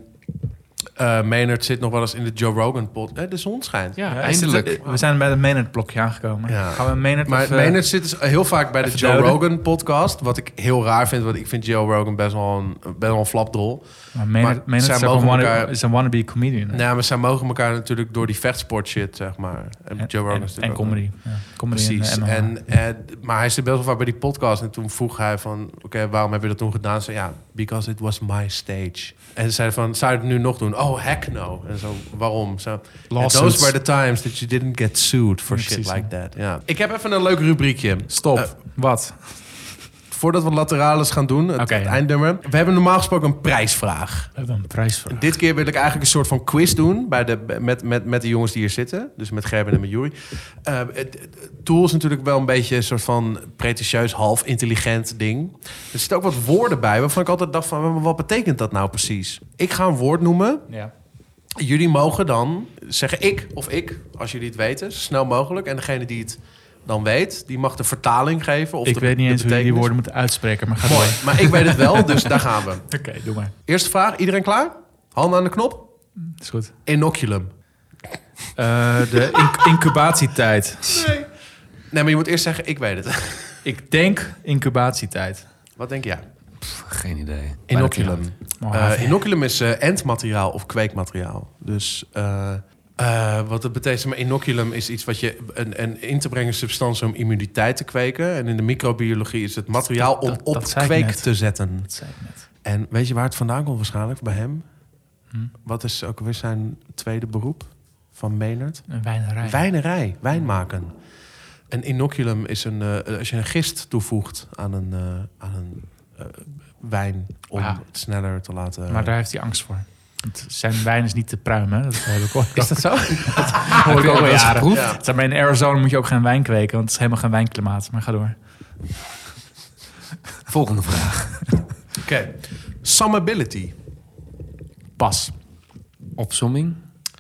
Speaker 2: eh, eh Maynard zit nog wel eens in de Joe Rogan pot. Eh, de zon schijnt.
Speaker 1: Ja,
Speaker 3: eindelijk.
Speaker 1: eindelijk. We zijn bij het Maynard-blokje aangekomen.
Speaker 2: Ja.
Speaker 1: Gaan we Maynard
Speaker 2: Maar
Speaker 1: of, eh,
Speaker 2: Maynard zit dus heel vaak bij de
Speaker 1: even
Speaker 2: Joe
Speaker 1: duiden.
Speaker 2: Rogan podcast. Wat ik heel raar vind, want ik vind Joe Rogan best wel een, best wel een flapdrol.
Speaker 1: maar Maynard,
Speaker 2: maar
Speaker 1: Maynard
Speaker 2: zij
Speaker 1: is, ook
Speaker 2: mogen
Speaker 1: een wanna-
Speaker 2: elkaar-
Speaker 1: is een wannabe comedian. hè?
Speaker 2: Nou, maar zij mogen elkaar natuurlijk door die vechtsport shit, zeg maar. En,
Speaker 1: En,
Speaker 2: Joe Rogan
Speaker 1: en-
Speaker 2: is
Speaker 1: en
Speaker 2: natuurlijk ook-
Speaker 1: comedy. Ja, comedy
Speaker 2: Precies.
Speaker 1: En,
Speaker 2: En,
Speaker 1: eh, MMO.
Speaker 2: eh, d- maar hij zit best wel vaak bij die podcast. En toen vroeg hij van, oké, waarom heb je dat toen gedaan? Ze ja, because it was my stage. En ze zei van, zou je het nu nog doen? Oh, heck no. En zo, waarom? Zo,
Speaker 1: Lawsuits.
Speaker 2: those were the times that you didn't get sued for shit
Speaker 1: Precies,
Speaker 2: like that. Ja. Ik heb even een leuk rubriekje.
Speaker 1: Stop.
Speaker 2: Eh,
Speaker 1: Wat?
Speaker 2: voordat we laterales gaan doen, het,
Speaker 1: Oké,
Speaker 2: het
Speaker 1: ja.
Speaker 2: eindnummer. We hebben normaal gesproken een prijsvraag.
Speaker 1: We hebben een prijs voor.
Speaker 2: Dit keer wil ik eigenlijk een soort van quiz doen bij de, met, met, met de jongens die hier zitten. Dus met Gerben en met Juri. Eh, het- het- Tool is natuurlijk wel een beetje een soort van pretentieus, half intelligent ding. Er zitten ook wat woorden bij waarvan ik altijd dacht van, maar wat betekent dat nou precies? Ik ga een woord noemen.
Speaker 1: Ja.
Speaker 2: Jullie mogen dan zeggen ik of ik, als jullie het weten, zo snel mogelijk. En degene die het dan weet, die mag de vertaling geven. Of
Speaker 1: Ik
Speaker 2: de-
Speaker 1: weet niet
Speaker 2: de
Speaker 1: eens hoe je die
Speaker 2: betekenis.
Speaker 1: woorden moet uitspreken, maar ga door.
Speaker 2: Mooi, maar ik weet het wel, dus daar gaan we.
Speaker 1: Oké, doe maar.
Speaker 2: Eerste vraag, iedereen klaar? Handen aan de knop.
Speaker 1: Is goed.
Speaker 2: Inoculum.
Speaker 1: Eh, de inc- incubatietijd.
Speaker 2: Nee, maar je moet eerst zeggen, ik weet het.
Speaker 1: Ik denk incubatietijd.
Speaker 2: Wat denk jij?
Speaker 3: Geen idee.
Speaker 2: Inoculum.
Speaker 1: Oh,
Speaker 2: Eh, inoculum is eh endmateriaal of kweekmateriaal. Dus eh, eh, wat het betekent, maar inoculum is iets wat je een, een in te brengen substantie om immuniteit te kweken. En in de microbiologie is het materiaal om
Speaker 1: Dat- dat
Speaker 2: op
Speaker 1: zei ik
Speaker 2: kweek
Speaker 1: net.
Speaker 2: te zetten.
Speaker 1: dat zei ik net.
Speaker 2: En weet je waar het vandaan komt waarschijnlijk bij hem?
Speaker 1: Hm?
Speaker 2: Wat is ook weer zijn tweede beroep van Maynard?
Speaker 1: Een wijnerij.
Speaker 2: Wijnerij, wijn maken. Een inoculum is een, eh, als je een gist toevoegt aan een, eh, aan een eh, wijn om
Speaker 1: Ja.
Speaker 2: het sneller te laten.
Speaker 1: Maar daar heeft hij angst voor. Want zijn wijn is niet te pruim, hè? Dat heb ik ooit
Speaker 2: Is dat zo?
Speaker 1: hoor ik ook al
Speaker 3: wel eens
Speaker 1: jaren.
Speaker 3: geproefd?
Speaker 1: Ja. Zeg maar, in Arizona moet je ook geen wijn kweken, want het is helemaal geen wijnklimaat. Maar ga door.
Speaker 3: Volgende vraag.
Speaker 2: Oké. Summability.
Speaker 1: Pas.
Speaker 3: Opsomming?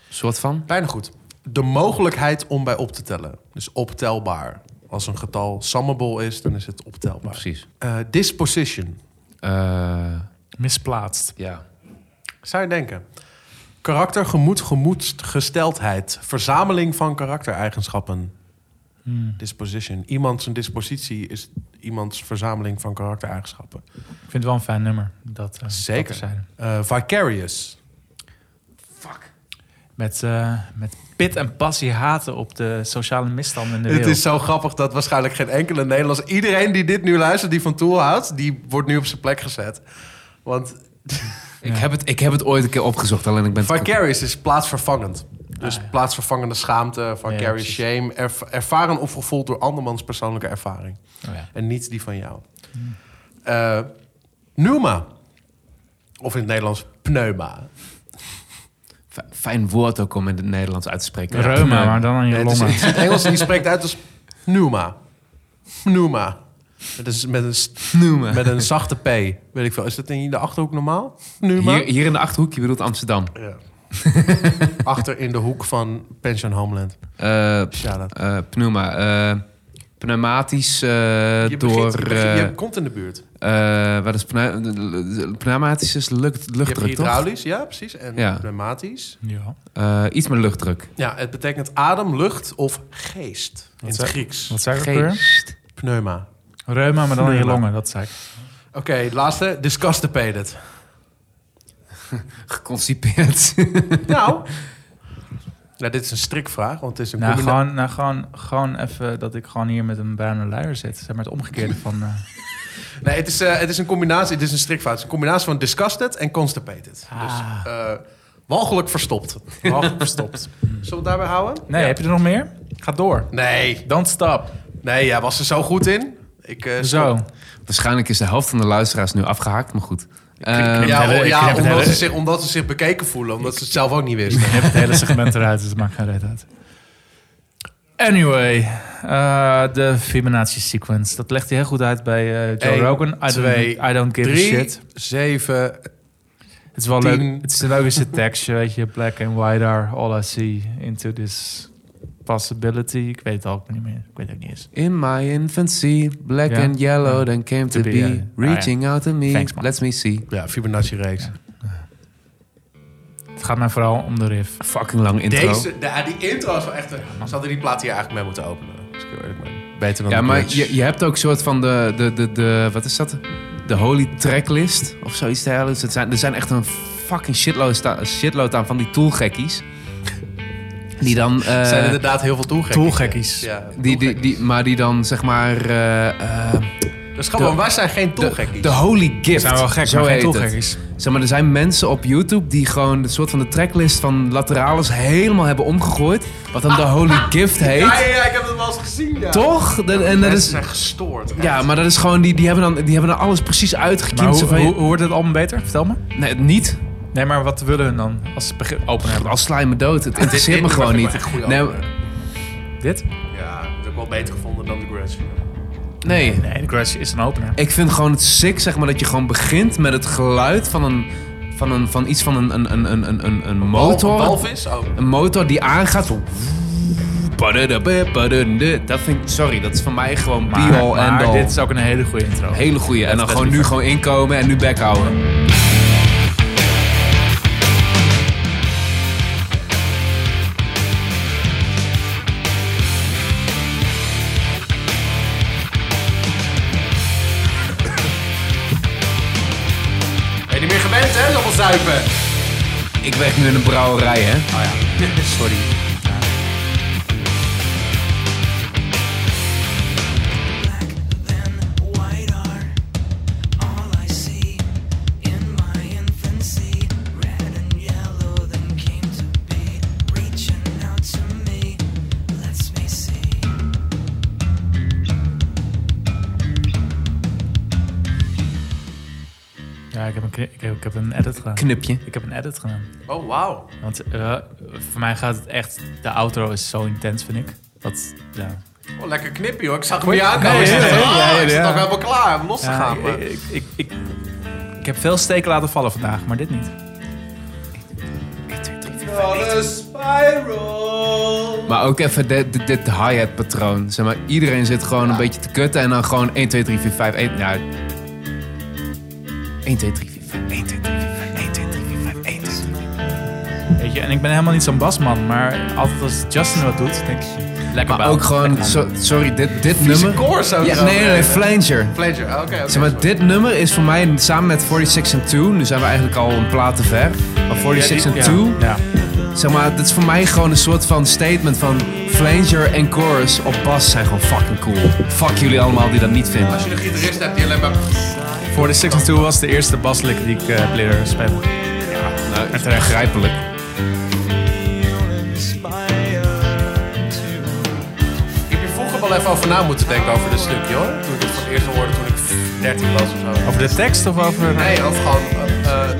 Speaker 3: Soort van?
Speaker 2: Bijna goed. De mogelijkheid om bij op te tellen. Dus optelbaar. Als een getal summable is, dan is het optelbaar.
Speaker 3: Precies.
Speaker 2: Eh, disposition.
Speaker 3: Eh,
Speaker 1: Misplaatst.
Speaker 3: ja.
Speaker 2: Zou je denken? Karakter, gemoed, gemoedsgesteldheid. Verzameling van karaktereigenschappen.
Speaker 1: Hmm.
Speaker 2: Disposition. Iemand zijn dispositie is iemands verzameling van karaktereigenschappen.
Speaker 1: Ik vind het wel een fijn nummer. Dat, eh, dat
Speaker 2: Zeker.
Speaker 1: terzijde.
Speaker 2: Eh, vicarious.
Speaker 1: Met, eh, met pit en passie haten op de sociale misstanden in de
Speaker 2: Het
Speaker 1: wereld.
Speaker 2: is zo grappig dat waarschijnlijk geen enkele Nederlands... Iedereen die dit nu luistert, die van Tool houdt... die wordt nu op zijn plek gezet. Want
Speaker 3: Ik, heb het, ik heb het ooit een keer opgezocht, alleen ik ben... het-
Speaker 2: vicarious is plaatsvervangend. Dus plaatsvervangende schaamte, vicarious
Speaker 1: Ah, Ja,
Speaker 2: shame... erv- ervaren of gevoeld door andermans persoonlijke ervaring.
Speaker 1: Oh ja.
Speaker 2: En niet die van jou. Eh, pneuma. Of in het Nederlands pneuma.
Speaker 3: Fi- Fijn woord ook om in het Nederlands uit te spreken.
Speaker 1: Reuma, maar dan aan je
Speaker 2: Nee, het, is,
Speaker 1: longen.
Speaker 2: het is het Engels die spreekt uit als pneuma. Pneuma. Het is met een, s-
Speaker 3: Noemen.
Speaker 2: met een zachte P. Weet ik veel. Is dat in de Achterhoek normaal? Pneuma?
Speaker 3: Hier, hier in de Achterhoek, je bedoelt Amsterdam.
Speaker 2: Ja. Achter in de hoek van Pension Homeland.
Speaker 3: Eh,
Speaker 2: Shout-out.
Speaker 3: eh, pneuma. eh, pneumatisch eh,
Speaker 2: je,
Speaker 3: door...
Speaker 2: begint- begin-
Speaker 3: eh,
Speaker 2: je komt in de buurt.
Speaker 3: eh, wat is pneu- pneumatisch is lucht,
Speaker 2: Je hebt
Speaker 3: luchtdruk, toch?
Speaker 2: hydraulisch, ja precies. En
Speaker 3: Ja.
Speaker 2: pneumatisch.
Speaker 1: Ja.
Speaker 3: Eh, iets met luchtdruk.
Speaker 2: Ja, het betekent adem, lucht of geest. In het
Speaker 1: zei-
Speaker 2: Grieks.
Speaker 1: Wat zei ik ook weer?
Speaker 2: Pneuma.
Speaker 1: Reuma, maar dan aan je
Speaker 2: Reuma.
Speaker 1: longen. Dat zei ik.
Speaker 2: Oké, het laatste. Discustipated.
Speaker 3: Geconcipeerd.
Speaker 2: nou. Nou, dit is een strikvraag, want het is een
Speaker 1: Nou,
Speaker 2: combinatie.
Speaker 1: gewoon, nou gewoon, gewoon even dat ik gewoon hier met een bruine luier zit. Zeg maar het omgekeerde van... eh,
Speaker 2: Nee, het is, eh, het is een combinatie. Het is een strikvraag. Het is een combinatie van disgusted en constipated.
Speaker 1: Ah.
Speaker 2: Dus eh, walgelijk verstopt.
Speaker 1: half verstopt.
Speaker 2: Zullen we het daarbij houden?
Speaker 1: Nee, heb je er nog meer? Ga door.
Speaker 2: Nee.
Speaker 1: Don't stop.
Speaker 2: Nee, jij was er zo goed in. Ik, eh,
Speaker 1: Zo.
Speaker 3: Waarschijnlijk is de helft van de luisteraars nu afgehaakt, maar goed.
Speaker 1: knip
Speaker 3: Eh,
Speaker 1: het
Speaker 2: Ja,
Speaker 1: hele-
Speaker 2: om-
Speaker 1: ik
Speaker 2: ja
Speaker 1: knip het
Speaker 2: omdat,
Speaker 1: hele-
Speaker 2: ze zich, omdat ze zich bekeken voelen. Omdat ze het zelf ook niet wisten.
Speaker 1: Ik heb het hele segment eruit, dus het maakt geen reet uit. Anyway, eh, de Fibonacci sequence. Dat legt hij heel goed uit bij eh, Joe
Speaker 2: Eén,
Speaker 1: Rogan. I don't,
Speaker 2: twee,
Speaker 1: I don't give
Speaker 2: Drie,
Speaker 1: a shit.
Speaker 2: zeven...
Speaker 1: Het is wel
Speaker 2: tien.
Speaker 1: leuk. Het is een logische tekstje, weet je. Black and white are all I see into this possibility. Ik weet het ook niet meer. Ik weet het ook niet eens.
Speaker 3: In my infancy, black
Speaker 1: Ja.
Speaker 3: and yellow,
Speaker 1: Ja.
Speaker 3: then came
Speaker 1: To
Speaker 3: to, be,
Speaker 1: be, Ah, ja.
Speaker 3: reaching out to me,
Speaker 1: Thanks, man.
Speaker 3: let me see.
Speaker 2: Ja, Fibonacci-reeks.
Speaker 1: Het gaat mij vooral om de riff.
Speaker 3: Fucking lang intro.
Speaker 2: Deze, de, die intro is wel echt... een- Ze hadden die plaat hier eigenlijk mee moeten openen. Als ik heel eerlijk ben. Beter dan
Speaker 3: Ja,
Speaker 2: de
Speaker 3: maar
Speaker 2: bridge.
Speaker 3: je, je hebt ook soort van de, de, de, de... Wat is dat? De holy tracklist of zoiets dergelijks. Het zijn, er zijn echt een fucking shitload, sta- shitload aan van die toolgekkies. Die dan... eh,
Speaker 2: Er zijn inderdaad heel veel toegekkies.
Speaker 1: Toolgekkies.
Speaker 2: Ja,
Speaker 3: die, die, die, maar die dan zeg maar... eh, eh,
Speaker 2: Dat is grappig,
Speaker 3: de-
Speaker 2: want wij Dus zijn geen
Speaker 3: de,
Speaker 2: toegekkies.
Speaker 3: de holy gift.
Speaker 1: zijn wel gek,
Speaker 3: zo
Speaker 1: maar geen
Speaker 3: heet het.
Speaker 1: toolgekkies.
Speaker 3: Zeg maar, er zijn mensen op YouTube die gewoon een soort van de tracklist van Lateralis helemaal hebben omgegooid. Wat dan de Holy Gift heet.
Speaker 2: Ah. ja, ja, ja, ik heb het wel eens gezien, ja.
Speaker 3: Toch? Dat- en dat
Speaker 2: Mensen
Speaker 3: is,
Speaker 2: zijn gestoord. echt.
Speaker 3: ja, maar dat is gewoon, die, die, hebben dan, die hebben dan alles precies uitgekiend.
Speaker 1: Maar
Speaker 3: Zo
Speaker 1: hoe,
Speaker 3: van,
Speaker 1: hoe, hoe wordt het allemaal beter? Vertel me.
Speaker 3: nee, niet.
Speaker 1: Nee, maar wat willen hun dan als ze begin open hebben?
Speaker 3: Al sla je me dood. Het
Speaker 2: Dit-
Speaker 3: interesseert
Speaker 2: dit
Speaker 3: me
Speaker 2: vind
Speaker 3: gewoon
Speaker 2: ik
Speaker 3: niet.
Speaker 2: echt goede
Speaker 3: Nee,
Speaker 2: opener.
Speaker 1: Dit?
Speaker 2: Ja, dat heb ik wel beter gevonden dan The Grudge.
Speaker 3: nee,
Speaker 1: Nee, de Crash is een opener.
Speaker 3: ik vind gewoon het sick, zeg maar, dat je gewoon begint met het geluid van, een, van, een, van iets van een, een, een, een, een, een, een motor.
Speaker 2: Walvis? Oh.
Speaker 3: Een motor die aangaat. van- Dat vind ik, sorry, dat is voor mij gewoon
Speaker 1: Maar,
Speaker 3: be-all
Speaker 1: maar
Speaker 3: and-all.
Speaker 1: dit is ook een hele goede intro.
Speaker 3: Hele goeie. En dan
Speaker 1: best
Speaker 3: gewoon nu
Speaker 1: liever.
Speaker 3: gewoon inkomen en nu bek houden.
Speaker 2: Ben je niet meer gewend, hè? Zoveel zuipen.
Speaker 3: Ik werk nu in een brouwerij, hè?
Speaker 2: Sorry.
Speaker 1: Ja, ik heb een, kni- ik heb, ik heb een edit gedaan.
Speaker 3: Knipje.
Speaker 1: Ik heb een edit gedaan.
Speaker 2: Oh, wauw.
Speaker 1: Want eh, voor mij gaat het echt... De outro is zo intens, vind ik. Dat, ja.
Speaker 2: Oh, lekker knippie, hoor. Ik zag hem niet aankomen.
Speaker 1: Nee,
Speaker 2: ik zat
Speaker 1: nee,
Speaker 2: echt,
Speaker 1: nee,
Speaker 2: ah,
Speaker 1: nee,
Speaker 2: ik zat
Speaker 1: ja.
Speaker 2: nog helemaal klaar om los te
Speaker 1: Ja,
Speaker 2: gaan.
Speaker 1: ik,
Speaker 2: maar-
Speaker 1: ik, ik, ik, ik heb veel steken laten vallen vandaag, maar dit niet.
Speaker 3: Maar ook even dit, dit, dit hi-hat patroon. Zeg maar, iedereen zit gewoon een beetje te kutten en dan gewoon 1, 2, 3, 4, 5, 1, ja. 1, 2, 3, 4, 5, 1, 2, 3, 4, 5, 1, 2, 3, 4, 5, 1, 2, 3, 4, 5.
Speaker 1: Weet je, en ik ben helemaal niet zo'n basman, maar altijd als Justin wat doet, denk ik... Lekker
Speaker 3: Maar
Speaker 1: bal.
Speaker 3: ook gewoon,
Speaker 1: Lekker man.
Speaker 3: zo- sorry, dit, dit
Speaker 2: Vieze
Speaker 3: nummer...
Speaker 2: chorus ook
Speaker 3: Ja,
Speaker 2: zo.
Speaker 3: nee, nee, nee, flanger.
Speaker 2: Pleasure. Oh, Oké, oké.
Speaker 3: Zeg maar, dit nummer is voor mij samen met 46 and 2. Nu zijn we eigenlijk al een plaat te ver. Maar 46 and 2,
Speaker 1: Ja.
Speaker 3: zeg maar, dat is voor mij gewoon een soort van statement van flanger en chorus op bas zijn gewoon fucking cool. Fuck jullie allemaal die dat niet vinden.
Speaker 2: Als je een gitarist hebt die alleen maar...
Speaker 1: Voor de 62 was de eerste baslick die ik eh leerde spelen.
Speaker 3: Nou, het is begrijpelijk.
Speaker 2: Ik heb hier vroeger wel even over na moeten denken over dit stukje, hoor. Toen ik het voor het eerst hoorde toen ik 13 was of zo.
Speaker 1: Over de tekst of over...
Speaker 2: Nee, of gewoon... eh, eh, 1,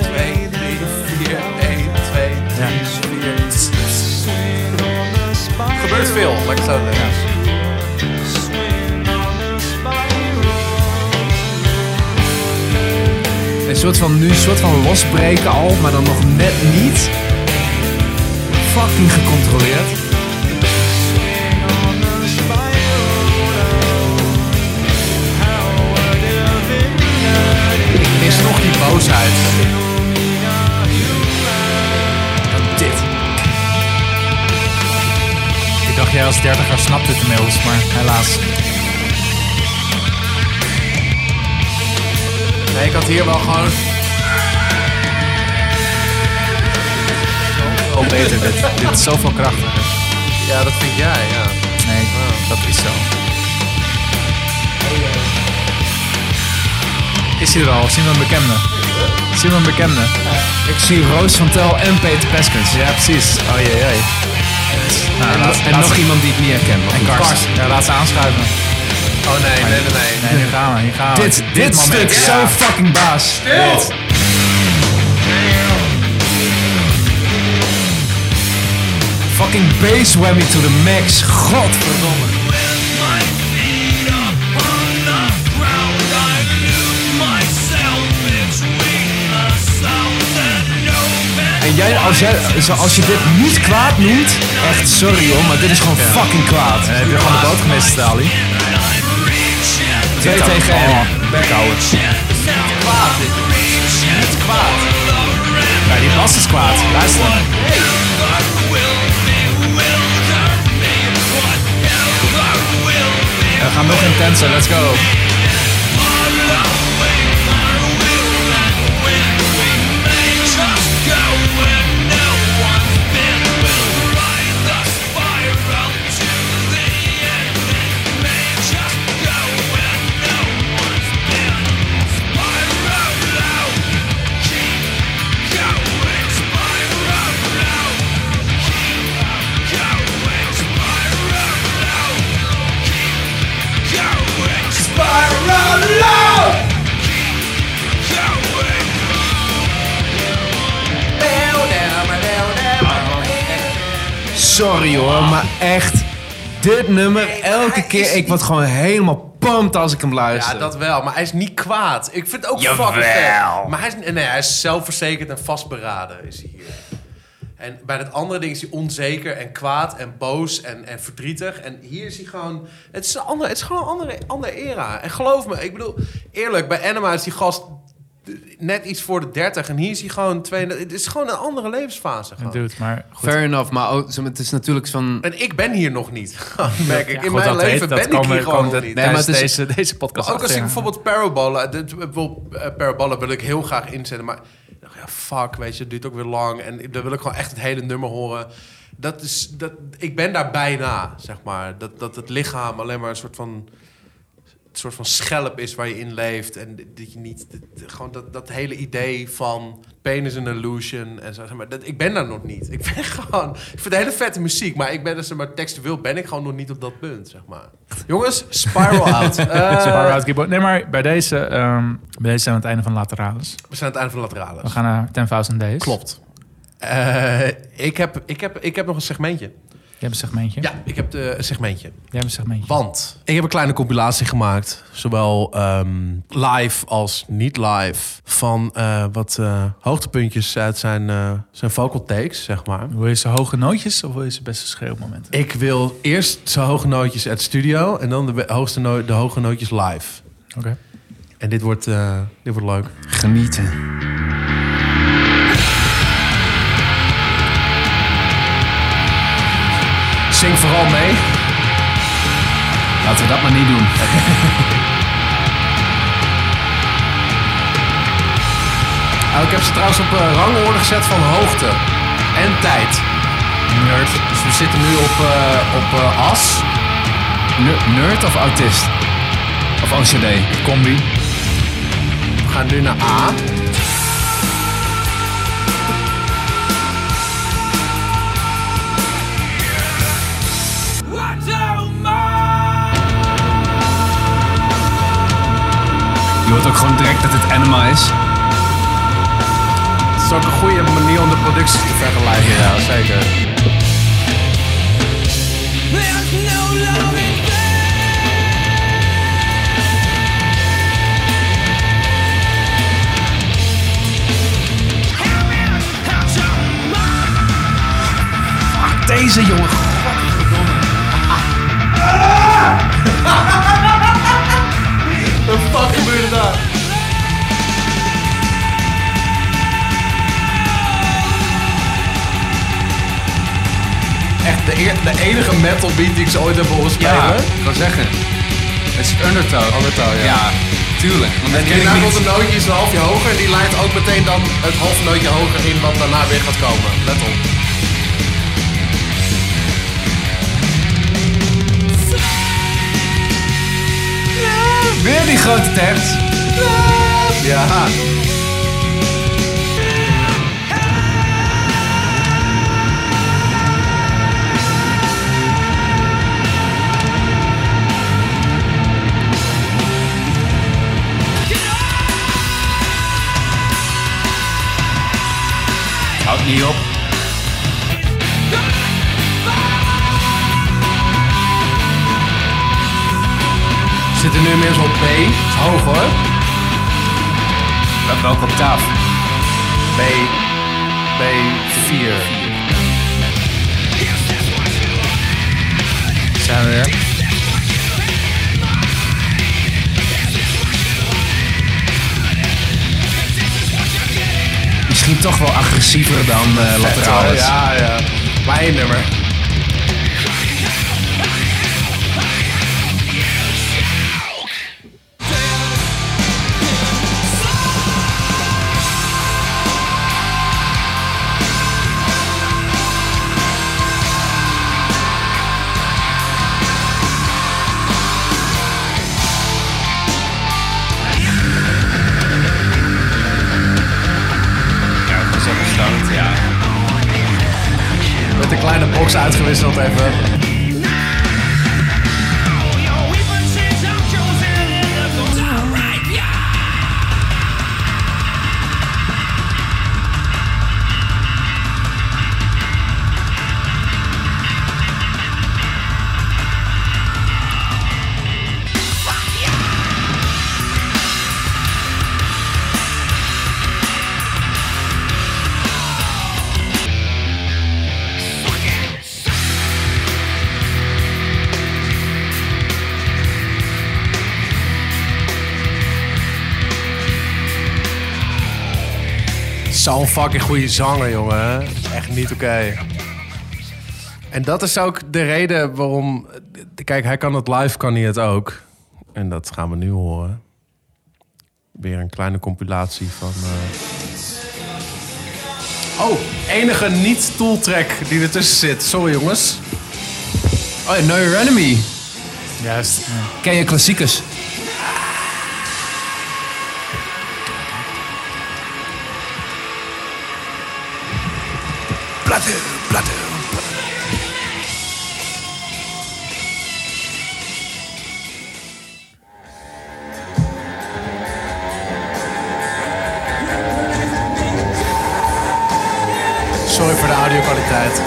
Speaker 2: 2, 3, 4, 1, 2, 3, 4. Gebeurt veel, laat ik het zo zeggen.
Speaker 3: Een soort van nu, een soort van losbreken al, maar dan nog net niet. Fucking gecontroleerd.
Speaker 2: Er is nog die boosheid.
Speaker 3: Dit.
Speaker 1: Ik dacht, jij als dertiger snapt dit inmiddels, maar helaas.
Speaker 2: Nee, ik had hier wel gewoon...
Speaker 3: Oh,
Speaker 1: Wel beter, dit, dit is zoveel krachtiger.
Speaker 2: Ja, dat vind jij, ja.
Speaker 1: Nee,
Speaker 3: Oh.
Speaker 1: dat is zo. Is hij er al? Zien we een bekende? Zien we een bekende?
Speaker 3: Ik zie Roos van Tel en Peter Peskens.
Speaker 1: Ja, precies. Oh jee, jee. Nou,
Speaker 3: En,
Speaker 1: laat,
Speaker 3: en
Speaker 1: laat
Speaker 3: nog
Speaker 1: ze-
Speaker 3: iemand die ik niet herken. maar
Speaker 1: En
Speaker 3: goed.
Speaker 1: Karsten. Ja, laat ze aanschuiven.
Speaker 2: Oh nee, nee, nee, nee.
Speaker 1: Nee, hier gaan we. Hier gaan we.
Speaker 3: Dit, dit,
Speaker 1: moment.
Speaker 3: stuk,
Speaker 1: Ja.
Speaker 3: zo fucking baas.
Speaker 2: Dit.
Speaker 3: Fucking bass whammy to the max. Godverdomme. En jij, als, jij, zo- als je dit niet kwaad noemt, echt sorry hoor, maar dit is gewoon fucking kwaad.
Speaker 1: Dan heb je gewoon de boot gemist, Ali.
Speaker 3: 2 tegen 1.
Speaker 1: Backhouwer.
Speaker 2: Kwaad, dit. Dit is kwaad.
Speaker 1: Ja, die gast is kwaad. Luister. We gaan nog intenser, let's go.
Speaker 3: Sorry hoor, maar echt. Dit nummer, elke keer. Ik word gewoon helemaal pumped als ik hem luister.
Speaker 2: Ja, dat wel. Maar hij is niet kwaad. Ik vind het ook fucking vet. Maar hij is, nee, hij is zelfverzekerd en vastberaden is hij hier. En bij dat andere ding is hij onzeker en kwaad en boos en, en verdrietig. En hier is hij gewoon... Het is, een andere, het is gewoon een andere, andere era. En geloof me, ik bedoel... Eerlijk, bij Anima is die gast net iets voor de 30. En hier is hij gewoon 32. Het is gewoon een andere levensfase. gewoon.
Speaker 3: dus-
Speaker 1: Dude, maar goed.
Speaker 3: Fair enough, maar ook, zeg maar, het is natuurlijk van...
Speaker 2: En ik ben hier nog niet, merk ik. In
Speaker 1: Goed,
Speaker 2: mijn
Speaker 1: dat
Speaker 2: leven
Speaker 1: weet- dat
Speaker 2: ben ik
Speaker 1: komen-
Speaker 2: hier gewoon
Speaker 1: komen
Speaker 2: nog
Speaker 1: de-
Speaker 2: niet.
Speaker 3: Nee, maar het is-
Speaker 1: tijdens deze, deze podcast
Speaker 2: Maar ook als ik
Speaker 1: achter-
Speaker 2: bijvoorbeeld Parabola... Dit, eh, wil- eh, Parabola wil ik heel graag inzetten, maar... ik dacht, Ja, fuck, weet je, het duurt ook weer lang. En dan wil ik gewoon echt het hele nummer horen. Dat is, dat, ik ben daar bijna, zeg maar. Dat, dat het lichaam alleen maar een soort van... Een soort van schelp is waar je in leeft. En dat je niet... dat- gewoon dat, dat hele idee van... Pain is an illusion en zo. Zeg maar, dat, ik ben daar nog niet. Ik ben gewoon... Ik vind het hele vette muziek, maar ik ben dus... Maar textueel ben ik gewoon nog niet op dat punt, zeg maar. Jongens, Spiral Out. Eh,
Speaker 1: Super Rout Keyboard. Nee, maar bij deze, ehm, bij deze zijn we aan het einde van Lateralis.
Speaker 2: We zijn aan het einde van de
Speaker 1: We
Speaker 2: laterales.
Speaker 1: gaan naar 10.000 Days.
Speaker 2: Klopt. Eh, ik, heb, ik, heb, ik heb nog een segmentje.
Speaker 1: Je hebt een segmentje.
Speaker 2: Ja, ik heb de, een segmentje.
Speaker 1: Jij hebt een segmentje.
Speaker 2: Want ik heb een kleine compilatie gemaakt. Zowel ehm, live als niet live. Van eh, wat eh, hoogtepuntjes uit zijn, eh, zijn vocal takes, zeg maar.
Speaker 1: Wil je ze hoge nootjes of wil je ze beste schreeuwmomenten?
Speaker 2: Ik wil eerst zijn hoge nootjes uit studio. En dan de, be- hoogste no- de hoge nootjes live.
Speaker 1: Oké.
Speaker 2: En dit wordt, eh, dit wordt leuk.
Speaker 3: Genieten.
Speaker 2: Zing vooral mee.
Speaker 3: Laten we dat maar niet doen.
Speaker 2: Oh, ik heb ze trouwens op eh, rangorde gezet van hoogte en tijd.
Speaker 3: Nerd.
Speaker 2: Dus we zitten nu op, eh, op eh, as.
Speaker 3: Ner- Nerd of autist? Of OCD?
Speaker 1: Combi.
Speaker 2: We gaan nu naar A.
Speaker 3: Je hoort ook gewoon direct dat het anima is.
Speaker 2: Het is ook een goede manier om de producties te vergelijken. Ja, zeker.
Speaker 3: Deze jongen.
Speaker 2: Wat de fuck gebeurde daar? Echt de, eer- de enige metal beat die ik ze ooit heb horen spelen.
Speaker 3: Ja, ik wil zeggen. Het is Undertow.
Speaker 2: Undertow, ja.
Speaker 3: tuurlijk. Want dat
Speaker 2: En
Speaker 3: ken ik
Speaker 2: hierna
Speaker 3: niet.
Speaker 2: komt een nootje is een halfje hoger. En die leidt ook meteen dan het half nootje hoger in wat daarna weer gaat komen. Let op.
Speaker 3: Weer die grote tekst.
Speaker 2: Ja.
Speaker 3: Houdt niet op.
Speaker 2: We zitten nu inmiddels op B. Is hoog hoor.
Speaker 3: Wel- Welke octaaf?
Speaker 2: B. B4.
Speaker 1: Zijn we weer.
Speaker 3: Die misschien toch wel agressiever dan eh Lateralis.
Speaker 2: Ja, ja. Maar één nummer.
Speaker 3: Ja, dat is ook een stoot, ja.
Speaker 2: Met een kleine box uitgewisseld even. Zo'n fucking goede zanger, jongen. Dat is Echt niet oké. En dat is ook de reden waarom... Kijk, hij kan het live, kan hij het ook. En dat gaan we nu horen. Weer een kleine compilatie van... eh. Oh, enige niet-tooltrack die ertussen zit. Sorry, jongens.
Speaker 3: Oh, ja, Know Your Enemy.
Speaker 1: Juist. Ja.
Speaker 3: Ken je klassiekers?
Speaker 2: Platte, platte. Sorry voor de audio-kwaliteit.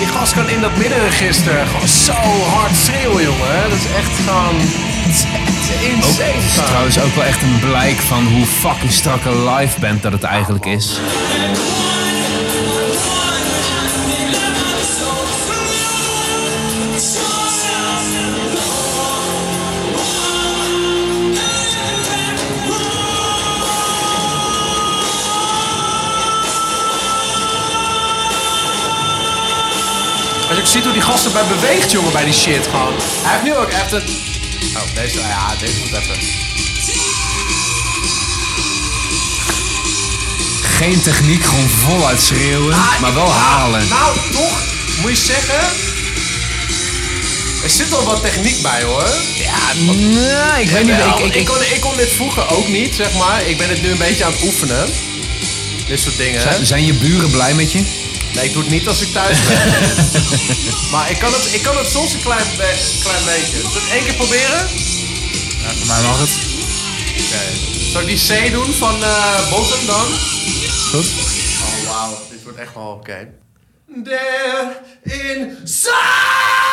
Speaker 2: Die gast kan in dat middenregister gewoon zo hard schreeuwen, jongen. Dat is echt gewoon... Het is echt insane.
Speaker 3: Het is
Speaker 2: gewoon.
Speaker 3: trouwens ook wel echt een blijk van hoe fucking strak een live band dat het eigenlijk is.
Speaker 2: Als ik zie hoe die gasten bij beweegt, jongen, bij die shit gewoon. Hij heeft nu ook echt een... Oh, deze, ja, deze moet even.
Speaker 3: Geen techniek, gewoon voluit schreeuwen, maar wel halen.
Speaker 2: Nou, toch, moet je zeggen... Er zit al wat techniek bij, hoor.
Speaker 3: Ja, nee, ik weet niet.
Speaker 2: Wel,
Speaker 3: Ik, ik, ik,
Speaker 2: kon, ik kon dit vroeger ook niet, zeg maar. Ik ben het nu een beetje aan het oefenen. Dit soort dingen.
Speaker 3: zijn, zijn je buren blij met je?
Speaker 2: Nee, ik doe het niet als ik thuis ben. maar ik kan, het, ik kan het soms een klein, be- klein beetje. Zullen we het één keer proberen?
Speaker 1: Ja, voor mij mag het.
Speaker 2: Zal ik die C doen van eh Bottom dan? Goed. Oh, wauw. Dit wordt echt wel oké. There inside!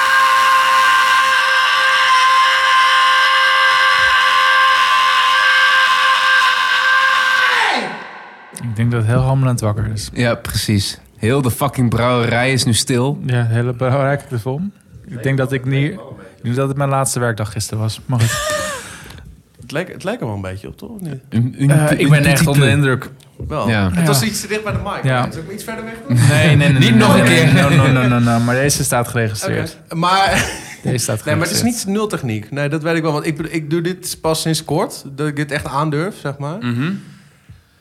Speaker 1: Ik denk dat het heel hammelend wakker is.
Speaker 3: Ja, precies. Heel de fucking brouwerij is nu stil.
Speaker 1: Ja, hele belangrijke de vorm. Ik denk dat ik niet... Ik denk dat het mijn laatste werkdag gisteren was. Maar goed.
Speaker 2: Het lijkt, het lijkt er wel een beetje op, toch? Of niet?
Speaker 1: Eh, ik ben echt onder de indruk.
Speaker 2: Wel.
Speaker 3: Ja.
Speaker 2: Het was iets te dicht bij de mic.
Speaker 1: Ja.
Speaker 2: Is ook iets verder weg?
Speaker 1: Nee, nee, nee.
Speaker 3: Niet nog een keer.
Speaker 1: No, no, no, no, no. Maar deze staat geregistreerd.
Speaker 2: Oké. Maar...
Speaker 1: Deze staat geregistreerd.
Speaker 2: Nee, maar het is niet nul techniek. Nee, dat weet ik wel. Want ik, bedoel, ik doe dit pas sinds kort. Dat ik dit echt aandurf, zeg maar.
Speaker 1: Mhm.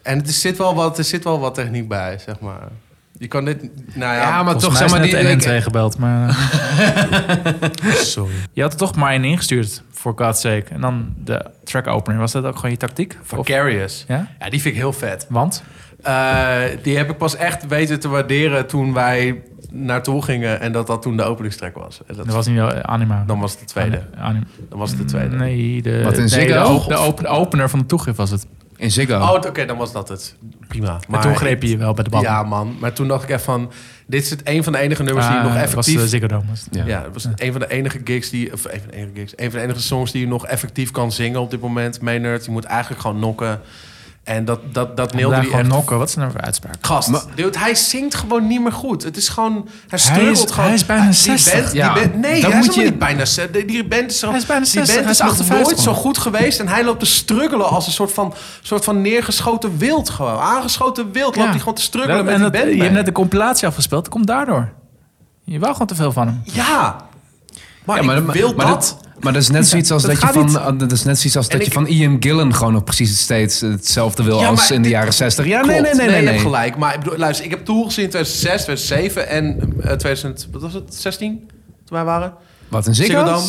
Speaker 2: En het is- zit wel wat, er zit wel wat techniek bij, zeg maar. Je kan dit... Nou ja,
Speaker 3: Ja, maar
Speaker 1: Volgens
Speaker 3: toch,
Speaker 1: mij
Speaker 3: zeg maar,
Speaker 1: is
Speaker 3: die...
Speaker 1: net
Speaker 3: ik-
Speaker 1: 1 gebeld, maar... eh,
Speaker 2: sorry.
Speaker 1: je had er toch maar één ingestuurd, voor God's sake. En dan de track opener. Was dat ook gewoon je tactiek? Of-
Speaker 2: Carriers.
Speaker 1: Ja?
Speaker 2: Ja, die vind ik heel vet.
Speaker 1: Want?
Speaker 2: Eh, die heb ik pas echt weten te waarderen toen wij naartoe gingen. En dat dat toen de openingstrek was. En dat,
Speaker 1: Dat was niet de anima.
Speaker 2: Dan was het de tweede.
Speaker 1: Anima.
Speaker 2: Dan was het de tweede.
Speaker 1: Nee, de,
Speaker 3: Wat, in
Speaker 1: nee, de,
Speaker 3: Ziggo?
Speaker 1: op- de op- opener van de toegift was het.
Speaker 3: In Ziggo.
Speaker 2: Oh, oké, dan was dat het. Prima.
Speaker 1: Maar toen greep je je wel bij de bal.
Speaker 2: Ja, man. Maar toen dacht ik echt van... Dit is het een van de enige nummers die
Speaker 1: Ah,
Speaker 2: ik nog
Speaker 1: dat
Speaker 2: effectief...
Speaker 1: Was de Ziggo Dome, was het.
Speaker 3: Ja.
Speaker 2: Ja, het was een van de enige gigs die. Of een van de enige gigs. Een van de enige songs die je nog effectief kan zingen op dit moment. Maynard, je moet eigenlijk gewoon nokken. En dat, dat, dat
Speaker 1: Daar
Speaker 2: nailde hij
Speaker 1: gewoon
Speaker 2: echt.
Speaker 1: nokken. Wat is nou voor uitspraak?
Speaker 2: Gast, dude, hij zingt gewoon niet meer goed. Het is gewoon... Hij
Speaker 1: Hij
Speaker 2: struggelt
Speaker 1: is-
Speaker 2: gewoon.
Speaker 1: hij is bijna
Speaker 2: die
Speaker 1: 60,
Speaker 2: band-
Speaker 3: ja.
Speaker 2: die band- nee,
Speaker 3: Dan
Speaker 2: hij
Speaker 3: moet
Speaker 2: is je...
Speaker 3: je-
Speaker 2: niet bijna 60. Die, die band is, zo,
Speaker 1: Hij is bijna 60,
Speaker 2: Die band
Speaker 1: hij
Speaker 2: is
Speaker 1: is
Speaker 2: nog
Speaker 1: 58
Speaker 2: nooit zo
Speaker 1: gewoon.
Speaker 2: goed geweest. En hij loopt te struggelen als een soort van, soort van neergeschoten wild gewoon. Aangeschoten wild loopt hij gewoon te struggelen
Speaker 1: Dat-
Speaker 2: met
Speaker 1: en
Speaker 2: die
Speaker 1: dat-
Speaker 2: band.
Speaker 1: Je
Speaker 2: mee.
Speaker 1: hebt net de compilatie afgespeeld. Dat komt daardoor. Je wou gewoon te veel van hem.
Speaker 2: Ja. Maar,
Speaker 3: Ja,
Speaker 2: ik wil
Speaker 3: maar
Speaker 2: dat.
Speaker 3: maar dat is net zoiets als
Speaker 1: dat
Speaker 3: dat, je
Speaker 1: gaat
Speaker 3: van,
Speaker 1: niet.
Speaker 3: eh, dat is net zoiets als dat
Speaker 2: ik-
Speaker 3: je van Ian Gillen gewoon nog precies steeds hetzelfde wil
Speaker 2: Ja,
Speaker 3: als
Speaker 2: maar
Speaker 3: in de
Speaker 2: dit-
Speaker 3: jaren 60. Ja,
Speaker 2: Klopt.
Speaker 3: nee, nee, nee, nee,
Speaker 2: Je hebt
Speaker 3: nee.
Speaker 2: gelijk. Maar ik bedoel, luister, ik heb Tool gezien in 2006, 2007 en eh, 2000, wat was het, 16? Toen wij waren.
Speaker 3: Wat een Ziggo?
Speaker 2: Ziggo Dome?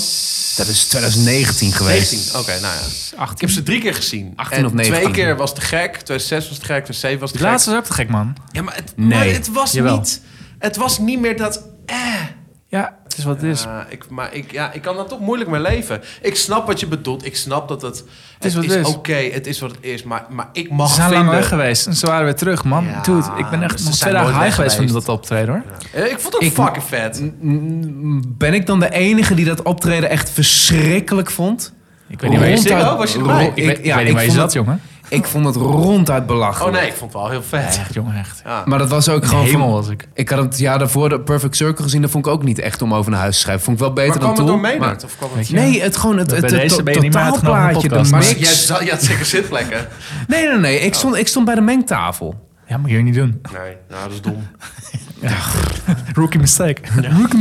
Speaker 3: Dat is 2019 geweest.
Speaker 2: 19, oké, nou ja. Ik
Speaker 1: 18.
Speaker 2: heb ze drie keer gezien.
Speaker 3: 18
Speaker 2: En
Speaker 3: of 19.
Speaker 2: Twee keer was te gek, 2006 was te gek, 2007 was te
Speaker 1: Die
Speaker 2: gek.
Speaker 1: laatste was ook te gek, man.
Speaker 2: Ja, maar het,
Speaker 3: Nee.
Speaker 2: maar het was
Speaker 1: Jawel.
Speaker 2: niet... Het was niet meer dat... Eh,
Speaker 1: Ja, het is wat het is.
Speaker 2: Ja, ik, maar ik, ja, ik kan daar toch moeilijk mee leven. Ik snap wat je bedoelt. Ik snap dat het... Het
Speaker 1: is wat het
Speaker 2: is
Speaker 1: is.
Speaker 2: oké, het is wat het is. Maar, maar ik
Speaker 1: Ze
Speaker 2: mag
Speaker 1: zijn lang
Speaker 2: vinden...
Speaker 1: weg geweest en ze waren weer terug, man.
Speaker 2: Ja,
Speaker 1: Dude, ik ben echt
Speaker 2: ze
Speaker 1: nog
Speaker 2: zijn
Speaker 1: twee dagen
Speaker 2: nooit
Speaker 1: high
Speaker 2: weg
Speaker 1: geweest van
Speaker 2: geweest.
Speaker 1: dat optreden, hoor.
Speaker 2: Eh, Ik vond het
Speaker 3: Ik-
Speaker 2: fucking vet.
Speaker 3: Ben ik dan de enige die dat optreden echt verschrikkelijk vond?
Speaker 1: Ik weet niet waar je zit.
Speaker 2: Ronduit-
Speaker 3: Ronduit-
Speaker 2: was je erbij?
Speaker 3: Ro-
Speaker 1: Ik weet- ik
Speaker 3: ja,
Speaker 1: weet niet waar je
Speaker 3: vond
Speaker 1: zat,
Speaker 3: het-
Speaker 1: jongen.
Speaker 3: Ik vond het ronduit belachelijk.
Speaker 2: Oh nee, ik vond het wel heel vet.
Speaker 1: Echt, jongen, echt.
Speaker 2: Ja.
Speaker 3: Maar dat was ook gewoon... van-
Speaker 1: Hemel was ik.
Speaker 3: Ik had het jaar daarvoor de Perfect Circle gezien. Dat vond ik ook niet echt om over naar huis te schrijven. Vond ik wel beter
Speaker 2: Maar kwam
Speaker 3: dan
Speaker 2: het door
Speaker 3: toen.
Speaker 2: Maynard? Of kwam het...
Speaker 1: Ja.
Speaker 3: Nee, het gewoon het,
Speaker 1: Bij
Speaker 3: het, het,
Speaker 1: deze
Speaker 3: to-
Speaker 1: ben je niet meer uitgenodigd op
Speaker 3: totaalplaatje, de
Speaker 1: podcast.
Speaker 3: mix.
Speaker 1: Maar
Speaker 2: Jij, zat- je had zeker zitplekken.
Speaker 3: Nee, nee, nee. Ik stond, ik stond bij de mengtafel.
Speaker 1: Ja, moet je niet doen.
Speaker 2: Nee, nou, dat is dom.
Speaker 1: Rookie mistake.
Speaker 3: Nee,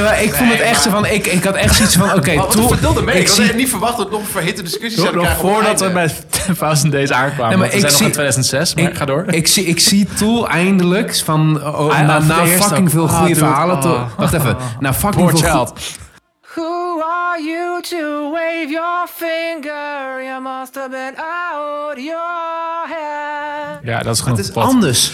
Speaker 3: maar ik vond het echt zo van... Ik, ik had echt zoiets van... Oké,
Speaker 1: Oh,
Speaker 2: Maar wat
Speaker 3: toen-
Speaker 2: een verdeelde mening.
Speaker 3: ik
Speaker 2: Ik had
Speaker 3: zie-
Speaker 2: echt niet verwacht dat we nog een verhitte discussie
Speaker 1: Nog,
Speaker 2: zouden
Speaker 1: nog
Speaker 2: krijgen. op het
Speaker 1: voordat we
Speaker 2: einde.
Speaker 1: bij 1000 Days aankwamen.
Speaker 3: Nee, maar
Speaker 1: we
Speaker 3: ik
Speaker 1: zijn nog
Speaker 3: zie-
Speaker 1: in 2006, maar
Speaker 3: ik-
Speaker 1: ik, ga door.
Speaker 3: Ik zie, ik zie Tool eindelijk van... oh,
Speaker 1: Ah,
Speaker 3: na,
Speaker 1: voor
Speaker 3: na
Speaker 1: de eerste
Speaker 3: fucking veel
Speaker 1: ook. Ah,
Speaker 3: goede
Speaker 1: dude.
Speaker 3: verhalen... te-
Speaker 1: Ah.
Speaker 3: wacht even. Na fucking
Speaker 1: Poor
Speaker 3: veel goe-
Speaker 1: child.
Speaker 9: Who are you to wave your finger? You must have been out your head.
Speaker 1: Ja, dat is gewoon
Speaker 3: Het is anders.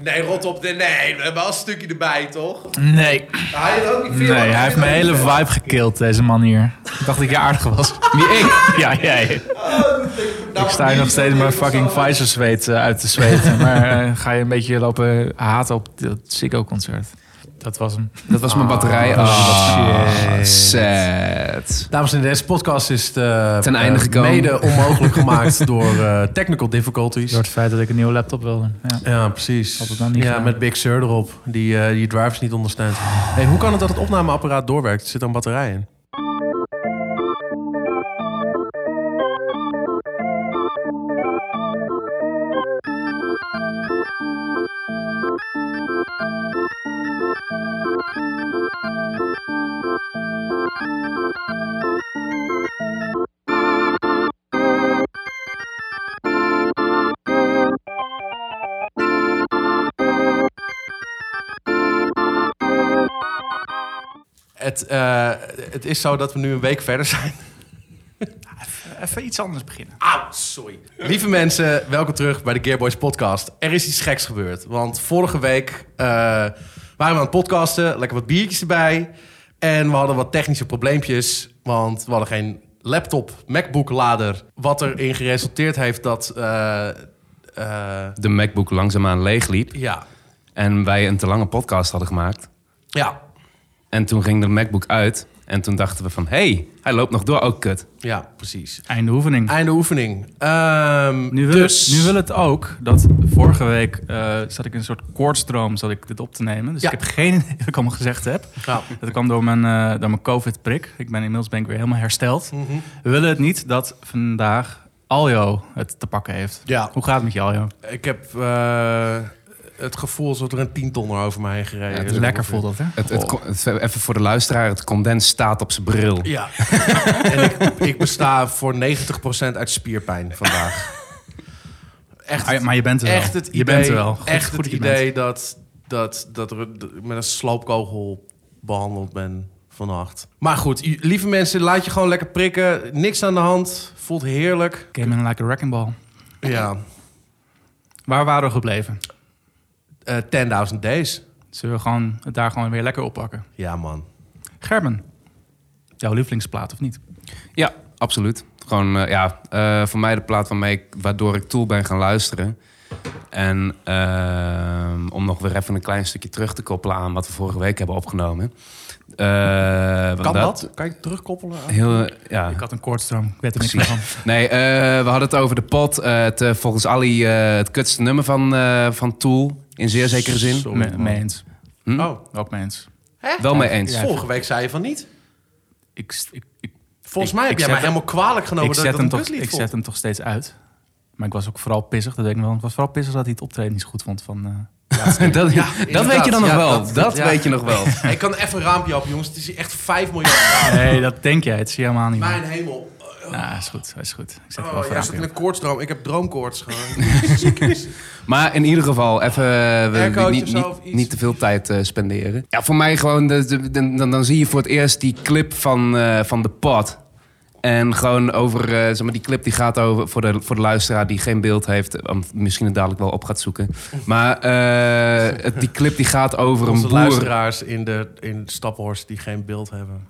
Speaker 2: Nee, rot op. de- Nee, we hebben wel een stukje erbij, toch?
Speaker 1: Nee,
Speaker 2: Hij had ook niet veel.
Speaker 1: nee, hij heeft mijn hele vibe gekild, deze man hier. Ik dacht dat ik je aardig was. Wie ik? Ja, jij. Oh, Ik sta hier nog steeds mijn fucking Pfizer zweet eh, uit te zweten. Maar eh, ga je een beetje lopen haten op dat Ziggo concert. Dat was hem.
Speaker 3: Dat was mijn batterij. Ah, sad.
Speaker 2: Dames en heren, deze podcast is
Speaker 3: Ten einde eh, gekomen. mede
Speaker 2: mede onmogelijk gemaakt door eh, technical difficulties.
Speaker 1: Door het feit dat ik een nieuwe laptop wilde. Ja.
Speaker 2: Ja, precies.
Speaker 1: Had het dan niet
Speaker 2: ja,
Speaker 1: gedaan.
Speaker 2: met Big Sur erop. Die, eh, die drivers niet ondersteunt. Hey, hoe kan het dat het opnameapparaat doorwerkt? Er zit er een batterij in. Het, eh, het is zo dat we nu een week verder zijn.
Speaker 1: Even iets anders beginnen.
Speaker 2: Auw, sorry. Lieve mensen, welkom terug bij de Gearboys podcast. Er is iets geks gebeurd, want vorige week eh, waren we aan het podcasten, lekker wat biertjes erbij. En we hadden wat technische probleempjes, want we hadden geen laptop, MacBook-lader. Wat erin geresulteerd heeft dat... eh, eh,
Speaker 3: De MacBook langzaamaan leegliep.
Speaker 2: ja,
Speaker 3: En wij een te lange podcast hadden gemaakt.
Speaker 2: ja,
Speaker 3: En toen ging de MacBook uit. En toen dachten we van, hé, hey, hij loopt nog door, ook kut.
Speaker 2: Ja, precies.
Speaker 1: Einde oefening.
Speaker 2: Einde oefening. Ehm,
Speaker 1: Ah, Nu wil,
Speaker 2: dus,
Speaker 1: het, nu wil het ook dat vorige week eh, zat ik in een soort koortsdroom zat ik dit op te nemen. Dus
Speaker 2: Ja.
Speaker 1: ik heb geen idee wat ik allemaal gezegd heb.
Speaker 2: Ja.
Speaker 1: Dat kwam door mijn, eh, door mijn COVID-prik. Ik ben inmiddels ben ik weer helemaal hersteld. We willen het niet dat vandaag Aljo het te pakken heeft.
Speaker 2: Ja.
Speaker 1: Hoe gaat het met je, Aljo?
Speaker 2: Ik heb eh, het gevoel alsof er een tientonner over mij heen gereden
Speaker 3: Ja, het
Speaker 1: Het
Speaker 3: is
Speaker 1: is
Speaker 2: is.
Speaker 1: lekker voelt dat, hè?
Speaker 3: Het, het, kon- het- even voor de luisteraar, het condens staat op zijn bril.
Speaker 2: Ja. en ik, ik besta voor 90% uit spierpijn vandaag. Echt,
Speaker 1: Ah, ja, maar je bent er wel.
Speaker 2: echt het idee,
Speaker 1: je bent er wel. Goed-
Speaker 2: echt
Speaker 1: goed
Speaker 2: het
Speaker 1: dat je bent.
Speaker 2: idee dat, dat, dat er dat ik met een sloopkogel behandeld ben vannacht. Maar goed, i- lieve mensen, laat je gewoon lekker prikken. Niks aan de hand. Voelt heerlijk.
Speaker 1: Came in like a wrecking ball.
Speaker 2: Ja.
Speaker 1: Waar waren we gebleven?
Speaker 2: Eh 10.000 days.
Speaker 1: Zullen we gewoon, het daar gewoon weer lekker oppakken?
Speaker 2: Ja, man.
Speaker 1: Gerben, jouw lievelingsplaat of niet?
Speaker 3: Ja, absoluut. Gewoon, eh, ja, eh, voor mij de plaat waarmee ik, waardoor ik Tool ben gaan luisteren. En ehm, om nog weer even een klein stukje terug te koppelen aan wat we vorige week hebben opgenomen. Eh, want
Speaker 2: Kan dat? Kan je terugkoppelen? aan-
Speaker 3: Heel, eh, ja.
Speaker 1: Ik had een koortsdroom, ik weet er niks meer van.
Speaker 3: Nee, eh, we hadden het over de pot. Eh, het, eh, volgens Ali eh, het kutste nummer van, eh, van Tool. In zeer zekere zin.
Speaker 1: Me- mee eens.
Speaker 3: Hm?
Speaker 2: Oh,
Speaker 1: Ook mee eens.
Speaker 3: Wel mee eens.
Speaker 2: vorige week zei je van niet.
Speaker 1: Ik, ik, ik,
Speaker 2: Volgens
Speaker 1: Ik- ik
Speaker 2: mij heb jij
Speaker 1: zet
Speaker 2: mij helemaal kwalijk genomen
Speaker 1: ik
Speaker 2: dat ik
Speaker 1: zet,
Speaker 2: dat
Speaker 1: hem
Speaker 2: een
Speaker 1: toch,
Speaker 2: kutlied
Speaker 1: ik
Speaker 2: vond.
Speaker 1: zet hem toch steeds uit. Maar ik was ook vooral pissig, dat weet ik nog wel. Ik was vooral pissig dat hij het optreden niet zo goed vond van... eh,
Speaker 3: dat, dat weet je dan nog
Speaker 2: Ja,
Speaker 3: wel.
Speaker 2: dat-
Speaker 3: Dat,
Speaker 2: ja.
Speaker 3: weet je nog wel.
Speaker 2: Hey, ik kan even een raampje op, jongens. Het is hier echt 5 miljard.
Speaker 1: Nee, dat denk jij. Het zie je helemaal niet.
Speaker 2: Mijn
Speaker 1: man.
Speaker 2: hemel.
Speaker 1: Nou, is goed. Is goed. Ik zet er wel
Speaker 2: Oh,
Speaker 1: voor
Speaker 2: jij
Speaker 1: aan,
Speaker 2: zit
Speaker 1: joh.
Speaker 2: in een koortsdroom. Ik heb droomkoorts gewoon.
Speaker 3: Maar in ieder geval, even eh, we-
Speaker 2: Aircootje
Speaker 3: niet,
Speaker 2: of
Speaker 3: niet,
Speaker 2: zo, of iets.
Speaker 3: niet te veel tijd eh, spenderen. Ja, voor mij gewoon, de, de- de- dan, dan zie je voor het eerst die clip van, eh, van de pot. En gewoon over, eh, zeg maar, die clip die gaat over, voor de, voor de luisteraar die geen beeld heeft,
Speaker 2: Mm.
Speaker 3: eh, want misschien het dadelijk wel op gaat zoeken. Maar eh, het- die clip die gaat over een
Speaker 2: Onze
Speaker 3: boer.
Speaker 2: luisteraars in, de, in Staphorst die geen beeld hebben.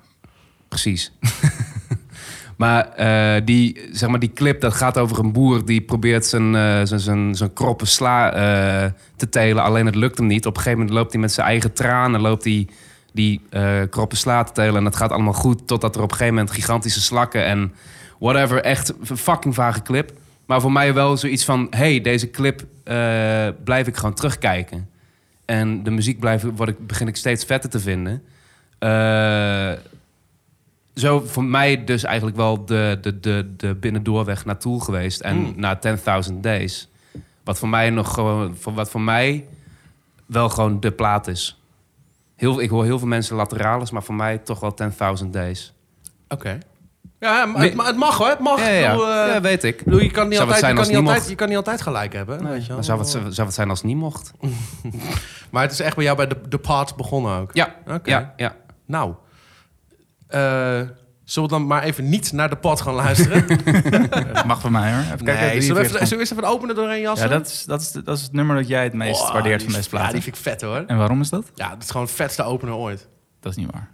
Speaker 3: Precies. maar, eh, die, zeg maar die clip dat gaat over een boer die probeert zijn, eh, zijn, zijn, zijn kroppen sla eh, te telen. Alleen het lukt hem niet. Op een gegeven moment loopt hij met zijn eigen tranen loopt hij die eh, kroppen sla te telen. En dat gaat allemaal goed totdat er op een gegeven moment gigantische slakken en whatever. Echt een fucking vage clip. Maar voor mij wel zoiets van, hey, deze clip eh, blijf ik gewoon terugkijken. En de muziek blijf, word ik, begin ik steeds vetter te vinden. Eh, zo voor mij dus eigenlijk wel de, de, de, de binnendoorweg naar Tool geweest. En
Speaker 2: Mm.
Speaker 3: naar 10.000 Days. Wat voor mij nog gewoon, voor- wat voor mij wel gewoon de plaat is. Heel, ik hoor heel veel mensen lateralis, maar voor mij toch wel 10.000 Days.
Speaker 2: Oké. Ja, maar het, ma- het mag hoor. Het mag.
Speaker 3: Ja, ja,
Speaker 2: Ik
Speaker 3: ja.
Speaker 2: bedoel, eh,
Speaker 3: Ja, weet ik.
Speaker 2: ik bedoel, je, kan niet
Speaker 3: Zou
Speaker 2: altijd, je,
Speaker 3: het zijn
Speaker 2: kan
Speaker 3: als
Speaker 2: niet
Speaker 3: niet
Speaker 2: altijd,
Speaker 3: mocht?
Speaker 2: je kan niet altijd gelijk hebben. weet je wel.
Speaker 3: Maar zou het, zou het zijn als het niet mocht?
Speaker 2: Maar het is echt bij jou bij de, de part begonnen ook.
Speaker 3: Ja,
Speaker 2: Oké.
Speaker 3: ja, ja.
Speaker 2: Nou, eh, zullen we dan maar even niet naar de pot gaan luisteren?
Speaker 1: Dat mag van mij hoor. Even kijken.
Speaker 2: nee,
Speaker 1: wie
Speaker 2: zullen we,
Speaker 1: het
Speaker 2: even,
Speaker 1: eerst
Speaker 2: zullen we eerst even een openen doorheen
Speaker 1: komt.
Speaker 2: jassen?
Speaker 1: ja, dat, is, dat, is, dat is het nummer dat jij het meest
Speaker 2: Oh,
Speaker 1: waardeert van
Speaker 2: die is-
Speaker 1: deze plaat.
Speaker 2: Ja, die vind ik vet hoor.
Speaker 1: En waarom is dat?
Speaker 2: Ja, dat is gewoon het vetste opener ooit.
Speaker 1: Dat is niet waar.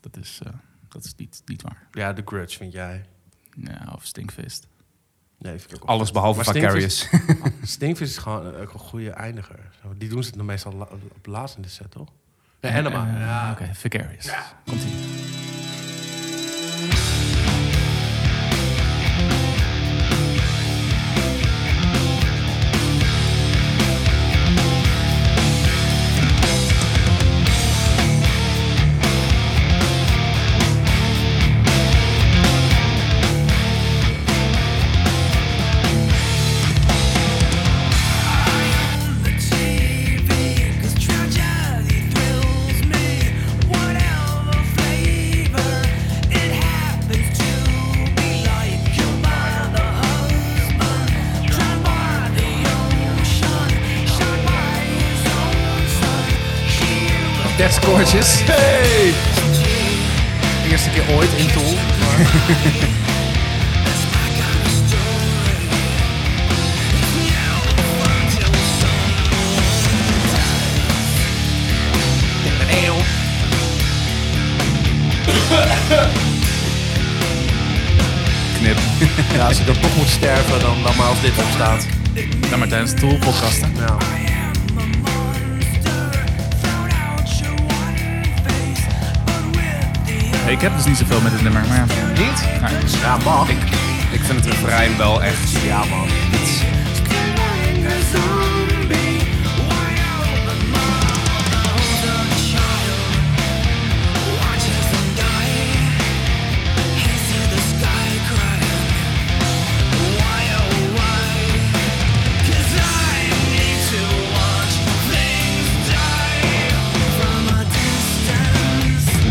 Speaker 1: Dat is, eh, dat is niet, niet waar.
Speaker 2: Ja, The Grudge vind jij.
Speaker 1: Ja, of Stinkfist.
Speaker 2: Nee, vind ik ook
Speaker 3: Alles behalve
Speaker 2: Maar Stinkvis-
Speaker 3: Vicarious.
Speaker 2: Stinkvis is gewoon eh, ook een goede eindiger. Zo, Die doen ze dan meestal la- op laatst in de set, toch? Nee, Enema.
Speaker 1: Eh,
Speaker 2: ja.
Speaker 1: Oké, Vicarious. Komt ie.
Speaker 2: That's gorgeous. Hey! Eerste keer ooit in Tool.
Speaker 3: Knip.
Speaker 2: Ja, als ik dan toch moet sterven, dan, dan maar als dit opstaat.
Speaker 1: Dan maar tijdens de Tool podcast. hè?
Speaker 2: Nou,
Speaker 4: Thrown out your one face, but with the
Speaker 1: Ik heb dus niet zoveel met dit nummer, maar ja.
Speaker 3: Niet?
Speaker 1: Nou,
Speaker 2: Ja, mag.
Speaker 3: Ik vind het refrein wel echt... Ja, man.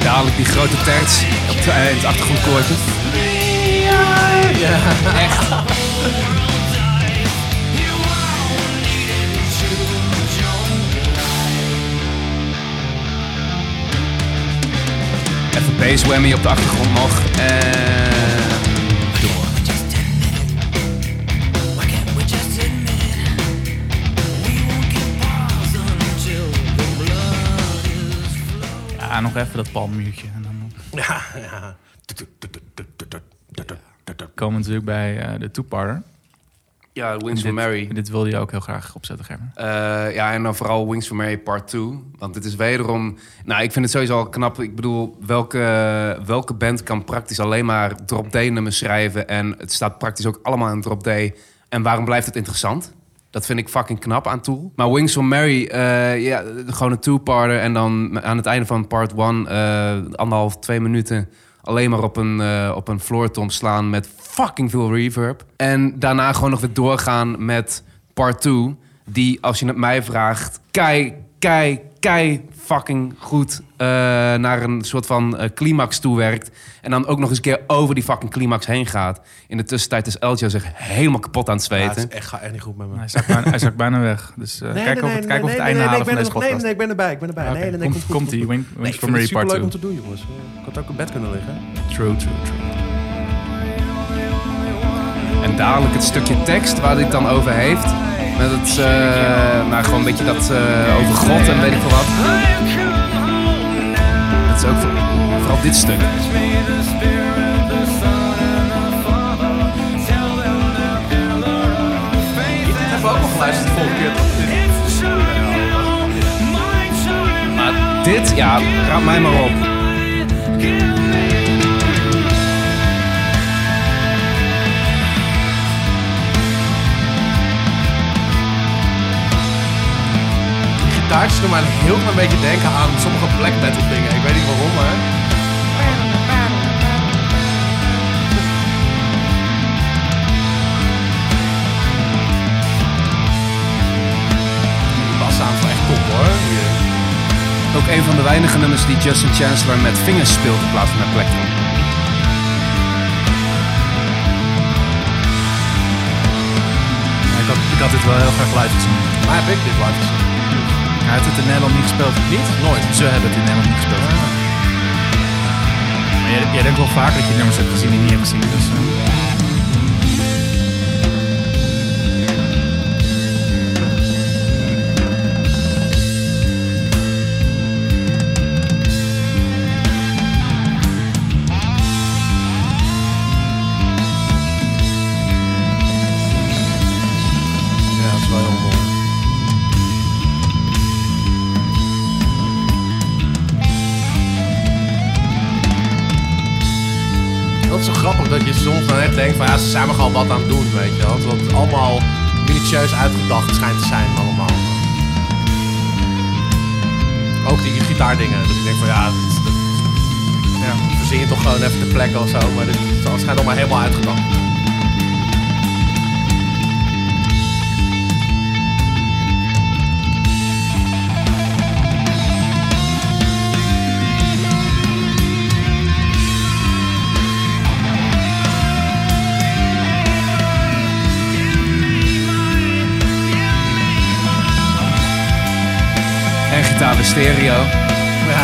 Speaker 3: Dadelijk die grote terts op de, eh, het achtergrondkoortje. Even bass whammy op de achtergrond nog. Eh, En door.
Speaker 1: ja, nog even dat palmmuurtje. En dan
Speaker 2: Ja, ja.
Speaker 1: komen we natuurlijk bij eh, de Two-Parter.
Speaker 3: Ja, Wings
Speaker 1: Dit-
Speaker 3: for Mary.
Speaker 1: Dit wilde je ook heel graag opzetten, Gerben.
Speaker 3: Eh, ja, en dan vooral Wings for Mary Part 2. Want dit is wederom... Nou, ik vind het sowieso al knap. Ik bedoel, welke, welke band kan praktisch alleen maar drop D-nummers schrijven... en het staat praktisch ook allemaal in drop D. En waarom blijft het interessant? Dat vind ik fucking knap aan Tool. Maar Wings for Mary, eh, ja, gewoon een two-parter. En dan aan het einde van part 1, anderhalf, twee minuten... alleen maar op een, eh op een floortom slaan met fucking veel reverb. En daarna gewoon nog weer doorgaan met part 2 die, als je het mij vraagt, kei, kei, kei fucking goed eh, naar een soort van eh, climax toewerkt. En dan ook nog eens een keer over die fucking climax heen gaat. In de tussentijd is Eljo zich helemaal kapot aan het
Speaker 2: Ja, het is
Speaker 3: zweten.
Speaker 2: echt, gaat echt niet goed met me.
Speaker 1: Hij zakt bijna, hij zakt bijna weg. Dus eh kijken of, het- kijken of het einde halen van deze podcast.
Speaker 2: ik ben erbij. Ik ben erbij.
Speaker 1: Ah, oké. komt, komt die Wing- Wings for Mary Part 2.
Speaker 2: leuk om te doen, jongens. Ik had ook in bed kunnen liggen.
Speaker 1: True, true, true.
Speaker 3: En dadelijk het stukje tekst waar hij het dan over heeft. Met het, eh, nou gewoon een beetje dat eh, over God en weet ik veel wat. Dat is ook voor- vooral dit stuk.
Speaker 2: Hebben we ook nog geluisterd de volgende keer.
Speaker 3: Maar dit, ja, raad mij maar op.
Speaker 2: Die gitaars doen mij een heel klein beetje denken aan sommige black metal dingen. Ik weet niet waarom, maar... Die basaanval echt top, hoor. Hier.
Speaker 3: Ook een van de weinige nummers die Justin Chancellor met vingers speelt in plaats van met plektrum.
Speaker 1: Ja, ik, had, ik had dit wel heel graag live gezien.
Speaker 2: Maar heb ik dit live gezien?
Speaker 1: Hij heeft het in Nederland niet gespeeld. Niet? Nooit. Ah. Ze hebben het in Nederland niet gespeeld. Maar jij, jij denkt wel vaak dat je nummers hebt gezien die je niet hebt gezien. Dus, eh.
Speaker 2: Ja, dat is wel heel mooi. Dat is zo grappig dat je soms dan echt denkt van ja, ze zijn maar gewoon wat aan het doen, weet je wel. Terwijl het allemaal minutieus uitgedacht schijnt te zijn allemaal. Ook die gitaardingen, dat ik denk van ja, dat, dat, ja, verzin je toch gewoon even de plek of zo, maar dit het schijnt allemaal helemaal uitgedacht.
Speaker 3: En gitaar bij stereo.
Speaker 2: Ja.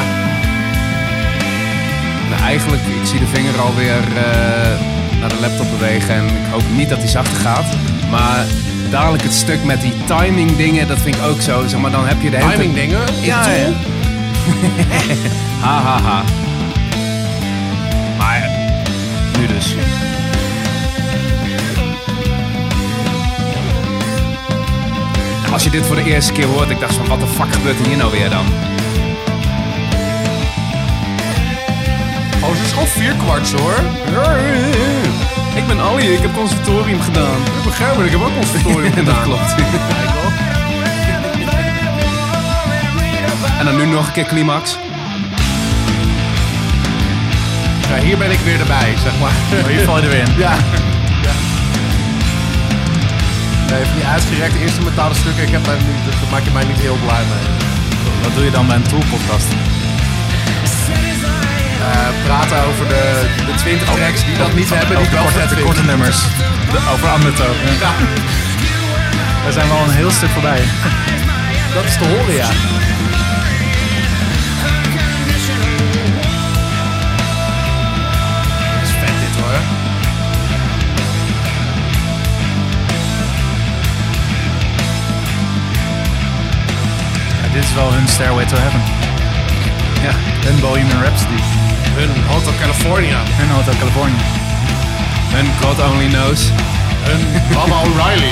Speaker 3: Nou, eigenlijk, ik zie de vinger alweer eh, naar de laptop bewegen. En ik hoop niet dat die zachter gaat. Maar dadelijk het stuk met die timing dingen, dat vind ik ook zo. Zeg maar, dan heb je de hele tijd-
Speaker 2: Timing dingen?
Speaker 3: Ja, ja. ha, ha, ha. Maar nu dus. Als je dit voor de eerste keer hoort, ik dacht van wat de fuck gebeurt er hier nou weer dan?
Speaker 2: Gewoon trouwens, het is gewoon vierkwarts hoor.
Speaker 3: Ik ben Ali, ik heb conservatorium gedaan.
Speaker 2: Ik begrijp het, ik heb ook conservatorium
Speaker 3: En dat
Speaker 2: gedaan.
Speaker 3: klopt. En dan nu nog een keer climax.
Speaker 2: Ja, hier ben ik weer erbij, zeg maar.
Speaker 1: Maar hier val je erin.
Speaker 2: Ja. Nee, van die uitgerekte instrumentale stukken, ik heb daar niet, dat- daar maak je mij niet heel blij mee.
Speaker 1: Wat doe je dan bij een toolpodcast?
Speaker 2: Eh, praten over de, de 20 tracks die dat niet hebben, die ik wel vet
Speaker 1: korte, de
Speaker 2: vind.
Speaker 1: korte nummers. De- over Amneto. Ja. Daar zijn we al een heel stuk voorbij.
Speaker 2: Dat is te horen, ja. Dat is vet dit hoor.
Speaker 1: Ja, dit is wel hun Stairway to Heaven.
Speaker 3: Ja.
Speaker 1: Hun Bohemian Rhapsody.
Speaker 2: Hun Hotel California.
Speaker 1: Hun Hotel California.
Speaker 3: Hun God Only Knows.
Speaker 2: Hun Baba O'Reilly.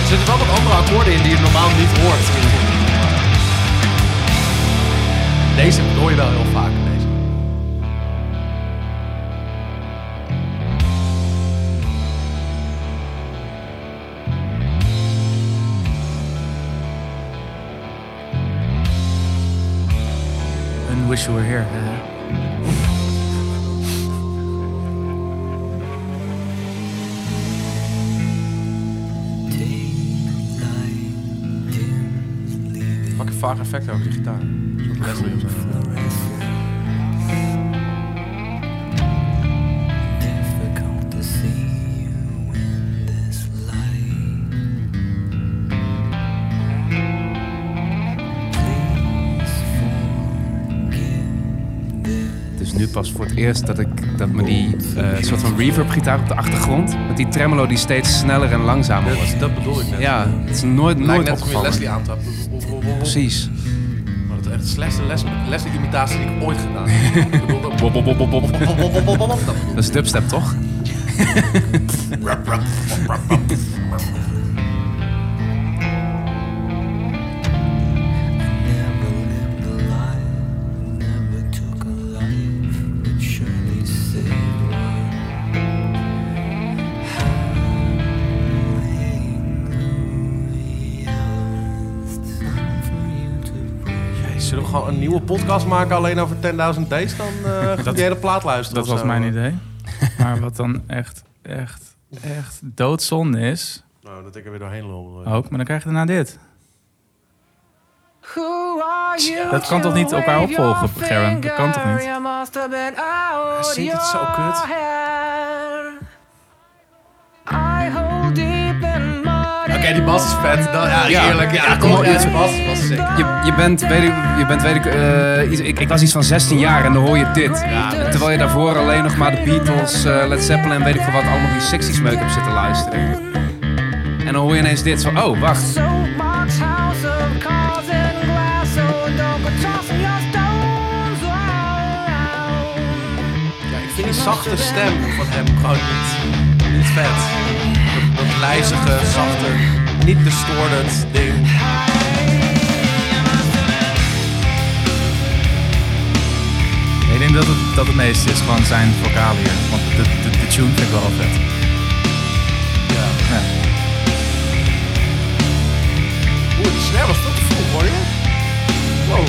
Speaker 2: Er zitten wel wat andere akkoorden in die je normaal niet hoort. Deze hoor je wel heel vaak. Deze.
Speaker 1: Hun Wish You Were Here.
Speaker 2: Pak een vaag effect over die gitaar.
Speaker 3: Het is nu pas voor het eerst dat ik dat me die eh, soort van reverb gitaar op de achtergrond. Met die tremolo die steeds sneller en langzamer wordt.
Speaker 2: Dat bedoel ik net.
Speaker 3: Ja, het is nooit,
Speaker 2: Lijkt
Speaker 3: nooit
Speaker 2: net alsof je
Speaker 3: opgevallen.
Speaker 2: Leslie aantrapt.
Speaker 3: Precies.
Speaker 2: Maar dat is echt de slechtste Les- Leslie-imitatie die ik ooit gedaan heb. Ik bedoel, dat-
Speaker 3: Bop, bop, bop, bop, bop.
Speaker 2: dat bedoel ik.
Speaker 3: Dat is dubstep toch?
Speaker 2: Zullen we gewoon een nieuwe podcast maken alleen over 10.000 Days? Dan eh gaat die hele plaat luisteren
Speaker 1: Dat
Speaker 2: of
Speaker 1: was
Speaker 2: zo.
Speaker 1: mijn idee. Maar wat dan echt, echt, echt doodzonde is...
Speaker 2: Nou, dat ik er weer doorheen lol.
Speaker 1: Ook, maar dan krijg je daarna dit.
Speaker 9: Who are you
Speaker 1: Dat kan toch niet
Speaker 9: to
Speaker 1: elkaar
Speaker 9: wave your
Speaker 1: opvolgen, Gerben? Dat kan toch niet?
Speaker 9: finger? You must have been out
Speaker 2: zingt het zo
Speaker 9: your
Speaker 2: kut.
Speaker 9: head. I hold deep in my
Speaker 2: Oké, die bas is vet. Dat- ja,
Speaker 3: Ja.
Speaker 2: eerlijk. Ja,
Speaker 3: Ja,
Speaker 2: kom op.
Speaker 3: ja.
Speaker 2: Die bas was sick.
Speaker 3: Je, je bent, weet ik, je bent, weet ik, eh, iets- ik, ik was iets van 16 jaar en dan hoor je dit. Terwijl je daarvoor alleen nog maar de Beatles, eh, Led Zeppelin en weet ik veel wat, allemaal die 60s meuk hebt zitten luisteren. En dan hoor je ineens dit van, oh wacht,
Speaker 9: soapbox house of cars and glass. So don't go tossing your stones around.
Speaker 2: Ja, ik vind die zachte stem van hem gewoon niet, niet vet. Dat, dat lijzige, zachte, niet distorted ding.
Speaker 1: Ik denk dat het, dat het meeste is gewoon zijn vocalen hier. Want de, de, de tune vind ik wel vet.
Speaker 2: Oeh, de snare was veel te vroeg, hoor je? Wow.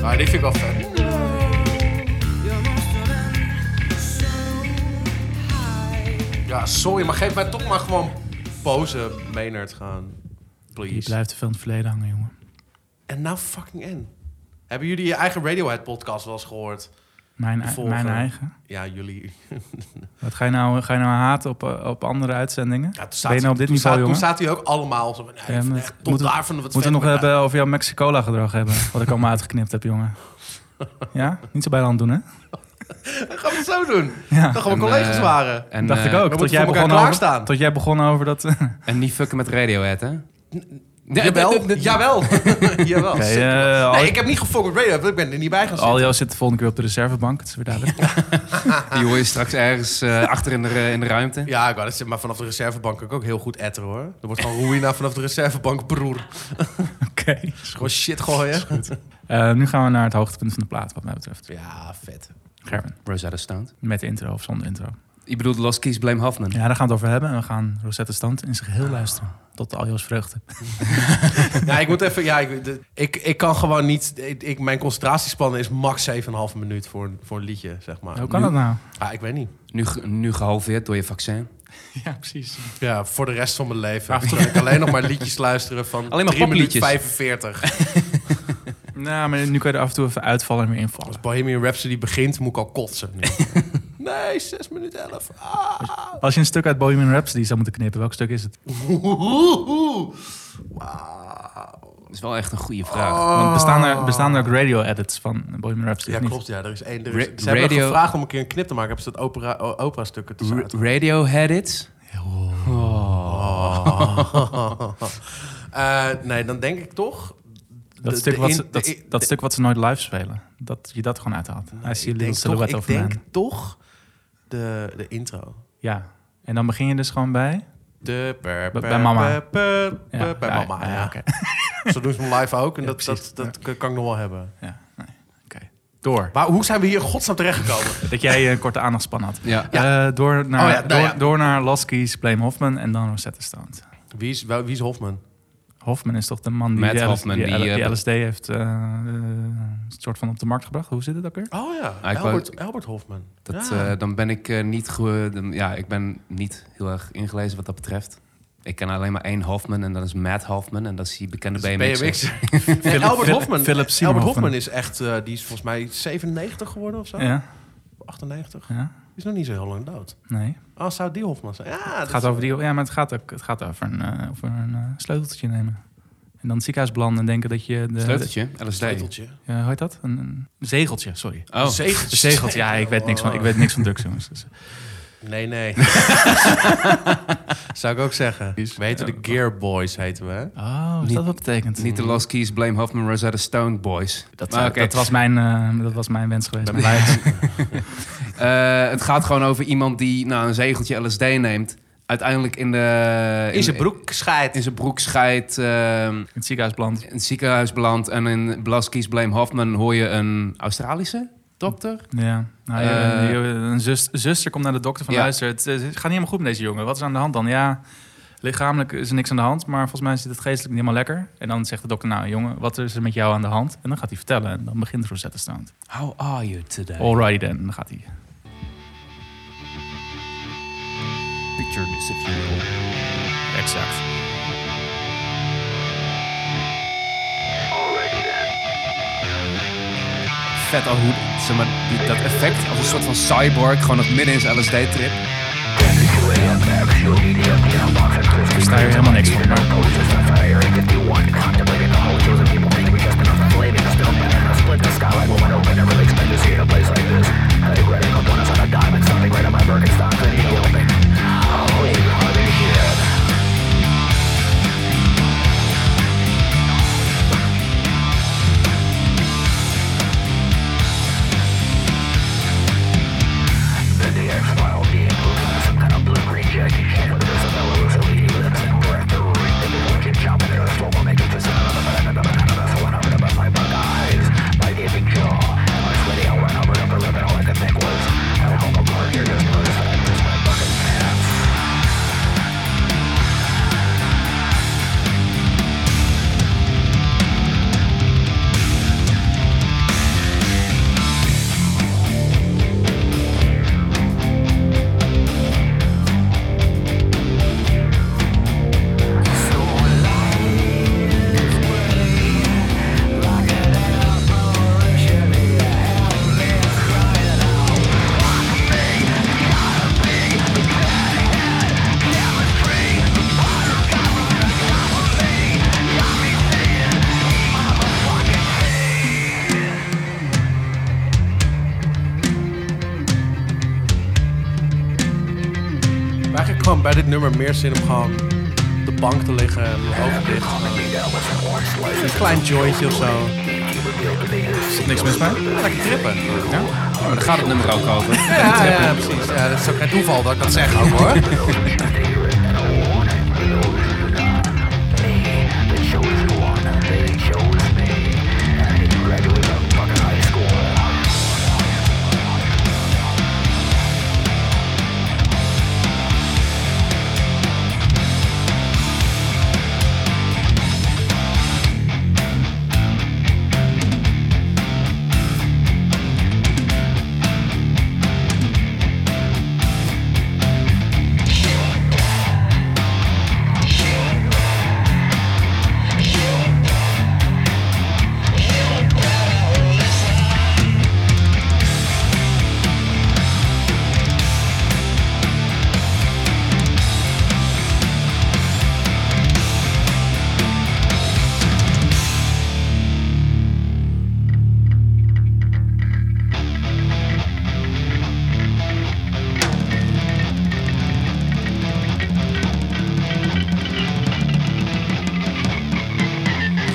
Speaker 2: Nou, die vind ik wel vet. Ja, sorry, maar geef mij toch maar gewoon pose Maynard gaan.
Speaker 1: Je
Speaker 2: Please.
Speaker 1: blijft te veel in het verleden hangen, jongen.
Speaker 2: En nou fucking in. Hebben jullie je eigen Radiohead podcast wel eens gehoord?
Speaker 1: Mijn,
Speaker 2: De volger.
Speaker 1: mijn eigen.
Speaker 2: Ja, jullie.
Speaker 1: Wat ga je nou, ga je nou haten op, eh, op andere uitzendingen?
Speaker 2: Ja, toen
Speaker 1: ben je nou op dit
Speaker 2: toen
Speaker 1: niveau,
Speaker 2: staat,
Speaker 1: jongen?
Speaker 2: Toen staat hij ook allemaal zo van, nee,
Speaker 1: Ja,
Speaker 2: ik vind
Speaker 1: maar
Speaker 2: echt
Speaker 1: het-
Speaker 2: tot
Speaker 1: moeten-
Speaker 2: daar van wat
Speaker 1: Moeten we nog
Speaker 2: vet, maar-
Speaker 1: hebben over jouw Mexicola gedrag hebben? Wat ik allemaal uitgeknipt heb, jongen. Ja? Niet zo bij de hand doen, hè?
Speaker 2: Dan gaan we het zo doen.
Speaker 1: Ja.
Speaker 2: Dan gaan we
Speaker 3: En,
Speaker 2: collega's
Speaker 3: eh,
Speaker 2: waren.
Speaker 3: En,
Speaker 1: dacht
Speaker 3: eh,
Speaker 1: ik ook.
Speaker 2: we
Speaker 1: Tot
Speaker 2: moeten
Speaker 1: jij,
Speaker 2: voor elkaar Oh,
Speaker 1: begon over,
Speaker 2: klaarstaan.
Speaker 1: tot jij begon over dat... Oké,
Speaker 3: En niet fucken met Radiohead, hè? Nee,
Speaker 2: jawel,
Speaker 3: nee, nee,
Speaker 2: jawel. jawel.
Speaker 1: eh, Oh. al-
Speaker 2: Nee, ik heb niet gefokt met Radio, want ik ben er niet bij gaan zitten.
Speaker 1: Aljo zit de volgende keer op de reservebank. Het is weer duidelijk.
Speaker 3: Die hoor je straks ergens eh, achter in de, eh, in de ruimte.
Speaker 2: Ja, ik wou dat zeggen, maar vanaf de reservebank kan ik ook heel goed etteren hoor. Er wordt gewoon roeien naar vanaf de reservebank, broer.
Speaker 1: Oké.
Speaker 2: Gewoon shit gooien.
Speaker 1: Eh, nu gaan we naar het hoogtepunt van de plaat, wat mij betreft.
Speaker 2: Ja, vet.
Speaker 1: Gerben,
Speaker 3: Rosetta Stone.
Speaker 1: met intro of zonder intro.
Speaker 3: Je bedoelt Lost Keys Blame Hoffman.
Speaker 1: Ja, daar gaan we het over hebben. En we gaan Rosetta Stand in zijn geheel luisteren. Tot Aljo's vreugde.
Speaker 2: Ja, ik moet even. Ja, ik, de- ik, ik kan gewoon niet. Ik, ik- mijn concentratiespannen is max 7,5 minuut voor, een- voor een liedje, zeg maar.
Speaker 1: Hoe kan dat nou?
Speaker 2: Ah, ik weet niet.
Speaker 3: Nu, ge- nu gehalveerd door je vaccin.
Speaker 1: Ja, precies.
Speaker 2: Ja, voor de rest van mijn leven. Terwijl ik alleen nog maar liedjes luisteren van
Speaker 3: Ah, Alleen maar
Speaker 2: 3 minuut
Speaker 3: popliedjes.
Speaker 2: 45.
Speaker 1: Nou, maar nu kan je er af en toe even uitvallen en weer
Speaker 2: Als
Speaker 1: invallen.
Speaker 2: Bohemian Rhapsody begint, moet ik al kotsen. nu. nee, 6 minuten 11. Ah.
Speaker 1: Als je een stuk uit Bohemian Rhapsody zou moeten knippen, welk stuk is het?
Speaker 2: Oeh. Wauw.
Speaker 3: Dat is wel echt een goede vraag.
Speaker 2: Oh.
Speaker 1: Want bestaan er, bestaan er ook radio-edits van Bohemian Rhapsody?
Speaker 2: Ja,
Speaker 1: of niet?
Speaker 2: klopt. Ja, er is één. Er is,
Speaker 3: Ra-
Speaker 2: ze hebben
Speaker 3: radio-
Speaker 2: gevraagd om een keer een knip te maken. Hebben ze dat opera, o- opera-stukken te
Speaker 3: R- Radiohead it?
Speaker 1: Oh.
Speaker 2: Eh, Nee, dan denk ik toch...
Speaker 1: Dat,
Speaker 2: de-
Speaker 1: stuk,
Speaker 2: de
Speaker 1: wat
Speaker 2: in-
Speaker 1: ze, dat,
Speaker 2: de in-
Speaker 1: dat stuk wat ze nooit live spelen. Dat je dat gewoon uithaalt. I see a
Speaker 2: ik
Speaker 1: little
Speaker 2: denk toch,
Speaker 1: silhouette
Speaker 2: ik
Speaker 1: of a man.
Speaker 2: denk toch de, de intro.
Speaker 1: Ja. En dan begin je dus gewoon bij...
Speaker 2: De per-
Speaker 1: Bij-
Speaker 2: per-
Speaker 1: bij mama.
Speaker 2: per- per-
Speaker 1: Ja,
Speaker 2: per- Bij
Speaker 1: ja,
Speaker 2: mama,
Speaker 1: ja,
Speaker 2: ja.
Speaker 1: oké.
Speaker 2: Zo doen ze hem live ook. En
Speaker 1: Ja,
Speaker 2: dat,
Speaker 1: precies.
Speaker 2: dat, dat kan ik nog wel hebben.
Speaker 1: Ja, nee. Oké. Door.
Speaker 2: Maar hoe zijn we hier in godsnaam terechtgekomen?
Speaker 1: Dat jij eh, een korte aandachtspan had.
Speaker 3: Ja.
Speaker 1: Eh, door, naar,
Speaker 2: Oh ja, nou
Speaker 1: door,
Speaker 2: ja.
Speaker 1: door naar Lasky's, Blame Hoffman en dan Rosetta Stone.
Speaker 2: wie, is, wel- wie is Hofman?
Speaker 1: Hoffman is toch de man die,
Speaker 3: Matt
Speaker 1: die,
Speaker 3: Hoffman,
Speaker 1: die,
Speaker 3: die, eh,
Speaker 1: LSD heeft eh, eh, een soort van op de markt gebracht. Hoe zit het ook weer?
Speaker 2: Oh ja,
Speaker 3: Ah, ik wou-
Speaker 2: Albert, Albert Hofman.
Speaker 3: Dat,
Speaker 2: Ja.
Speaker 3: eh, dan ben ik eh, niet ge- dan- ja, ik ben niet heel erg ingelezen wat dat betreft. Ik ken alleen maar één Hoffman en dat is Matt Hoffman. En dat is die bekende
Speaker 2: Dat is
Speaker 3: BMX.
Speaker 2: BMX. Nee, Albert
Speaker 1: Phil-
Speaker 2: Hofman.
Speaker 1: Philip Seymour
Speaker 2: Albert
Speaker 1: Hoffman.
Speaker 2: Hofman is echt, eh, die is volgens mij 97 geworden of zo.
Speaker 1: Ja,
Speaker 2: 98. Die
Speaker 1: ja,
Speaker 2: is nog niet zo heel lang dood.
Speaker 1: nee.
Speaker 2: Ah, zou die Hofman zijn? Ja,
Speaker 1: Het gaat over die, ja, maar het gaat ook het gaat over een, eh, over een eh, sleuteltje nemen. En dan het ziekenhuis belanden en denken dat je... De,
Speaker 3: Sleuteltje, LSD.
Speaker 2: zeteltje.
Speaker 1: de- ja, hoe heet dat? Een, een zegeltje, sorry.
Speaker 3: Oh,
Speaker 1: Een zegeltje, ja, ik weet niks van, ik weet niks van drugs, jongens. Dus,
Speaker 2: Nee, nee. zou ik ook zeggen. We heten de Gear Boys, heten we. hè?
Speaker 1: oh, is
Speaker 3: Niet-
Speaker 1: dat wat betekent?
Speaker 3: niet de Lost Keys, Blame Hoffman, Rosetta Stone Boys.
Speaker 1: dat,
Speaker 3: Maar oké.
Speaker 1: dat, was mijn, eh, dat was mijn wens geweest.
Speaker 3: Eh, het gaat gewoon over iemand die nou, een zegeltje LSD neemt. Uiteindelijk in de...
Speaker 2: In zijn broek
Speaker 3: In
Speaker 2: scheidt.
Speaker 3: zijn broek scheidt. ehm,
Speaker 1: In het ziekenhuis beland.
Speaker 3: in het ziekenhuis belandt. En in Blaskies Blame Hoffman hoor je een Australische dokter.
Speaker 1: Ja, nou, je-
Speaker 3: Eh,
Speaker 1: je- een zus, zuster komt naar de dokter van
Speaker 3: Ja.
Speaker 1: luister, het, het gaat niet helemaal goed met deze jongen. Wat is aan de hand dan? Ja, lichamelijk is er niks aan de hand, maar volgens mij zit het geestelijk niet helemaal lekker. En dan zegt de dokter, nou jongen, wat is er met jou aan de hand? En dan gaat hij vertellen en dan begint Rosetta Stone.
Speaker 3: How are you today?
Speaker 1: Alright then, dan gaat hij.
Speaker 3: picture this if you
Speaker 1: Exact.
Speaker 3: Vet al hoe, zeg maar, die- dat effect als een soort van cyborg, gewoon nog midden in zijn LSD-trip.
Speaker 1: Ik versta hier helemaal niks van. Maar...
Speaker 4: Jacket, with a fellow who's a leading with a breath, the ring, the fortune, chopping their slow, making for some of the
Speaker 2: gewoon bij dit nummer meer zin om gewoon op de bank te liggen, mijn hoofd dicht. Een klein jointje of zo.
Speaker 1: Is niks mis mee?
Speaker 2: Lekker trippen.
Speaker 1: Ja?
Speaker 3: Maar daar Oh, gaat het nummer ook over.
Speaker 2: Ja, ja, precies. Ja, dat is ook geen toeval dat ik dat zeg ook hoor.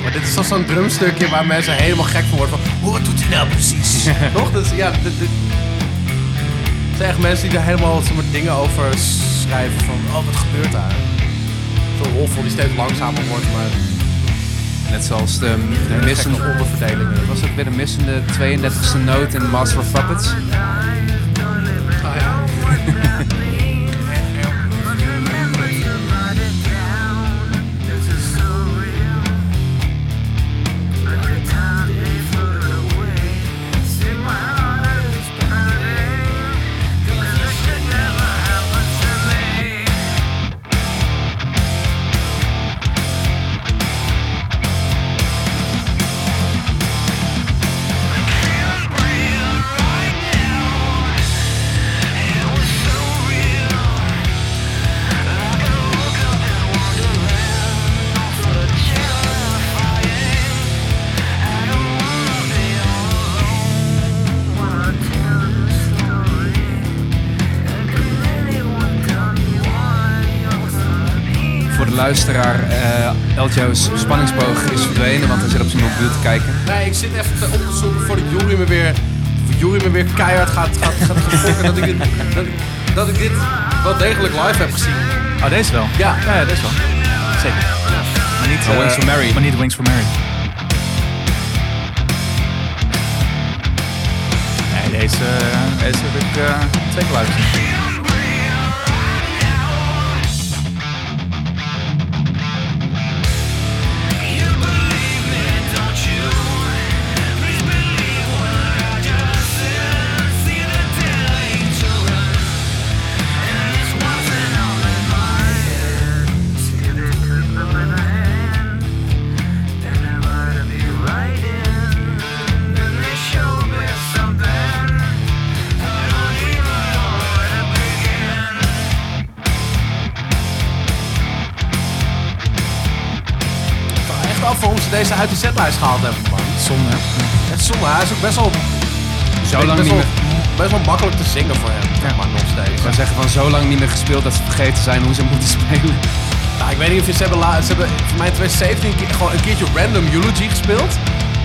Speaker 2: Maar dit is toch zo'n drumstukje waar mensen helemaal gek van worden. Van, hoe doet hij nou precies? Toch? Dus ja, dit, dit- Het zijn echt mensen die er helemaal zeg maar, dingen over schrijven. Van, oh, wat gebeurt daar? Zo'n roffel die steeds langzamer wordt, maar
Speaker 3: Net zoals de, de
Speaker 2: de
Speaker 3: missende...
Speaker 2: gekke onderverdelingen.
Speaker 3: Was het weer de missende 32e noot in Master of Puppets? Voor de luisteraar, eh Eljo's spanningsboog is verdwenen, want hij zit op zijn mobiel te kijken.
Speaker 2: Nee, ik zit even te op te zoeken voordat Jury me weer, voor Jury me weer keihard gaat, gaat, gaat gaan fokken dat, ik dit, dat, ik, dat ik dit wel degelijk live heb gezien.
Speaker 1: Oh, deze wel?
Speaker 2: Ja.
Speaker 1: Ja, ja, deze wel. Zeker. Maar niet, eh,
Speaker 3: Maar Oh, Wings for Mary.
Speaker 1: Maar niet Wings for Mary. Nee, deze, eh, deze heb ik eh, twee keer live gezien.
Speaker 2: Ik vraag me echt af waarom ze deze uit de setlijst gehaald hebben, man.
Speaker 1: Zonde. hè?
Speaker 2: Het is zonde, hij is ook best wel,
Speaker 3: Zo lang
Speaker 2: best
Speaker 3: niet
Speaker 2: wel,
Speaker 3: meer,
Speaker 2: best wel makkelijk te zingen voor hem, maar nog steeds.
Speaker 3: ik wou zeggen van zo lang niet meer gespeeld dat ze vergeten zijn hoe ze moeten spelen.
Speaker 2: Nou, ik weet niet of je ze hebben, la- ze hebben voor mij in 2017 een keer- gewoon een keertje random Eulogy gespeeld.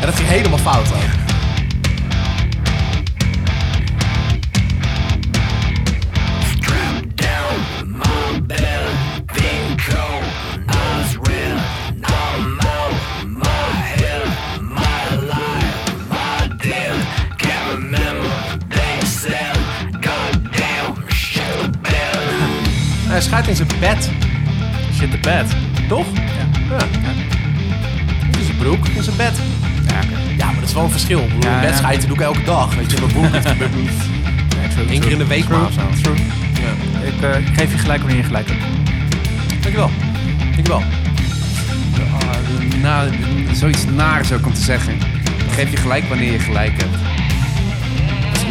Speaker 2: En dat ging helemaal fout ook. Hij schijnt in zijn bed,
Speaker 1: Shit the bed.
Speaker 2: toch? Ja. In zijn broek, in zijn bed.
Speaker 1: Ja, oké.
Speaker 2: Ja, maar dat is wel een verschil. Ik bedoel,
Speaker 1: Ja,
Speaker 2: in bed
Speaker 1: ja.
Speaker 2: schijten doe ik elke dag. Weet je, in mijn broek dat gebeurt niet.
Speaker 1: Nee, true,
Speaker 2: Eén keer
Speaker 1: true.
Speaker 2: in de week maar of zo.
Speaker 1: True.
Speaker 2: Ja.
Speaker 1: Ik eh, geef je gelijk wanneer je gelijk hebt.
Speaker 2: Dankjewel. Dankjewel.
Speaker 3: Nou, zoiets naars ook om te zeggen. Ik Geef je gelijk wanneer je gelijk hebt.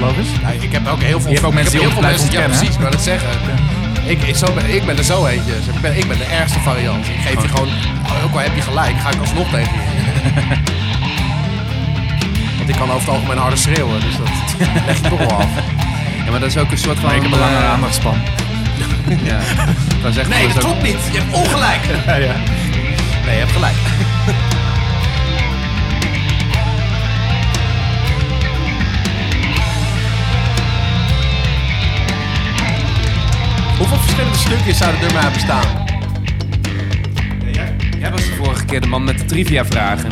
Speaker 1: Logisch.
Speaker 2: Ja, ik heb ook heel veel...
Speaker 1: Je hebt ook mensen
Speaker 2: ik heb
Speaker 1: die
Speaker 2: heel veel
Speaker 1: blijven
Speaker 2: mensen, Ja,
Speaker 1: ontkennen,
Speaker 2: precies.
Speaker 1: hè?
Speaker 2: Ik wou dat zeggen. Ik, ik, zo ben, ik ben er zo eentje. Zeg, Ik ben, ik ben de ergste variant. Ik geef je gewoon... oh, Ook al heb je gelijk, ga ik alsnog tegen je. Want ik kan over het algemeen harder schreeuwen. Dus dat leg je toch wel af.
Speaker 3: Ja, maar dat is ook een soort van...
Speaker 1: Ik heb een
Speaker 3: eh,
Speaker 1: langere aandachtspan.
Speaker 3: Ja. Dat is echt
Speaker 2: Nee, Oh, dat
Speaker 3: dat is dus ook-
Speaker 2: klopt niet. Je hebt ongelijk. Nee, je hebt gelijk. Hoeveel verschillende stukjes zouden er maar bestaan?
Speaker 3: Jij was de vorige keer de man met de trivia vragen.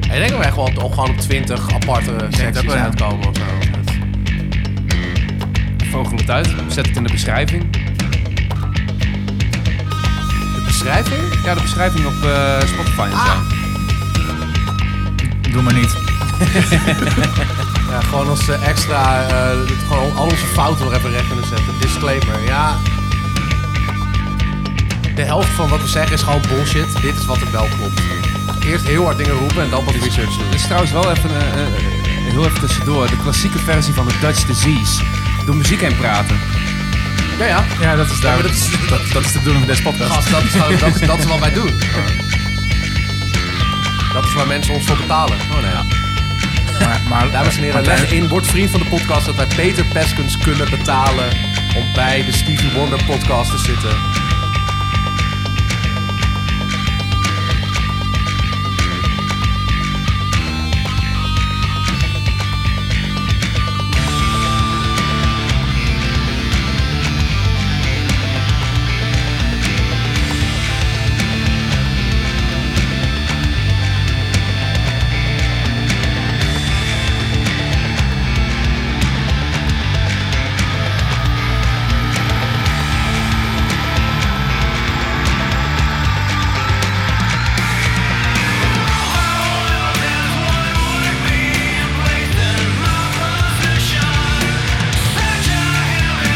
Speaker 2: Ik denk dat we echt wel op, gewoon op 20 aparte secties
Speaker 3: ja.
Speaker 2: uitkomen of zo.
Speaker 3: Vogel het uit, zet het in de beschrijving.
Speaker 2: De beschrijving?
Speaker 3: Ja, de beschrijving op eh, Spotify en zo.
Speaker 1: Doe maar niet.
Speaker 2: Ja, gewoon als eh, extra, eh, dit- gewoon al onze fouten nog even recht kunnen zetten. Disclaimer, ja. De helft van wat we zeggen is gewoon bullshit. Dit is wat er wel klopt. Eerst heel hard dingen roepen en dan wat research doen.
Speaker 3: Er is trouwens wel even, eh, eh, heel even tussendoor, de klassieke versie van de Dutch Disease. Door muziek heen praten.
Speaker 2: Ja, ja.
Speaker 1: Ja, dat is, daar,
Speaker 2: maar
Speaker 1: dat,
Speaker 2: dat is-
Speaker 1: dat, is de bedoeling van deze podcast.
Speaker 2: Gast, dat is, gewoon- dat, dat is wat wij doen. Dat is waar mensen ons voor betalen. Oh, nou ja.
Speaker 1: Maar, maar,
Speaker 2: Dames en heren,
Speaker 1: maar-
Speaker 2: leg in, word vriend van de podcast dat wij Peter Peskens kunnen betalen om bij de Stevie Wonder podcast te zitten.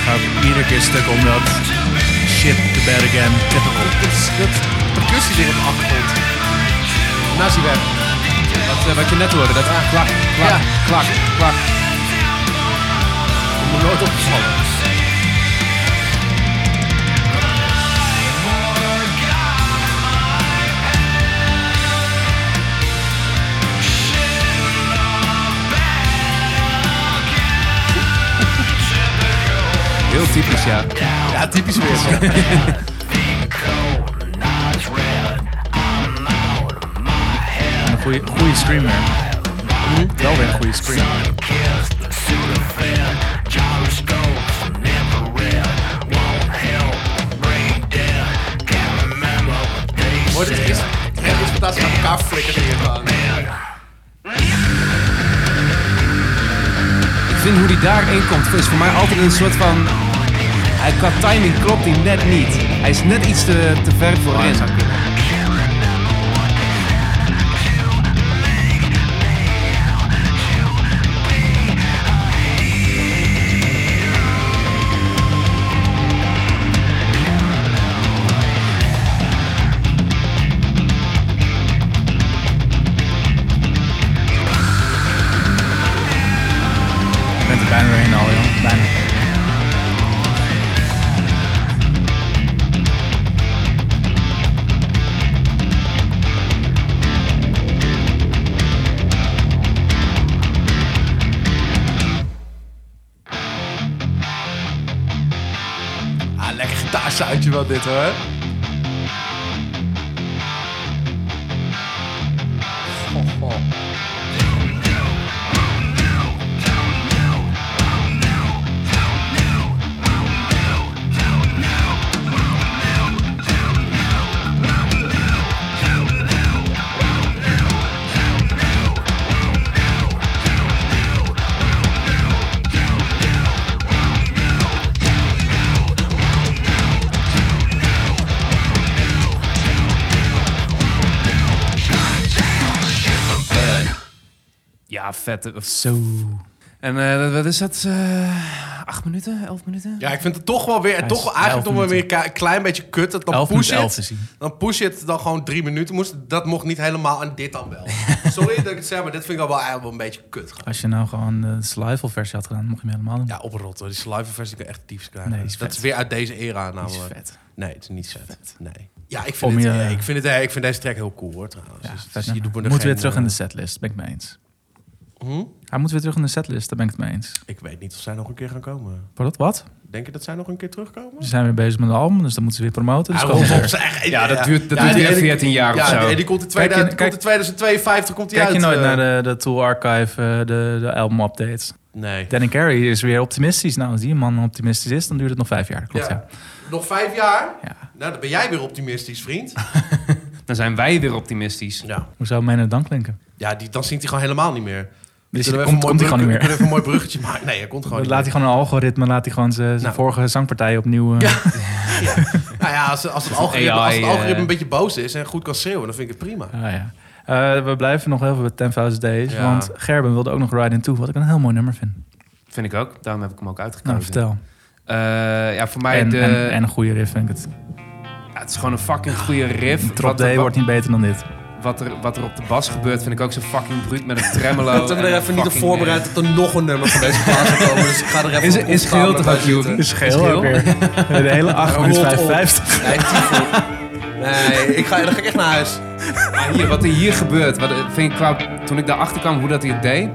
Speaker 1: gaat iedere keer stuk omdat shit the bed again.
Speaker 2: Dat is dat percussie weer op de achtergrond. Nou is hij weg.
Speaker 3: Wat, eh, wat je net hoorde, dat klak, klak,
Speaker 2: Ja.
Speaker 3: klak, klak.
Speaker 2: Om me nooit opgevallen.
Speaker 3: Heel typisch, ja.
Speaker 2: Ja, typisch weer.
Speaker 1: Een goede, goede stream weer. Wel weer een goede stream.
Speaker 2: Mooi, dit is echt interpretatie aan elkaar flikkeren hier gewoon.
Speaker 3: Ik vind hoe die daarin komt, is voor mij altijd een soort van... Hij, qua timing klopt hij net niet. Hij is net iets te, te ver voorin.
Speaker 1: Je bent er bijna doorheen al, joh. Bijna.
Speaker 2: Ah, lekker gitaarsoundje wel dit hoor. Goh, goh.
Speaker 3: Ja, vet. Zo. En eh, wat is dat? eh acht minuten? Elf minuten?
Speaker 2: Ja, ik vind het toch wel weer, toch wel eigenlijk toch wel weer ka- een klein beetje kut. Dat dan
Speaker 1: 11
Speaker 2: push
Speaker 1: minuten 11 is
Speaker 2: it,
Speaker 1: hij.
Speaker 2: dan push it dan gewoon drie minuten moest. Dat mocht niet helemaal en dit dan wel. Sorry dat ik het zeg, maar dit vind ik al wel eigenlijk wel een beetje kut. gewoon.
Speaker 1: Als je nou gewoon de survival versie had gedaan, mocht je hem helemaal doen.
Speaker 2: Ja, oprotten. Die live versie kan echt diefs krijgen.
Speaker 1: Nee, die is
Speaker 2: dat
Speaker 1: vet.
Speaker 2: is weer uit deze era namelijk.
Speaker 3: Dus-
Speaker 1: vet.
Speaker 2: Nee, het is niet vet. Nee. Ja, ik vind,
Speaker 1: Om
Speaker 2: dit,
Speaker 1: je-
Speaker 2: eh, ik, vind het, eh, ik vind deze track heel cool hoor trouwens.
Speaker 1: Ja,
Speaker 2: Dus het
Speaker 1: vet
Speaker 2: is- je
Speaker 1: nummer.
Speaker 2: doet me er
Speaker 1: Moet weer
Speaker 2: geen,
Speaker 1: terug in de
Speaker 2: eh,
Speaker 1: setlist, ben ik mee eens.
Speaker 2: Hm?
Speaker 1: Hij moet weer terug in de setlist, daar ben ik het mee eens.
Speaker 2: eh, Ik weet niet of zij nog een keer gaan komen.
Speaker 1: Wat? Wat?
Speaker 2: Denk je dat zij nog een keer terugkomen?
Speaker 1: Ze zijn weer bezig met een album, dus dat moeten ze weer promoten. Dus
Speaker 2: Ah,
Speaker 1: komen ze
Speaker 2: rot op
Speaker 1: weer.
Speaker 2: zeg.
Speaker 3: Ja, dat duurt- dat
Speaker 2: Ja,
Speaker 3: duurt
Speaker 2: die-
Speaker 3: weer
Speaker 2: die-
Speaker 3: 14 jaar
Speaker 2: ja,
Speaker 3: of zo.
Speaker 2: die- die komt in
Speaker 1: Kijk je-
Speaker 2: 2000 komt
Speaker 1: kijk-
Speaker 2: in 2052 komt die
Speaker 1: Kijk je
Speaker 2: uit,
Speaker 1: nooit
Speaker 2: eh.
Speaker 1: naar de, de Tool Archive, eh, de, de album-updates.
Speaker 2: Nee.
Speaker 1: Danny Carey is weer optimistisch. Nou, als die man optimistisch is, dan duurt het nog vijf jaar. Klopt, ja.
Speaker 2: Ja. Nog vijf jaar?
Speaker 1: Ja.
Speaker 2: Nou, dan ben jij weer optimistisch, vriend.
Speaker 3: Dan zijn wij weer optimistisch.
Speaker 2: Ja,
Speaker 1: Hoe zou mijn dan klinken?
Speaker 2: ja die, dan zingt hij gewoon helemaal niet meer.
Speaker 1: Dus
Speaker 2: Kunnen we
Speaker 1: komt,
Speaker 2: even
Speaker 1: komt hij
Speaker 2: een
Speaker 1: gewoon niet
Speaker 2: mooi brug-
Speaker 1: meer.
Speaker 2: Kunnen we even een mooi bruggetje maken? Nee, hij komt gewoon
Speaker 1: Dan
Speaker 2: niet
Speaker 1: laat hij gewoon een algoritme, laat hij gewoon zijn zijn
Speaker 2: Oh, Nou.
Speaker 1: vorige zangpartij opnieuw... eh,
Speaker 2: Ja. Nou ja, als, als het algoritme, als het
Speaker 3: AI,
Speaker 2: algoritme
Speaker 3: eh.
Speaker 2: een beetje boos is en goed kan schreeuwen, dan vind ik het prima.
Speaker 1: Ah, ja. Eh, we blijven nog heel veel bij 10.000 Days.
Speaker 2: Ja.
Speaker 1: Want Gerben wilde ook nog Ride Into, wat ik een heel mooi nummer vind.
Speaker 3: Vind ik ook. Daarom heb ik hem ook uitgekozen.
Speaker 1: Nou, vertel.
Speaker 3: Eh, ja, voor mij
Speaker 1: en,
Speaker 3: de,
Speaker 1: en, en een goede riff vind ik het.
Speaker 3: ja, het is gewoon een fucking goede riff.
Speaker 1: Drop
Speaker 3: er-
Speaker 1: D wordt niet beter dan dit.
Speaker 3: wat, er, wat er op de bas gebeurt, vind ik ook zo fucking bruut met een tremolo.
Speaker 2: Ik ben
Speaker 3: en
Speaker 2: er
Speaker 3: een
Speaker 2: even niet op
Speaker 3: fucking, eh,
Speaker 2: voorbereid
Speaker 1: eh.
Speaker 2: dat er nog een nummer van deze plaats gaat komen. Dus ik ga er even
Speaker 3: Is-
Speaker 2: op
Speaker 3: is geel
Speaker 2: opstaan
Speaker 3: toch
Speaker 2: bij
Speaker 3: ook, Joeri?
Speaker 2: zitten.
Speaker 1: Is geel ook weer. De hele 8
Speaker 2: Rolt
Speaker 1: minuten
Speaker 2: op.
Speaker 1: 55.
Speaker 2: Nee, tyfus. Nee, ik ga, dan ga ik echt naar huis.
Speaker 3: eh, maar hier, wat er hier gebeurt, wat, eh, vind ik qua, toen ik daarachter kwam hoe dat hij het deed.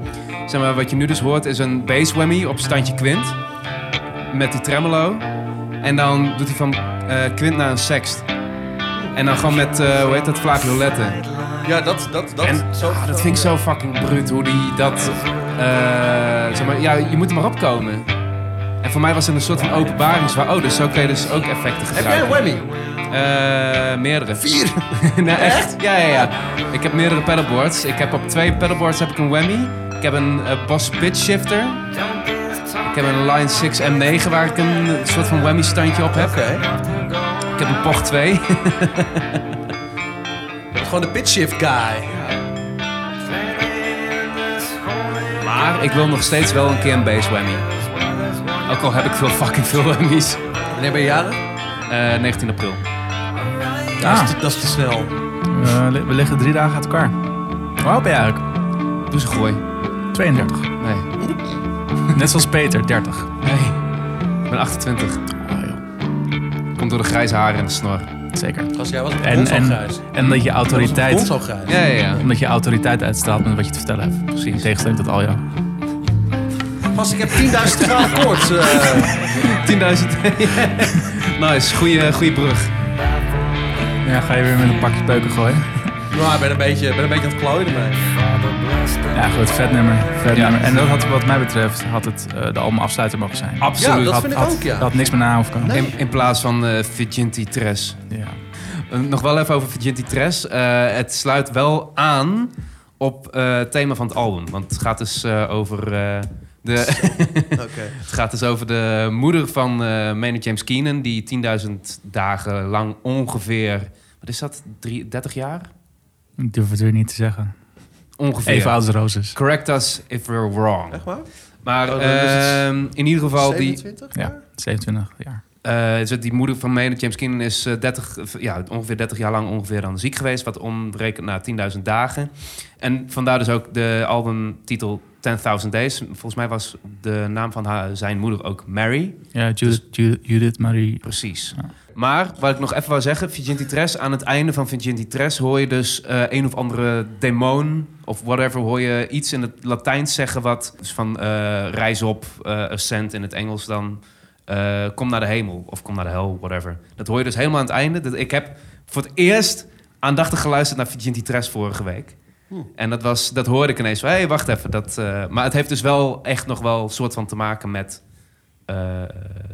Speaker 3: Zeg maar, wat je nu dus hoort is een bass whammy op standje kwint. Met die tremolo. En dan doet hij van eh, kwint naar een sext. En dan gewoon met, eh, hoe heet dat, flageoletten.
Speaker 2: Ja, dat, dat, dat.
Speaker 3: En
Speaker 2: zo,
Speaker 3: ah, dat vind ik zo fucking bruut hoe die dat. eh, zeg maar, ja, je moet er maar opkomen. En voor mij was het een soort van openbaring. Waar, oh, dus zo kun je dus ook effecten
Speaker 2: Heb jij een
Speaker 3: gebruiken.
Speaker 2: whammy?
Speaker 3: Eh, meerdere. Vier? nee, echt? Ja, ja, ja. Ik heb meerdere pedalboards. Ik heb op twee pedalboards heb ik een whammy. Ik heb een eh, Boss Pitch Shifter. Ik heb een Line 6 M9 waar ik een soort van whammy standje op heb.
Speaker 2: Oké.
Speaker 3: Ik heb een Poch 2.
Speaker 2: Gewoon de pitch shift guy.
Speaker 3: Maar ik wil nog steeds wel een keer een bass whammy. Ook al heb ik veel fucking veel whammies.
Speaker 2: Wanneer ben je jaren?
Speaker 3: Eh, 19 april.
Speaker 2: Dat,
Speaker 1: Ah,
Speaker 2: is te, dat is te snel.
Speaker 1: eh, li- we liggen drie dagen uit elkaar. Hoe oud ben je eigenlijk?
Speaker 3: Doe eens een gooi.
Speaker 1: 32.
Speaker 3: Nee.
Speaker 1: Net zoals Peter, 30.
Speaker 3: Nee. Ik ben 28.
Speaker 2: Ah,
Speaker 3: Komt door de grijze haren en de snor.
Speaker 1: Zeker.
Speaker 2: Gast, jij was op
Speaker 1: En,
Speaker 2: ons al
Speaker 1: en,
Speaker 2: grijs.
Speaker 1: en dat je
Speaker 2: Ons
Speaker 1: autoriteit...
Speaker 2: al grijs.
Speaker 3: Ja, ja, ja.
Speaker 1: Omdat je autoriteit uitstraalt met wat je te vertellen hebt.
Speaker 3: Precies.
Speaker 1: In tegenstelling tot al jou.
Speaker 2: Gast, ik heb 10.000 graden koorts. eh.
Speaker 3: 10.000. nice, goede, goede brug.
Speaker 1: Ja, ga je weer met een pakje peuken gooien.
Speaker 2: Nou, ik ben een beetje, ben een beetje aan het klooien ermee.
Speaker 1: Ja, goed. Vet nummer. Vet
Speaker 3: Ja.
Speaker 1: nummer. En dat had wat mij betreft had het eh, de album afsluiter mogen zijn.
Speaker 2: Ja,
Speaker 3: Absoluut.
Speaker 2: dat
Speaker 3: Had-
Speaker 2: vind ik
Speaker 1: had,
Speaker 2: ook, ja.
Speaker 1: had niks meer na hoeven komen.
Speaker 3: in, in plaats van eh Virginity Tres.
Speaker 1: Ja.
Speaker 3: Eh, Nog wel even over Virginity Tres. Eh, het sluit wel aan op eh, het thema van het album. Want het gaat dus eh, over eh, de...
Speaker 2: Oké.
Speaker 3: Het gaat dus over de moeder van eh Maynard James Keenan... die 10.000 dagen lang ongeveer... Wat is dat? Drie, 30 jaar?
Speaker 1: Ik durf het weer niet te zeggen.
Speaker 3: Ongeveer.
Speaker 1: Even oud als Roses.
Speaker 3: Correct us if we're wrong.
Speaker 2: Echt waar?
Speaker 3: Maar
Speaker 2: Oh, dan is het
Speaker 3: ehm, in ieder geval... Die,
Speaker 2: 27?
Speaker 1: Ja, 27 jaar.
Speaker 3: eh, is het die moeder van Maynard James Keenan is eh, 30, v- ja, ongeveer 30 jaar lang ongeveer dan ziek geweest. Wat omrekent naar 10.000 dagen. En vandaar dus ook de albumtitel 10.000 Days. Volgens mij was de naam van haar, zijn moeder ook Mary.
Speaker 1: Ja, Judith, Ju- Judith Marie.
Speaker 3: Precies.
Speaker 1: Ja.
Speaker 3: Maar wat ik nog even wou zeggen, Virginity Tres, aan het einde van Virginity Tres hoor je dus eh, een of andere demon of whatever, hoor je iets in het Latijns zeggen wat dus van eh, reis op, eh ascent in het Engels dan, eh, kom naar de hemel of kom naar de hel, whatever. Dat hoor je dus helemaal aan het einde. Dat, ik heb voor het eerst aandachtig geluisterd naar Virginity Tres vorige week. En dat, was, dat hoorde ik ineens van, hé, hey, wacht even. Dat, eh, maar het heeft dus wel echt nog wel soort van te maken met eh,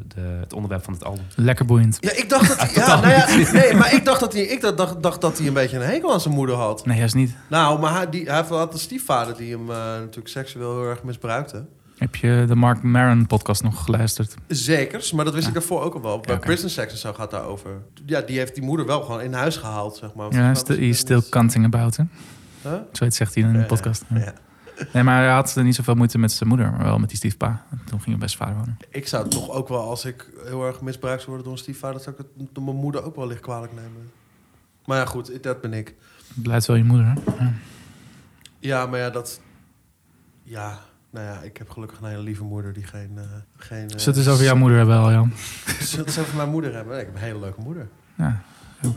Speaker 3: de, het onderwerp van het album.
Speaker 1: Lekker boeiend.
Speaker 2: Ja, ik dacht dat ja, nou ja, nee, maar ik dacht dat hij, ik dacht, dacht, dacht dat hij een beetje een hekel aan zijn moeder had.
Speaker 1: Nee, juist niet.
Speaker 2: Nou, maar hij, die, hij had een stiefvader die hem eh, natuurlijk seksueel heel erg misbruikte.
Speaker 1: Heb je de Mark Maron podcast nog geluisterd?
Speaker 2: Zekers, maar dat wist ik daarvoor ook al wel. Bij
Speaker 1: oké.
Speaker 2: Prison Sex en zo gaat daarover. Ja, die heeft die moeder wel gewoon in huis gehaald, zeg maar.
Speaker 1: Ja, st- he's still canting about, hè?
Speaker 2: Huh?
Speaker 1: Zoiets zegt hij in de
Speaker 2: Ja,
Speaker 1: podcast.
Speaker 2: ja.
Speaker 1: Nee, maar hij had niet zoveel moeite met zijn moeder, maar wel met die stiefpa. En Toen ging hij bij zijn vader wonen.
Speaker 2: Ik zou toch ook wel, als ik heel erg misbruikt zou worden door een stiefvader, zou ik het door mijn moeder ook wel licht kwalijk nemen. Maar ja, goed, dat ben ik.
Speaker 1: Het blijft wel je moeder, hè?
Speaker 2: Ja, maar ja, dat... Ja, nou ja, ik heb gelukkig een hele lieve moeder die geen... eh, geen eh,
Speaker 1: Zullen we het eens over jouw moeder hebben, Jan?
Speaker 2: Zullen we het eens over mijn moeder hebben? Nee, ik heb een hele leuke moeder.
Speaker 1: Ja.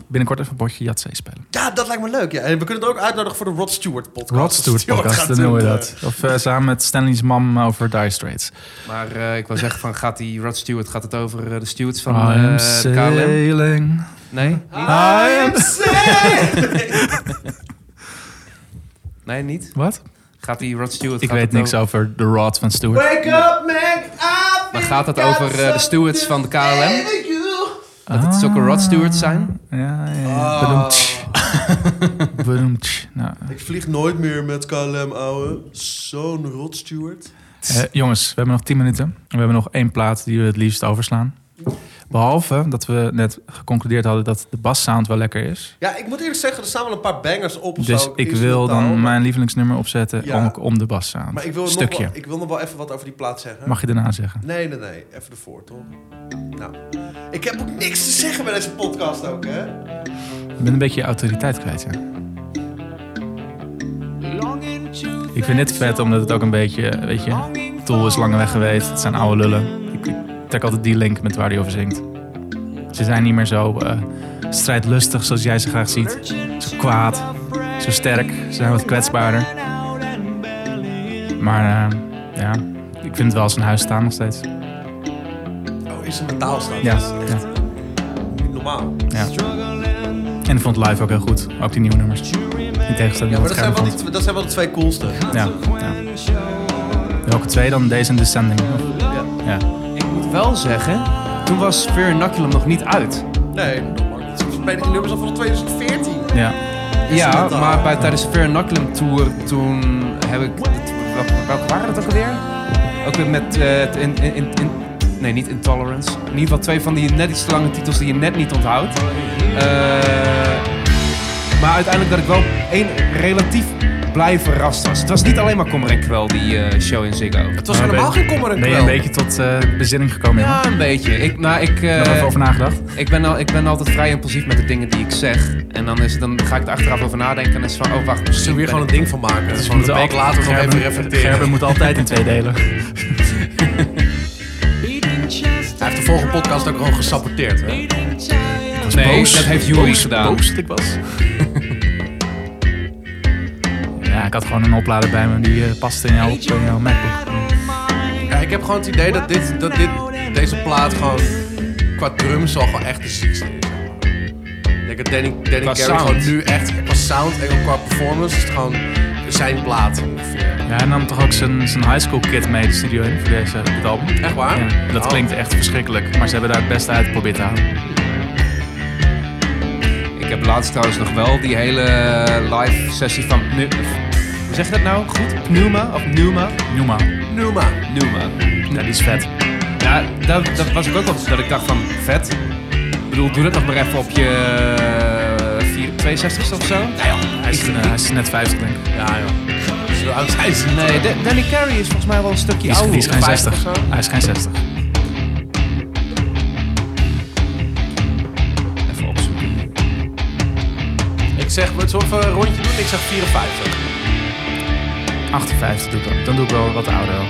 Speaker 1: Binnenkort even een potje Yatzee spelen.
Speaker 2: Ja, dat lijkt me leuk. Ja. En we kunnen het ook uitnodigen voor de Rod Stewart podcast.
Speaker 1: Rod Stewart podcast,
Speaker 2: gaat
Speaker 1: dan noemen we
Speaker 2: doen,
Speaker 1: dat. Of eh, samen met Stanley's mam over Dire Straits.
Speaker 3: Maar eh, ik wil zeggen, van, gaat die Rod Stewart, gaat het over eh, de stewards van eh,
Speaker 1: I'm
Speaker 3: de KLM?
Speaker 1: sailing.
Speaker 3: Nee?
Speaker 2: Ah,
Speaker 1: I am...
Speaker 3: Nee, niet?
Speaker 1: Wat?
Speaker 3: Gaat die Rod Stewart...
Speaker 1: Ik
Speaker 3: gaat
Speaker 1: weet
Speaker 3: het
Speaker 1: niks
Speaker 3: over-
Speaker 1: over de Rod van Stewart.
Speaker 2: Wake up, Mac! I
Speaker 3: Maar gaat het over eh, de stewards van de KLM?
Speaker 2: feel you.
Speaker 3: Dat
Speaker 1: Ah.
Speaker 3: het zulke Rod Stewards zijn?
Speaker 1: Ja, ja,
Speaker 2: Ah.
Speaker 1: ja. Bedoemtsch. Bedoemtsch. Nou,
Speaker 2: Ik vlieg nooit meer met KLM, ouwe. Zo'n Rod Stewart.
Speaker 1: eh, jongens, we hebben nog 10 minuten. En We hebben nog één plaat die we het liefst overslaan. Behalve dat we net geconcludeerd hadden dat de bassound wel lekker is.
Speaker 2: Ja, ik moet eerlijk zeggen, er staan wel een paar bangers op. of
Speaker 1: Dus
Speaker 2: zo,
Speaker 1: ik wil
Speaker 2: instrumentaal,
Speaker 1: dan
Speaker 2: maar-
Speaker 1: mijn lievelingsnummer opzetten
Speaker 2: Ja.
Speaker 1: om, om de bassound.
Speaker 2: Maar ik wil,
Speaker 1: Stukje.
Speaker 2: Nog wel, ik wil nog wel even wat over die plaat zeggen.
Speaker 1: Mag je daarna zeggen?
Speaker 2: Nee, nee, nee. Even ervoor, toch? Nou, ik heb ook niks te zeggen bij deze podcast ook, hè?
Speaker 1: Ik ben een beetje je autoriteit kwijt, ja. Ik vind dit vet omdat het ook een beetje, weet je, Tool is lang weg geweest. Het zijn oude lullen. Ik, ik trek altijd die link met waar hij over zingt. Ze zijn niet meer zo eh, strijdlustig zoals jij ze graag ziet. Zo kwaad, zo sterk. Ze zijn wat kwetsbaarder. Maar eh, ja, ik vind het wel als een huis staan nog steeds.
Speaker 2: Oh, is een metaal staan.
Speaker 1: Ja,
Speaker 2: Dat is echt
Speaker 1: ja,
Speaker 2: niet normaal.
Speaker 1: ja. En ik vond het live ook heel goed. Ook die nieuwe nummers. In tegenstelling
Speaker 2: Ja, maar
Speaker 1: tot
Speaker 2: dat
Speaker 1: het
Speaker 2: zijn,
Speaker 1: scherm
Speaker 2: wel
Speaker 1: vond.
Speaker 2: die, dat zijn wel de twee coolste.
Speaker 1: Ja, ja. Welke twee dan? Deze en Descending? Of-
Speaker 2: Ja.
Speaker 1: Ja.
Speaker 3: Ik moet wel zeggen, toen was Fear Inoculum nog niet uit.
Speaker 2: Nee, dat mag niet. Volgens mij die nummers al van 2014.
Speaker 1: ja.
Speaker 3: Ja,
Speaker 2: dat al?
Speaker 3: maar bij, tijdens de Fear Inoculum Tour toen heb ik... Welke, welke waren dat ook alweer? Ook weer met... eh, het in, in, in, in- nee, niet Intolerance. In ieder geval twee van die net iets te lange titels die je net niet onthoudt. Eh, maar uiteindelijk dat ik wel één relatief blij verrast was. Het was niet alleen maar Comrade Kwel, die eh, show in Ziggo.
Speaker 2: Het was
Speaker 1: Maar
Speaker 2: helemaal
Speaker 1: ben-
Speaker 2: geen kommer en
Speaker 1: Ben je
Speaker 2: kwel.
Speaker 1: een beetje tot eh, bezinning gekomen, jongen?
Speaker 3: Ja, een beetje. Ik, nou, ik, eh,
Speaker 1: Heb je er even over nagedacht?
Speaker 3: ik, ben al, ik ben altijd vrij impulsief met de dingen die ik zeg. En dan, is, het- dan ga ik er achteraf over nadenken en is van, oh wacht, misschien
Speaker 2: Zullen we hier
Speaker 3: ben
Speaker 2: gewoon
Speaker 3: ik-
Speaker 2: een ding van maken?
Speaker 1: Dus we
Speaker 2: gewoon een
Speaker 1: moeten
Speaker 2: week
Speaker 1: altijd-
Speaker 2: later nog
Speaker 1: Gerben-
Speaker 2: even reflecteren.
Speaker 1: Gerben moet altijd in twee delen.
Speaker 2: Hij heeft de vorige podcast ook gewoon gesaboteerd, hè?
Speaker 3: Nee, dat heeft Jury gedaan.
Speaker 1: ik was. ja, ik had gewoon een oplader bij me. Die eh past in jouw, in jouw MacBook.
Speaker 2: Ja, ik heb gewoon het idee dat, dit, dat dit, deze plaat gewoon qua drums al gewoon echt de ziekste is. Ik denk dat Danny, Danny
Speaker 3: Qua
Speaker 2: Carey
Speaker 3: sound.
Speaker 2: gewoon nu echt qua sound en ook qua performance is het gewoon zijn plaat ongeveer.
Speaker 1: Ja, hij nam toch ook zijn, zijn high school kid mee de studio in voor deze, dit album.
Speaker 2: Echt waar?
Speaker 1: Ja, dat
Speaker 2: Oh.
Speaker 1: klinkt echt verschrikkelijk. Maar ze hebben daar het beste uit geprobeerd te halen.
Speaker 3: Ik heb laatst trouwens nog wel die hele live sessie van Pnu- Hoe zeg je dat nou? Goed? Pneuma of Pneuma?
Speaker 1: Numa.
Speaker 2: Numa.
Speaker 3: Pneuma.
Speaker 1: Ja, die is vet.
Speaker 3: Ja, dat, dat was ik ook wel dat ik dacht van vet. Ik bedoel, doe dat nog maar even op je eh, vier- 62ste of zo.
Speaker 1: Hij is, eh, hij is net 50, denk ik.
Speaker 2: Ja, joh. Zo oud zijn ze niet.
Speaker 3: Nee, Da- Danny Carey is volgens mij wel een stukje
Speaker 1: Die is,
Speaker 3: ouder.
Speaker 1: die is geen
Speaker 3: 50
Speaker 1: 60.
Speaker 3: Oh, of zo.
Speaker 1: Hij is geen 60.
Speaker 3: Even opzoeken.
Speaker 2: Ik zeg, we zullen even een rondje doen? Ik zeg 54.
Speaker 1: 58 doe ik dan. Dan doe ik wel wat ouder wel.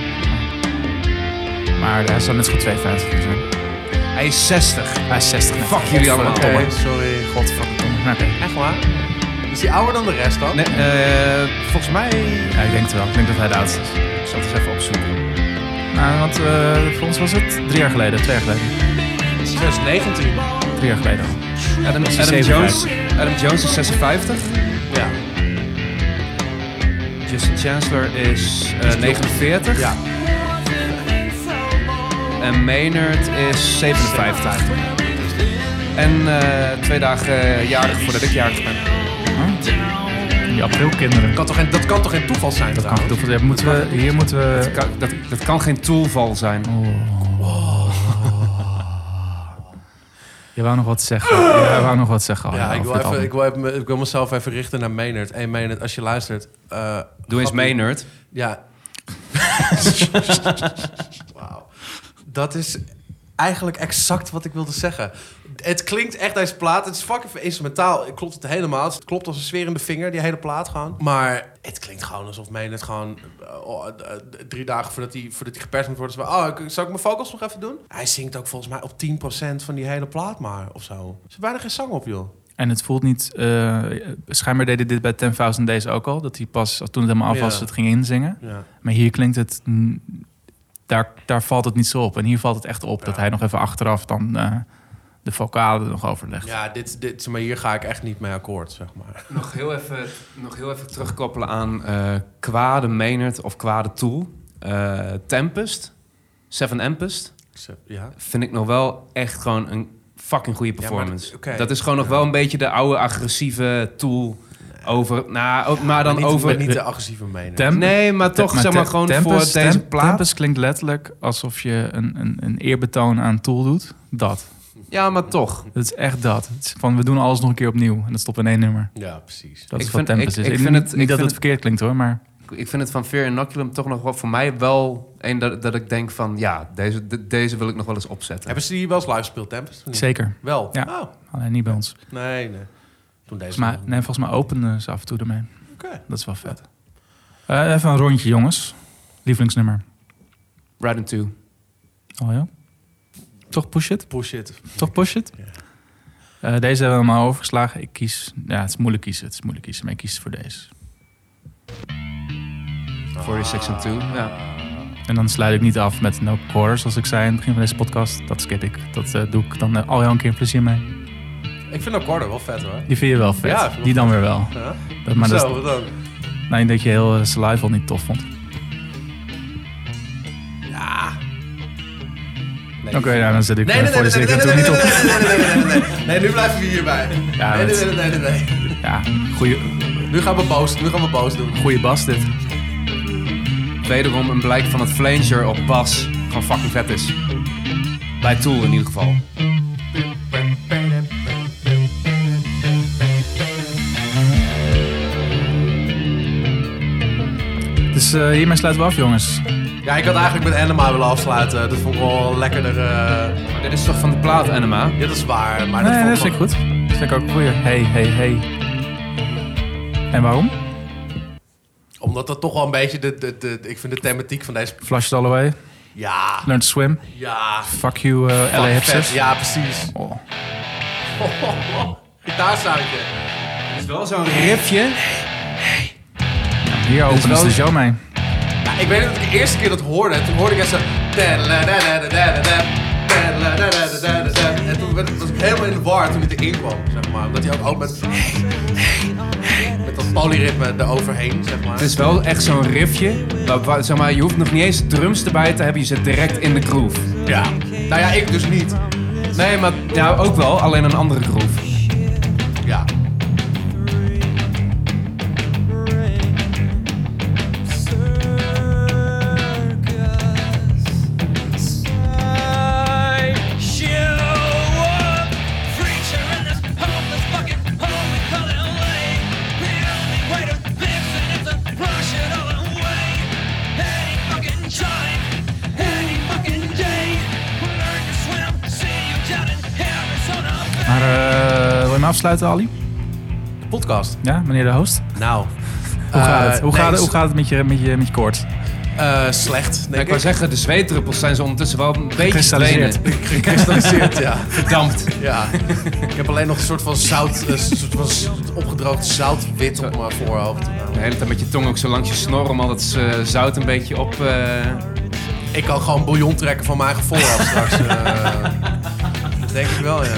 Speaker 1: Maar hij zou net zo goed 52 kunnen zijn.
Speaker 3: Hij is 60.
Speaker 1: Hij is 60. net.
Speaker 3: Fuck jullie allemaal.
Speaker 1: Godverdomme.
Speaker 2: Oké, Oh, sorry.
Speaker 1: Godverdomme. Nou, Oké.
Speaker 2: Echt waar? Is die ouder dan de rest dan?
Speaker 3: Nee, eh, volgens mij...
Speaker 1: Ja, ik denk het wel. Ik denk dat hij de oudste is.
Speaker 3: Ik zal het eens even opzoeken.
Speaker 1: Nou, want eh voor ons was het drie jaar geleden. Twee jaar geleden.
Speaker 2: 2019.
Speaker 1: Drie jaar geleden.
Speaker 3: Adam,
Speaker 1: is
Speaker 3: Adam,
Speaker 1: 57.
Speaker 3: Jones, Adam Jones is 56.
Speaker 2: Ja.
Speaker 3: Justin Chancellor is eh, 49.
Speaker 2: Ja.
Speaker 3: En Maynard is 57. En eh, twee dagen eh, jarig voordat ik jarig ben.
Speaker 1: Die aprilkinderen.
Speaker 2: Kan toch geen, dat kan toch geen toeval zijn
Speaker 1: Dat kan gedoe- ja, moeten we, hier moeten we...
Speaker 3: Ka- Dat, dat kan geen toeval zijn.
Speaker 1: Je wou nog wat zeggen. Je wou nog wat zeggen.
Speaker 2: Ja,
Speaker 1: Alja,
Speaker 2: ik
Speaker 1: over
Speaker 2: wil,
Speaker 1: dit
Speaker 2: even,
Speaker 1: album.
Speaker 2: ik, wil even, ik wil mezelf even richten naar Maynard. Hey Maynard, als je luistert... eh,
Speaker 3: Doe eens
Speaker 2: grapje.
Speaker 3: mee, nerd.
Speaker 2: Ja. Wauw. Dat is eigenlijk exact wat ik wilde zeggen. Het klinkt echt deze plaat. Het is fucking instrumentaal. Het Klopt het helemaal. Het klopt als een sferende vinger, die hele plaat gewoon. Maar het klinkt gewoon alsof men het gewoon eh, oh, eh, drie dagen voordat hij voordat die geperst moet worden. is van, oh, ik- zal ik mijn vocals nog even doen? Hij zingt ook volgens mij op 10% van die hele plaat maar of zo. Er zit bijna geen zang op, joh.
Speaker 1: En het voelt niet... eh, schijnbaar deden dit bij 10.000 Days ook al. Dat hij pas, toen het helemaal af was,
Speaker 2: Ja.
Speaker 1: het ging inzingen.
Speaker 2: Ja.
Speaker 1: Maar hier klinkt het... mm, Daar, daar valt het niet zo op. En hier valt het echt op
Speaker 2: Ja.
Speaker 1: dat hij nog even achteraf dan eh, de vocalen er nog overlegt.
Speaker 2: Ja, dit, dit, maar hier ga ik echt niet mee akkoord, zeg maar.
Speaker 3: Nog heel even, nog heel even terugkoppelen aan eh kwade Maynard of kwade Tool. Eh, Tempest, Seven Tempest,
Speaker 2: Ja.
Speaker 3: vind ik nog wel echt gewoon een fucking goede
Speaker 2: maar
Speaker 3: performance.
Speaker 2: dat- oké.
Speaker 3: Dat is gewoon nog wel een beetje de oude agressieve Tool over... Nou, ook- maar dan
Speaker 2: niet,
Speaker 3: over...
Speaker 2: maar niet de agressieve mening.
Speaker 1: Tem-
Speaker 3: nee, maar toch
Speaker 1: Te-
Speaker 3: zeg maar
Speaker 1: Te-
Speaker 3: gewoon
Speaker 1: Tempest-
Speaker 3: voor deze
Speaker 1: Tem-
Speaker 3: plaat.
Speaker 1: Tempest klinkt letterlijk alsof je een, een, een eerbetoon aan Tool doet. Dat.
Speaker 3: Ja, maar toch.
Speaker 1: Dat is echt dat. Het is van, we doen alles nog een keer opnieuw. En dat stopt in één nummer.
Speaker 2: Ja, precies.
Speaker 1: Dat
Speaker 3: Ik
Speaker 1: is
Speaker 3: vind-
Speaker 1: wat Tempest
Speaker 3: ik-
Speaker 1: is.
Speaker 3: ik vind het-
Speaker 1: niet
Speaker 3: ik
Speaker 1: dat
Speaker 3: vind
Speaker 1: het
Speaker 3: het-
Speaker 1: verkeerd klinkt hoor, maar...
Speaker 3: Ik- Ik vind het van Fear Inoculum toch nog wel voor mij wel... Een dat, dat ik denk van, ja, deze, de- deze wil ik nog wel eens opzetten.
Speaker 2: Hebben ze die wel eens live gespeeld, Tempest? of niet?
Speaker 1: Zeker.
Speaker 2: Wel?
Speaker 1: Ja.
Speaker 2: Oh,
Speaker 1: Alleen niet bij ons.
Speaker 2: nee, nee. Toen deze...
Speaker 1: Volgens mij, nee, volgens mij openen ze af en toe ermee.
Speaker 2: Oké.
Speaker 1: Dat is wel vet. Eh, even een rondje, jongens. Lievelingsnummer.
Speaker 3: Right into.
Speaker 1: Oh ja. Toch push it?
Speaker 2: Push it.
Speaker 1: Toch push it?
Speaker 2: Ja.
Speaker 1: Eh, deze hebben we allemaal overgeslagen. Ik kies... Ja, het is moeilijk kiezen. Het is moeilijk kiezen, maar ik kies voor deze.
Speaker 3: 46 and 2. Ja.
Speaker 1: En dan sluit ik niet af met no quarters, zoals ik zei aan het begin van deze podcast. Dat skip ik. Dat eh, doe ik dan eh, al jou een keer plezier mee.
Speaker 2: Ik vind Accordo wel vet, hoor.
Speaker 1: Die vind je wel vet.
Speaker 2: Ja, ik vind
Speaker 1: die
Speaker 2: wel
Speaker 1: dan weer wel.
Speaker 2: Ja.
Speaker 1: Dat, maar dat
Speaker 2: Zo,
Speaker 1: is,
Speaker 2: wat dan?
Speaker 1: nee, dat je heel eh, Survival niet tof vond.
Speaker 2: Nee,
Speaker 1: Oké, nou, dan zet ik eh, voor de
Speaker 2: nee, nee,
Speaker 1: zekerheid
Speaker 2: nee,
Speaker 1: er
Speaker 2: nee,
Speaker 1: niet op.
Speaker 2: nee, nee, nee, nee, nee. Nee, nu blijven we hierbij.
Speaker 1: Ja,
Speaker 2: nee,
Speaker 1: dat-
Speaker 2: nee, nee, nee, nee, nee.
Speaker 1: Ja, goeie,
Speaker 2: Nu gaan we boos, nu gaan we boos doen.
Speaker 1: goeie bas dit.
Speaker 3: Wederom een blijk van het flanger op bas gewoon fucking vet is. Bij Tool in ieder geval.
Speaker 1: Dus eh, hiermee sluiten we af, jongens.
Speaker 2: Ja, ik had eigenlijk met Anima willen afsluiten. dus Dat vond ik wel lekkerder... eh,
Speaker 3: Maar dit is toch van de plaat, Anima?
Speaker 2: Ja, dat is waar, maar dat
Speaker 1: Nee,
Speaker 2: vond
Speaker 1: dat vind ik
Speaker 2: wel-
Speaker 1: goed. Dat vind ik ook een goeie. Hey, hey, hey. En waarom?
Speaker 2: Omdat dat toch wel een beetje de, de, de... Ik vind de thematiek van deze...
Speaker 1: Flush it all away.
Speaker 2: Ja,
Speaker 1: Learn to swim.
Speaker 2: ja.
Speaker 1: Fuck you, eh, LA
Speaker 2: Fuck,
Speaker 1: hipsters.
Speaker 2: vet. Ja, precies. Oh,
Speaker 1: Oh.
Speaker 2: Gitaarsoundje.
Speaker 3: Het is wel zo'n riffje.
Speaker 1: Hier openen ze
Speaker 3: wel-
Speaker 1: de show mee.
Speaker 2: Ja, ik weet dat ik de eerste keer dat hoorde. En toen hoorde ik echt zo... En toen werd- was ik helemaal in de war toen het erin kwam, zeg maar. Omdat hij ook, ook met... Met dat polyritme eroverheen, zeg maar.
Speaker 3: Het is wel echt zo'n riffje. waar- waar- zeg maar, je hoeft nog niet eens drums erbij te hebben. Je zit direct in de groove.
Speaker 2: ja. Nou ja, ik dus niet.
Speaker 3: Nee, maar nou, ook wel. Alleen een andere groove.
Speaker 2: Ja.
Speaker 1: Maar eh, wil je me afsluiten, Ali?
Speaker 2: Podcast.
Speaker 1: Ja, meneer de host?
Speaker 2: Nou.
Speaker 1: Hoe gaat het? Hoe, gaat, het- hoe gaat het met je, met je, met je koorts?
Speaker 2: eh, slecht,
Speaker 3: Ik
Speaker 2: denk
Speaker 3: wou
Speaker 2: ik.
Speaker 3: zeggen, de zweetdruppels zijn ze ondertussen wel een beetje
Speaker 1: Gekristalliseerd.
Speaker 3: verdwenen.
Speaker 2: Gecristalliseerd, ja.
Speaker 3: Verdampt.
Speaker 2: ja. Ik heb alleen nog een soort van zout... Een soort van s- opgedroogd zoutwit op mijn voorhoofd.
Speaker 3: De hele tijd met je tong ook zo langs je snor om al dat eh, zout een beetje op... eh,
Speaker 2: Ik kan gewoon bouillon trekken van mijn eigen voorhoofd straks. eh. dat denk ik wel, ja.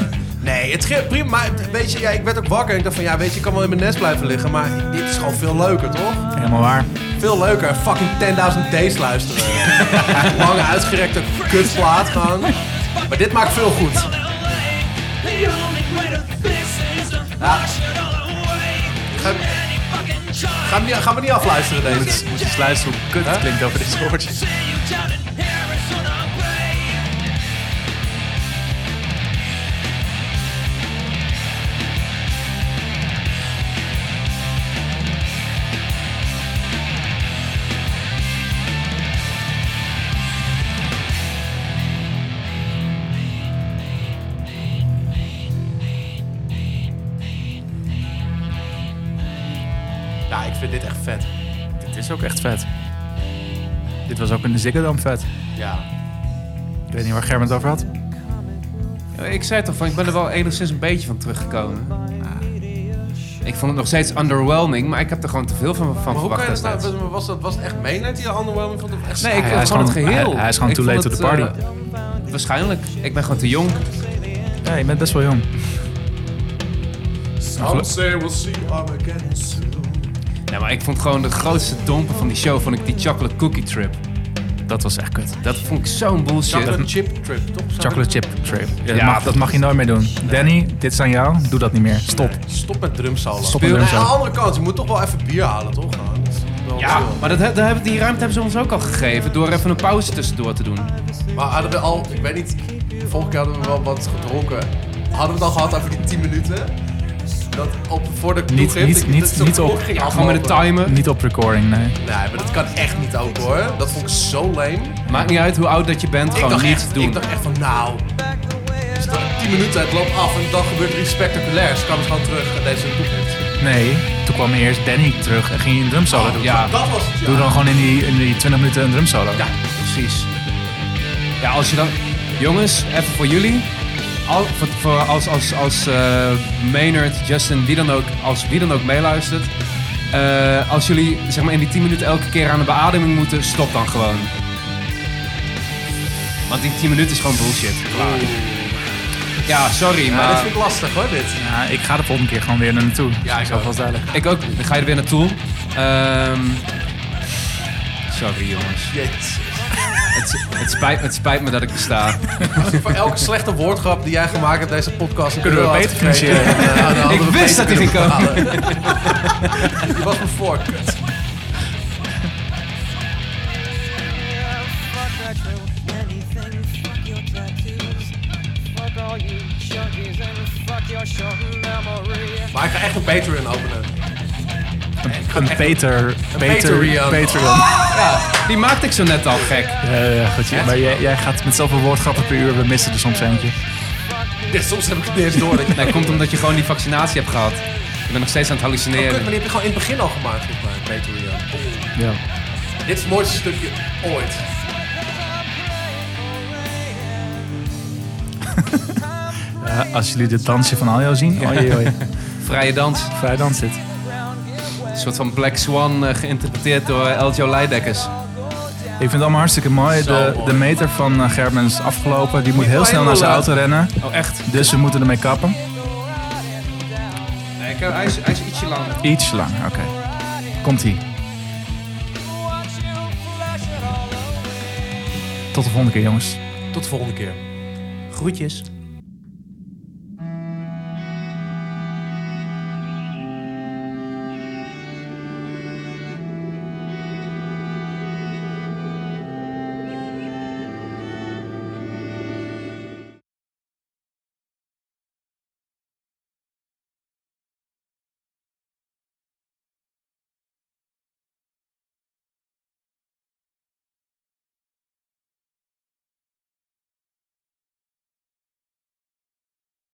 Speaker 2: Nee, het ging prima. Maar weet je, ja, ik werd ook wakker en ik dacht van... Ja, weet je, ik kan wel in mijn nest blijven liggen. Maar dit is gewoon veel leuker, toch?
Speaker 1: Helemaal waar.
Speaker 2: Veel leuker. Fucking 10.000 Days luisteren. Lange uitgerekte kutplaat gewoon. Maar dit maakt veel goed. Ja. Gaan, gaan, we, niet- gaan we niet afluisteren deze?
Speaker 1: Moet je eens luisteren hoe kut het klinkt over dit woordje.
Speaker 4: Arizona
Speaker 2: vind dit echt vet.
Speaker 1: Dit is ook echt vet. Dit was ook in de Ziggedam vet.
Speaker 2: Ja.
Speaker 1: Ik weet niet waar Gerben het over had.
Speaker 3: Ik zei toch van, ik ben er wel enigszins een beetje van teruggekomen. Ah. Ik vond het nog steeds underwhelming, maar ik heb er gewoon te veel van, van
Speaker 2: Maar hoe
Speaker 3: verwacht
Speaker 2: kan je dat
Speaker 3: destijds.
Speaker 2: nou, was dat, was het echt meenheid die je underwhelming vond? Of echt
Speaker 3: Nee, ik
Speaker 1: Hij-
Speaker 3: vond
Speaker 1: hij is
Speaker 3: gewoon het
Speaker 1: gewoon-
Speaker 3: geheel.
Speaker 1: hij- hij is gewoon
Speaker 3: Ik
Speaker 1: too
Speaker 3: vond
Speaker 1: late to
Speaker 3: het,
Speaker 1: the party.
Speaker 3: eh, waarschijnlijk. Ik ben gewoon te jong.
Speaker 1: Ja, je bent best wel jong.
Speaker 2: Some say we'll see Armageddon soon.
Speaker 3: Nee, maar ik vond gewoon de grootste domper van die show, vond ik die chocolate cookie trip.
Speaker 1: Dat was echt kut.
Speaker 3: Dat vond ik zo'n bullshit.
Speaker 2: Chocolate chip trip, toch?
Speaker 1: Chocolate chip trip. Ja,
Speaker 3: Ja.
Speaker 1: mag- dat mag je nooit meer doen. Danny, dit is aan jou. Doe dat niet meer. Stop.
Speaker 2: Stop met drumsalen.
Speaker 1: Stop met
Speaker 2: Nee,
Speaker 1: drumsolo.
Speaker 2: Aan de andere kant, je moet toch wel even bier halen, toch? Gewoon, dat is wel
Speaker 3: Ja,
Speaker 2: chill.
Speaker 3: maar dat, he- daar hebben, die ruimte hebben ze ons ook al gegeven door even een pauze tussendoor te doen.
Speaker 2: Maar hadden we al, ik weet niet, vorige keer hadden we wel wat gedronken. Hadden we het al gehad over die 10 minuten? Dat op, voor de
Speaker 1: Niet-
Speaker 2: toegift,
Speaker 1: niet-
Speaker 2: dat-
Speaker 1: niet-
Speaker 2: dat zo'n
Speaker 1: niet op-
Speaker 2: klok ging
Speaker 1: ja,
Speaker 3: Gewoon met een
Speaker 2: aflopen.
Speaker 3: timer.
Speaker 1: Niet op recording, nee.
Speaker 2: Nee, maar dat kan echt niet ook hoor. Dat vond ik zo lame.
Speaker 3: Maakt niet uit hoe oud dat je bent,
Speaker 2: ik,
Speaker 3: gewoon
Speaker 2: dacht
Speaker 3: niet
Speaker 2: echt,
Speaker 3: doen.
Speaker 2: ik dacht echt van, nou. is dat 10 minuten, het loopt af en dan gebeurt er iets spectaculairs. Kan het gewoon terug naar deze toegift.
Speaker 1: Nee, toen kwam eerst Danny terug en ging je een drumsolo doen.
Speaker 3: ja.
Speaker 2: Dat was het, ja.
Speaker 1: Doe dan gewoon in die, in die 20 minuten een drumsolo.
Speaker 3: Ja, precies. Ja, als je dan... Jongens, even voor jullie. Al, voor, voor als als, als eh, Maynard, Justin, wie dan ook, als wie dan ook meeluistert. eh, als jullie zeg maar, in die 10 minuten elke keer aan de beademing moeten, stop dan gewoon. Want die 10 minuten is gewoon bullshit. Klaar. Ja, sorry,
Speaker 2: Ja, dit
Speaker 3: maar
Speaker 2: vind ik lastig hoor, dit.
Speaker 1: Ja, ik ga de volgende keer gewoon weer naar naartoe.
Speaker 2: Ja, ik ook.
Speaker 1: was duidelijk.
Speaker 3: ik ook. Dan ga je er weer naartoe. Ehm, sorry jongens.
Speaker 2: Jezus.
Speaker 3: Het, het, spijt, het spijt me dat ik besta.
Speaker 2: Voor elke slechte woordgrap die jij gemaakt hebt deze podcast... een
Speaker 1: Kunnen we
Speaker 2: euro had
Speaker 1: beter
Speaker 2: gekregen. Ja, dan hadden
Speaker 3: Ik
Speaker 2: we
Speaker 3: wist
Speaker 2: beter
Speaker 3: dat die
Speaker 2: kunnen
Speaker 3: ging komen.
Speaker 2: betalen. Die was me voor, kut.
Speaker 6: Fuck retro anything, fuck your tattoos. Fuck all you junkies and fuck your short memory.
Speaker 2: Maar ik ga echt een Patreon openen.
Speaker 1: Een Peter...
Speaker 2: Patreon.
Speaker 1: Patreon.
Speaker 3: Die maakte ik zo net al gek.
Speaker 1: Ja, ja, goed. ja. Maar jij, jij gaat met zoveel woordgrappen per uur, we missen er soms eentje.
Speaker 2: Ja, soms heb ik het niet eens door. Dat je...
Speaker 3: Nee, komt omdat je gewoon die vaccinatie hebt gehad. Je bent nog steeds aan het
Speaker 2: Kut, maar
Speaker 3: hallucineren.
Speaker 2: die heb je gewoon in het begin al gemaakt, volgens mij, een Patreon. Oeh.
Speaker 1: Ja.
Speaker 2: Dit is het mooiste stukje ooit.
Speaker 1: als jullie dit dansje van Aljo zien, ja. oei oei.
Speaker 3: Vrije dans.
Speaker 1: Vrij dans dit.
Speaker 3: Een soort van Black Swan eh, geïnterpreteerd door eh, Eljo Leidekkers.
Speaker 1: Ik vind het allemaal hartstikke mooi.
Speaker 2: Zo
Speaker 1: De,
Speaker 2: mooi.
Speaker 1: de meter van eh, Gerben is afgelopen. Die moet heel
Speaker 2: wil
Speaker 1: snel naar zijn auto
Speaker 2: helemaal
Speaker 1: rennen.
Speaker 3: Oh, echt?
Speaker 1: Dus we moeten ermee kappen.
Speaker 3: Nee, ik, eh, hij, is, hij is ietsje langer.
Speaker 1: Iets langer, oké. Komt-ie. Tot de volgende keer, jongens.
Speaker 2: Tot de volgende keer.
Speaker 3: Groetjes.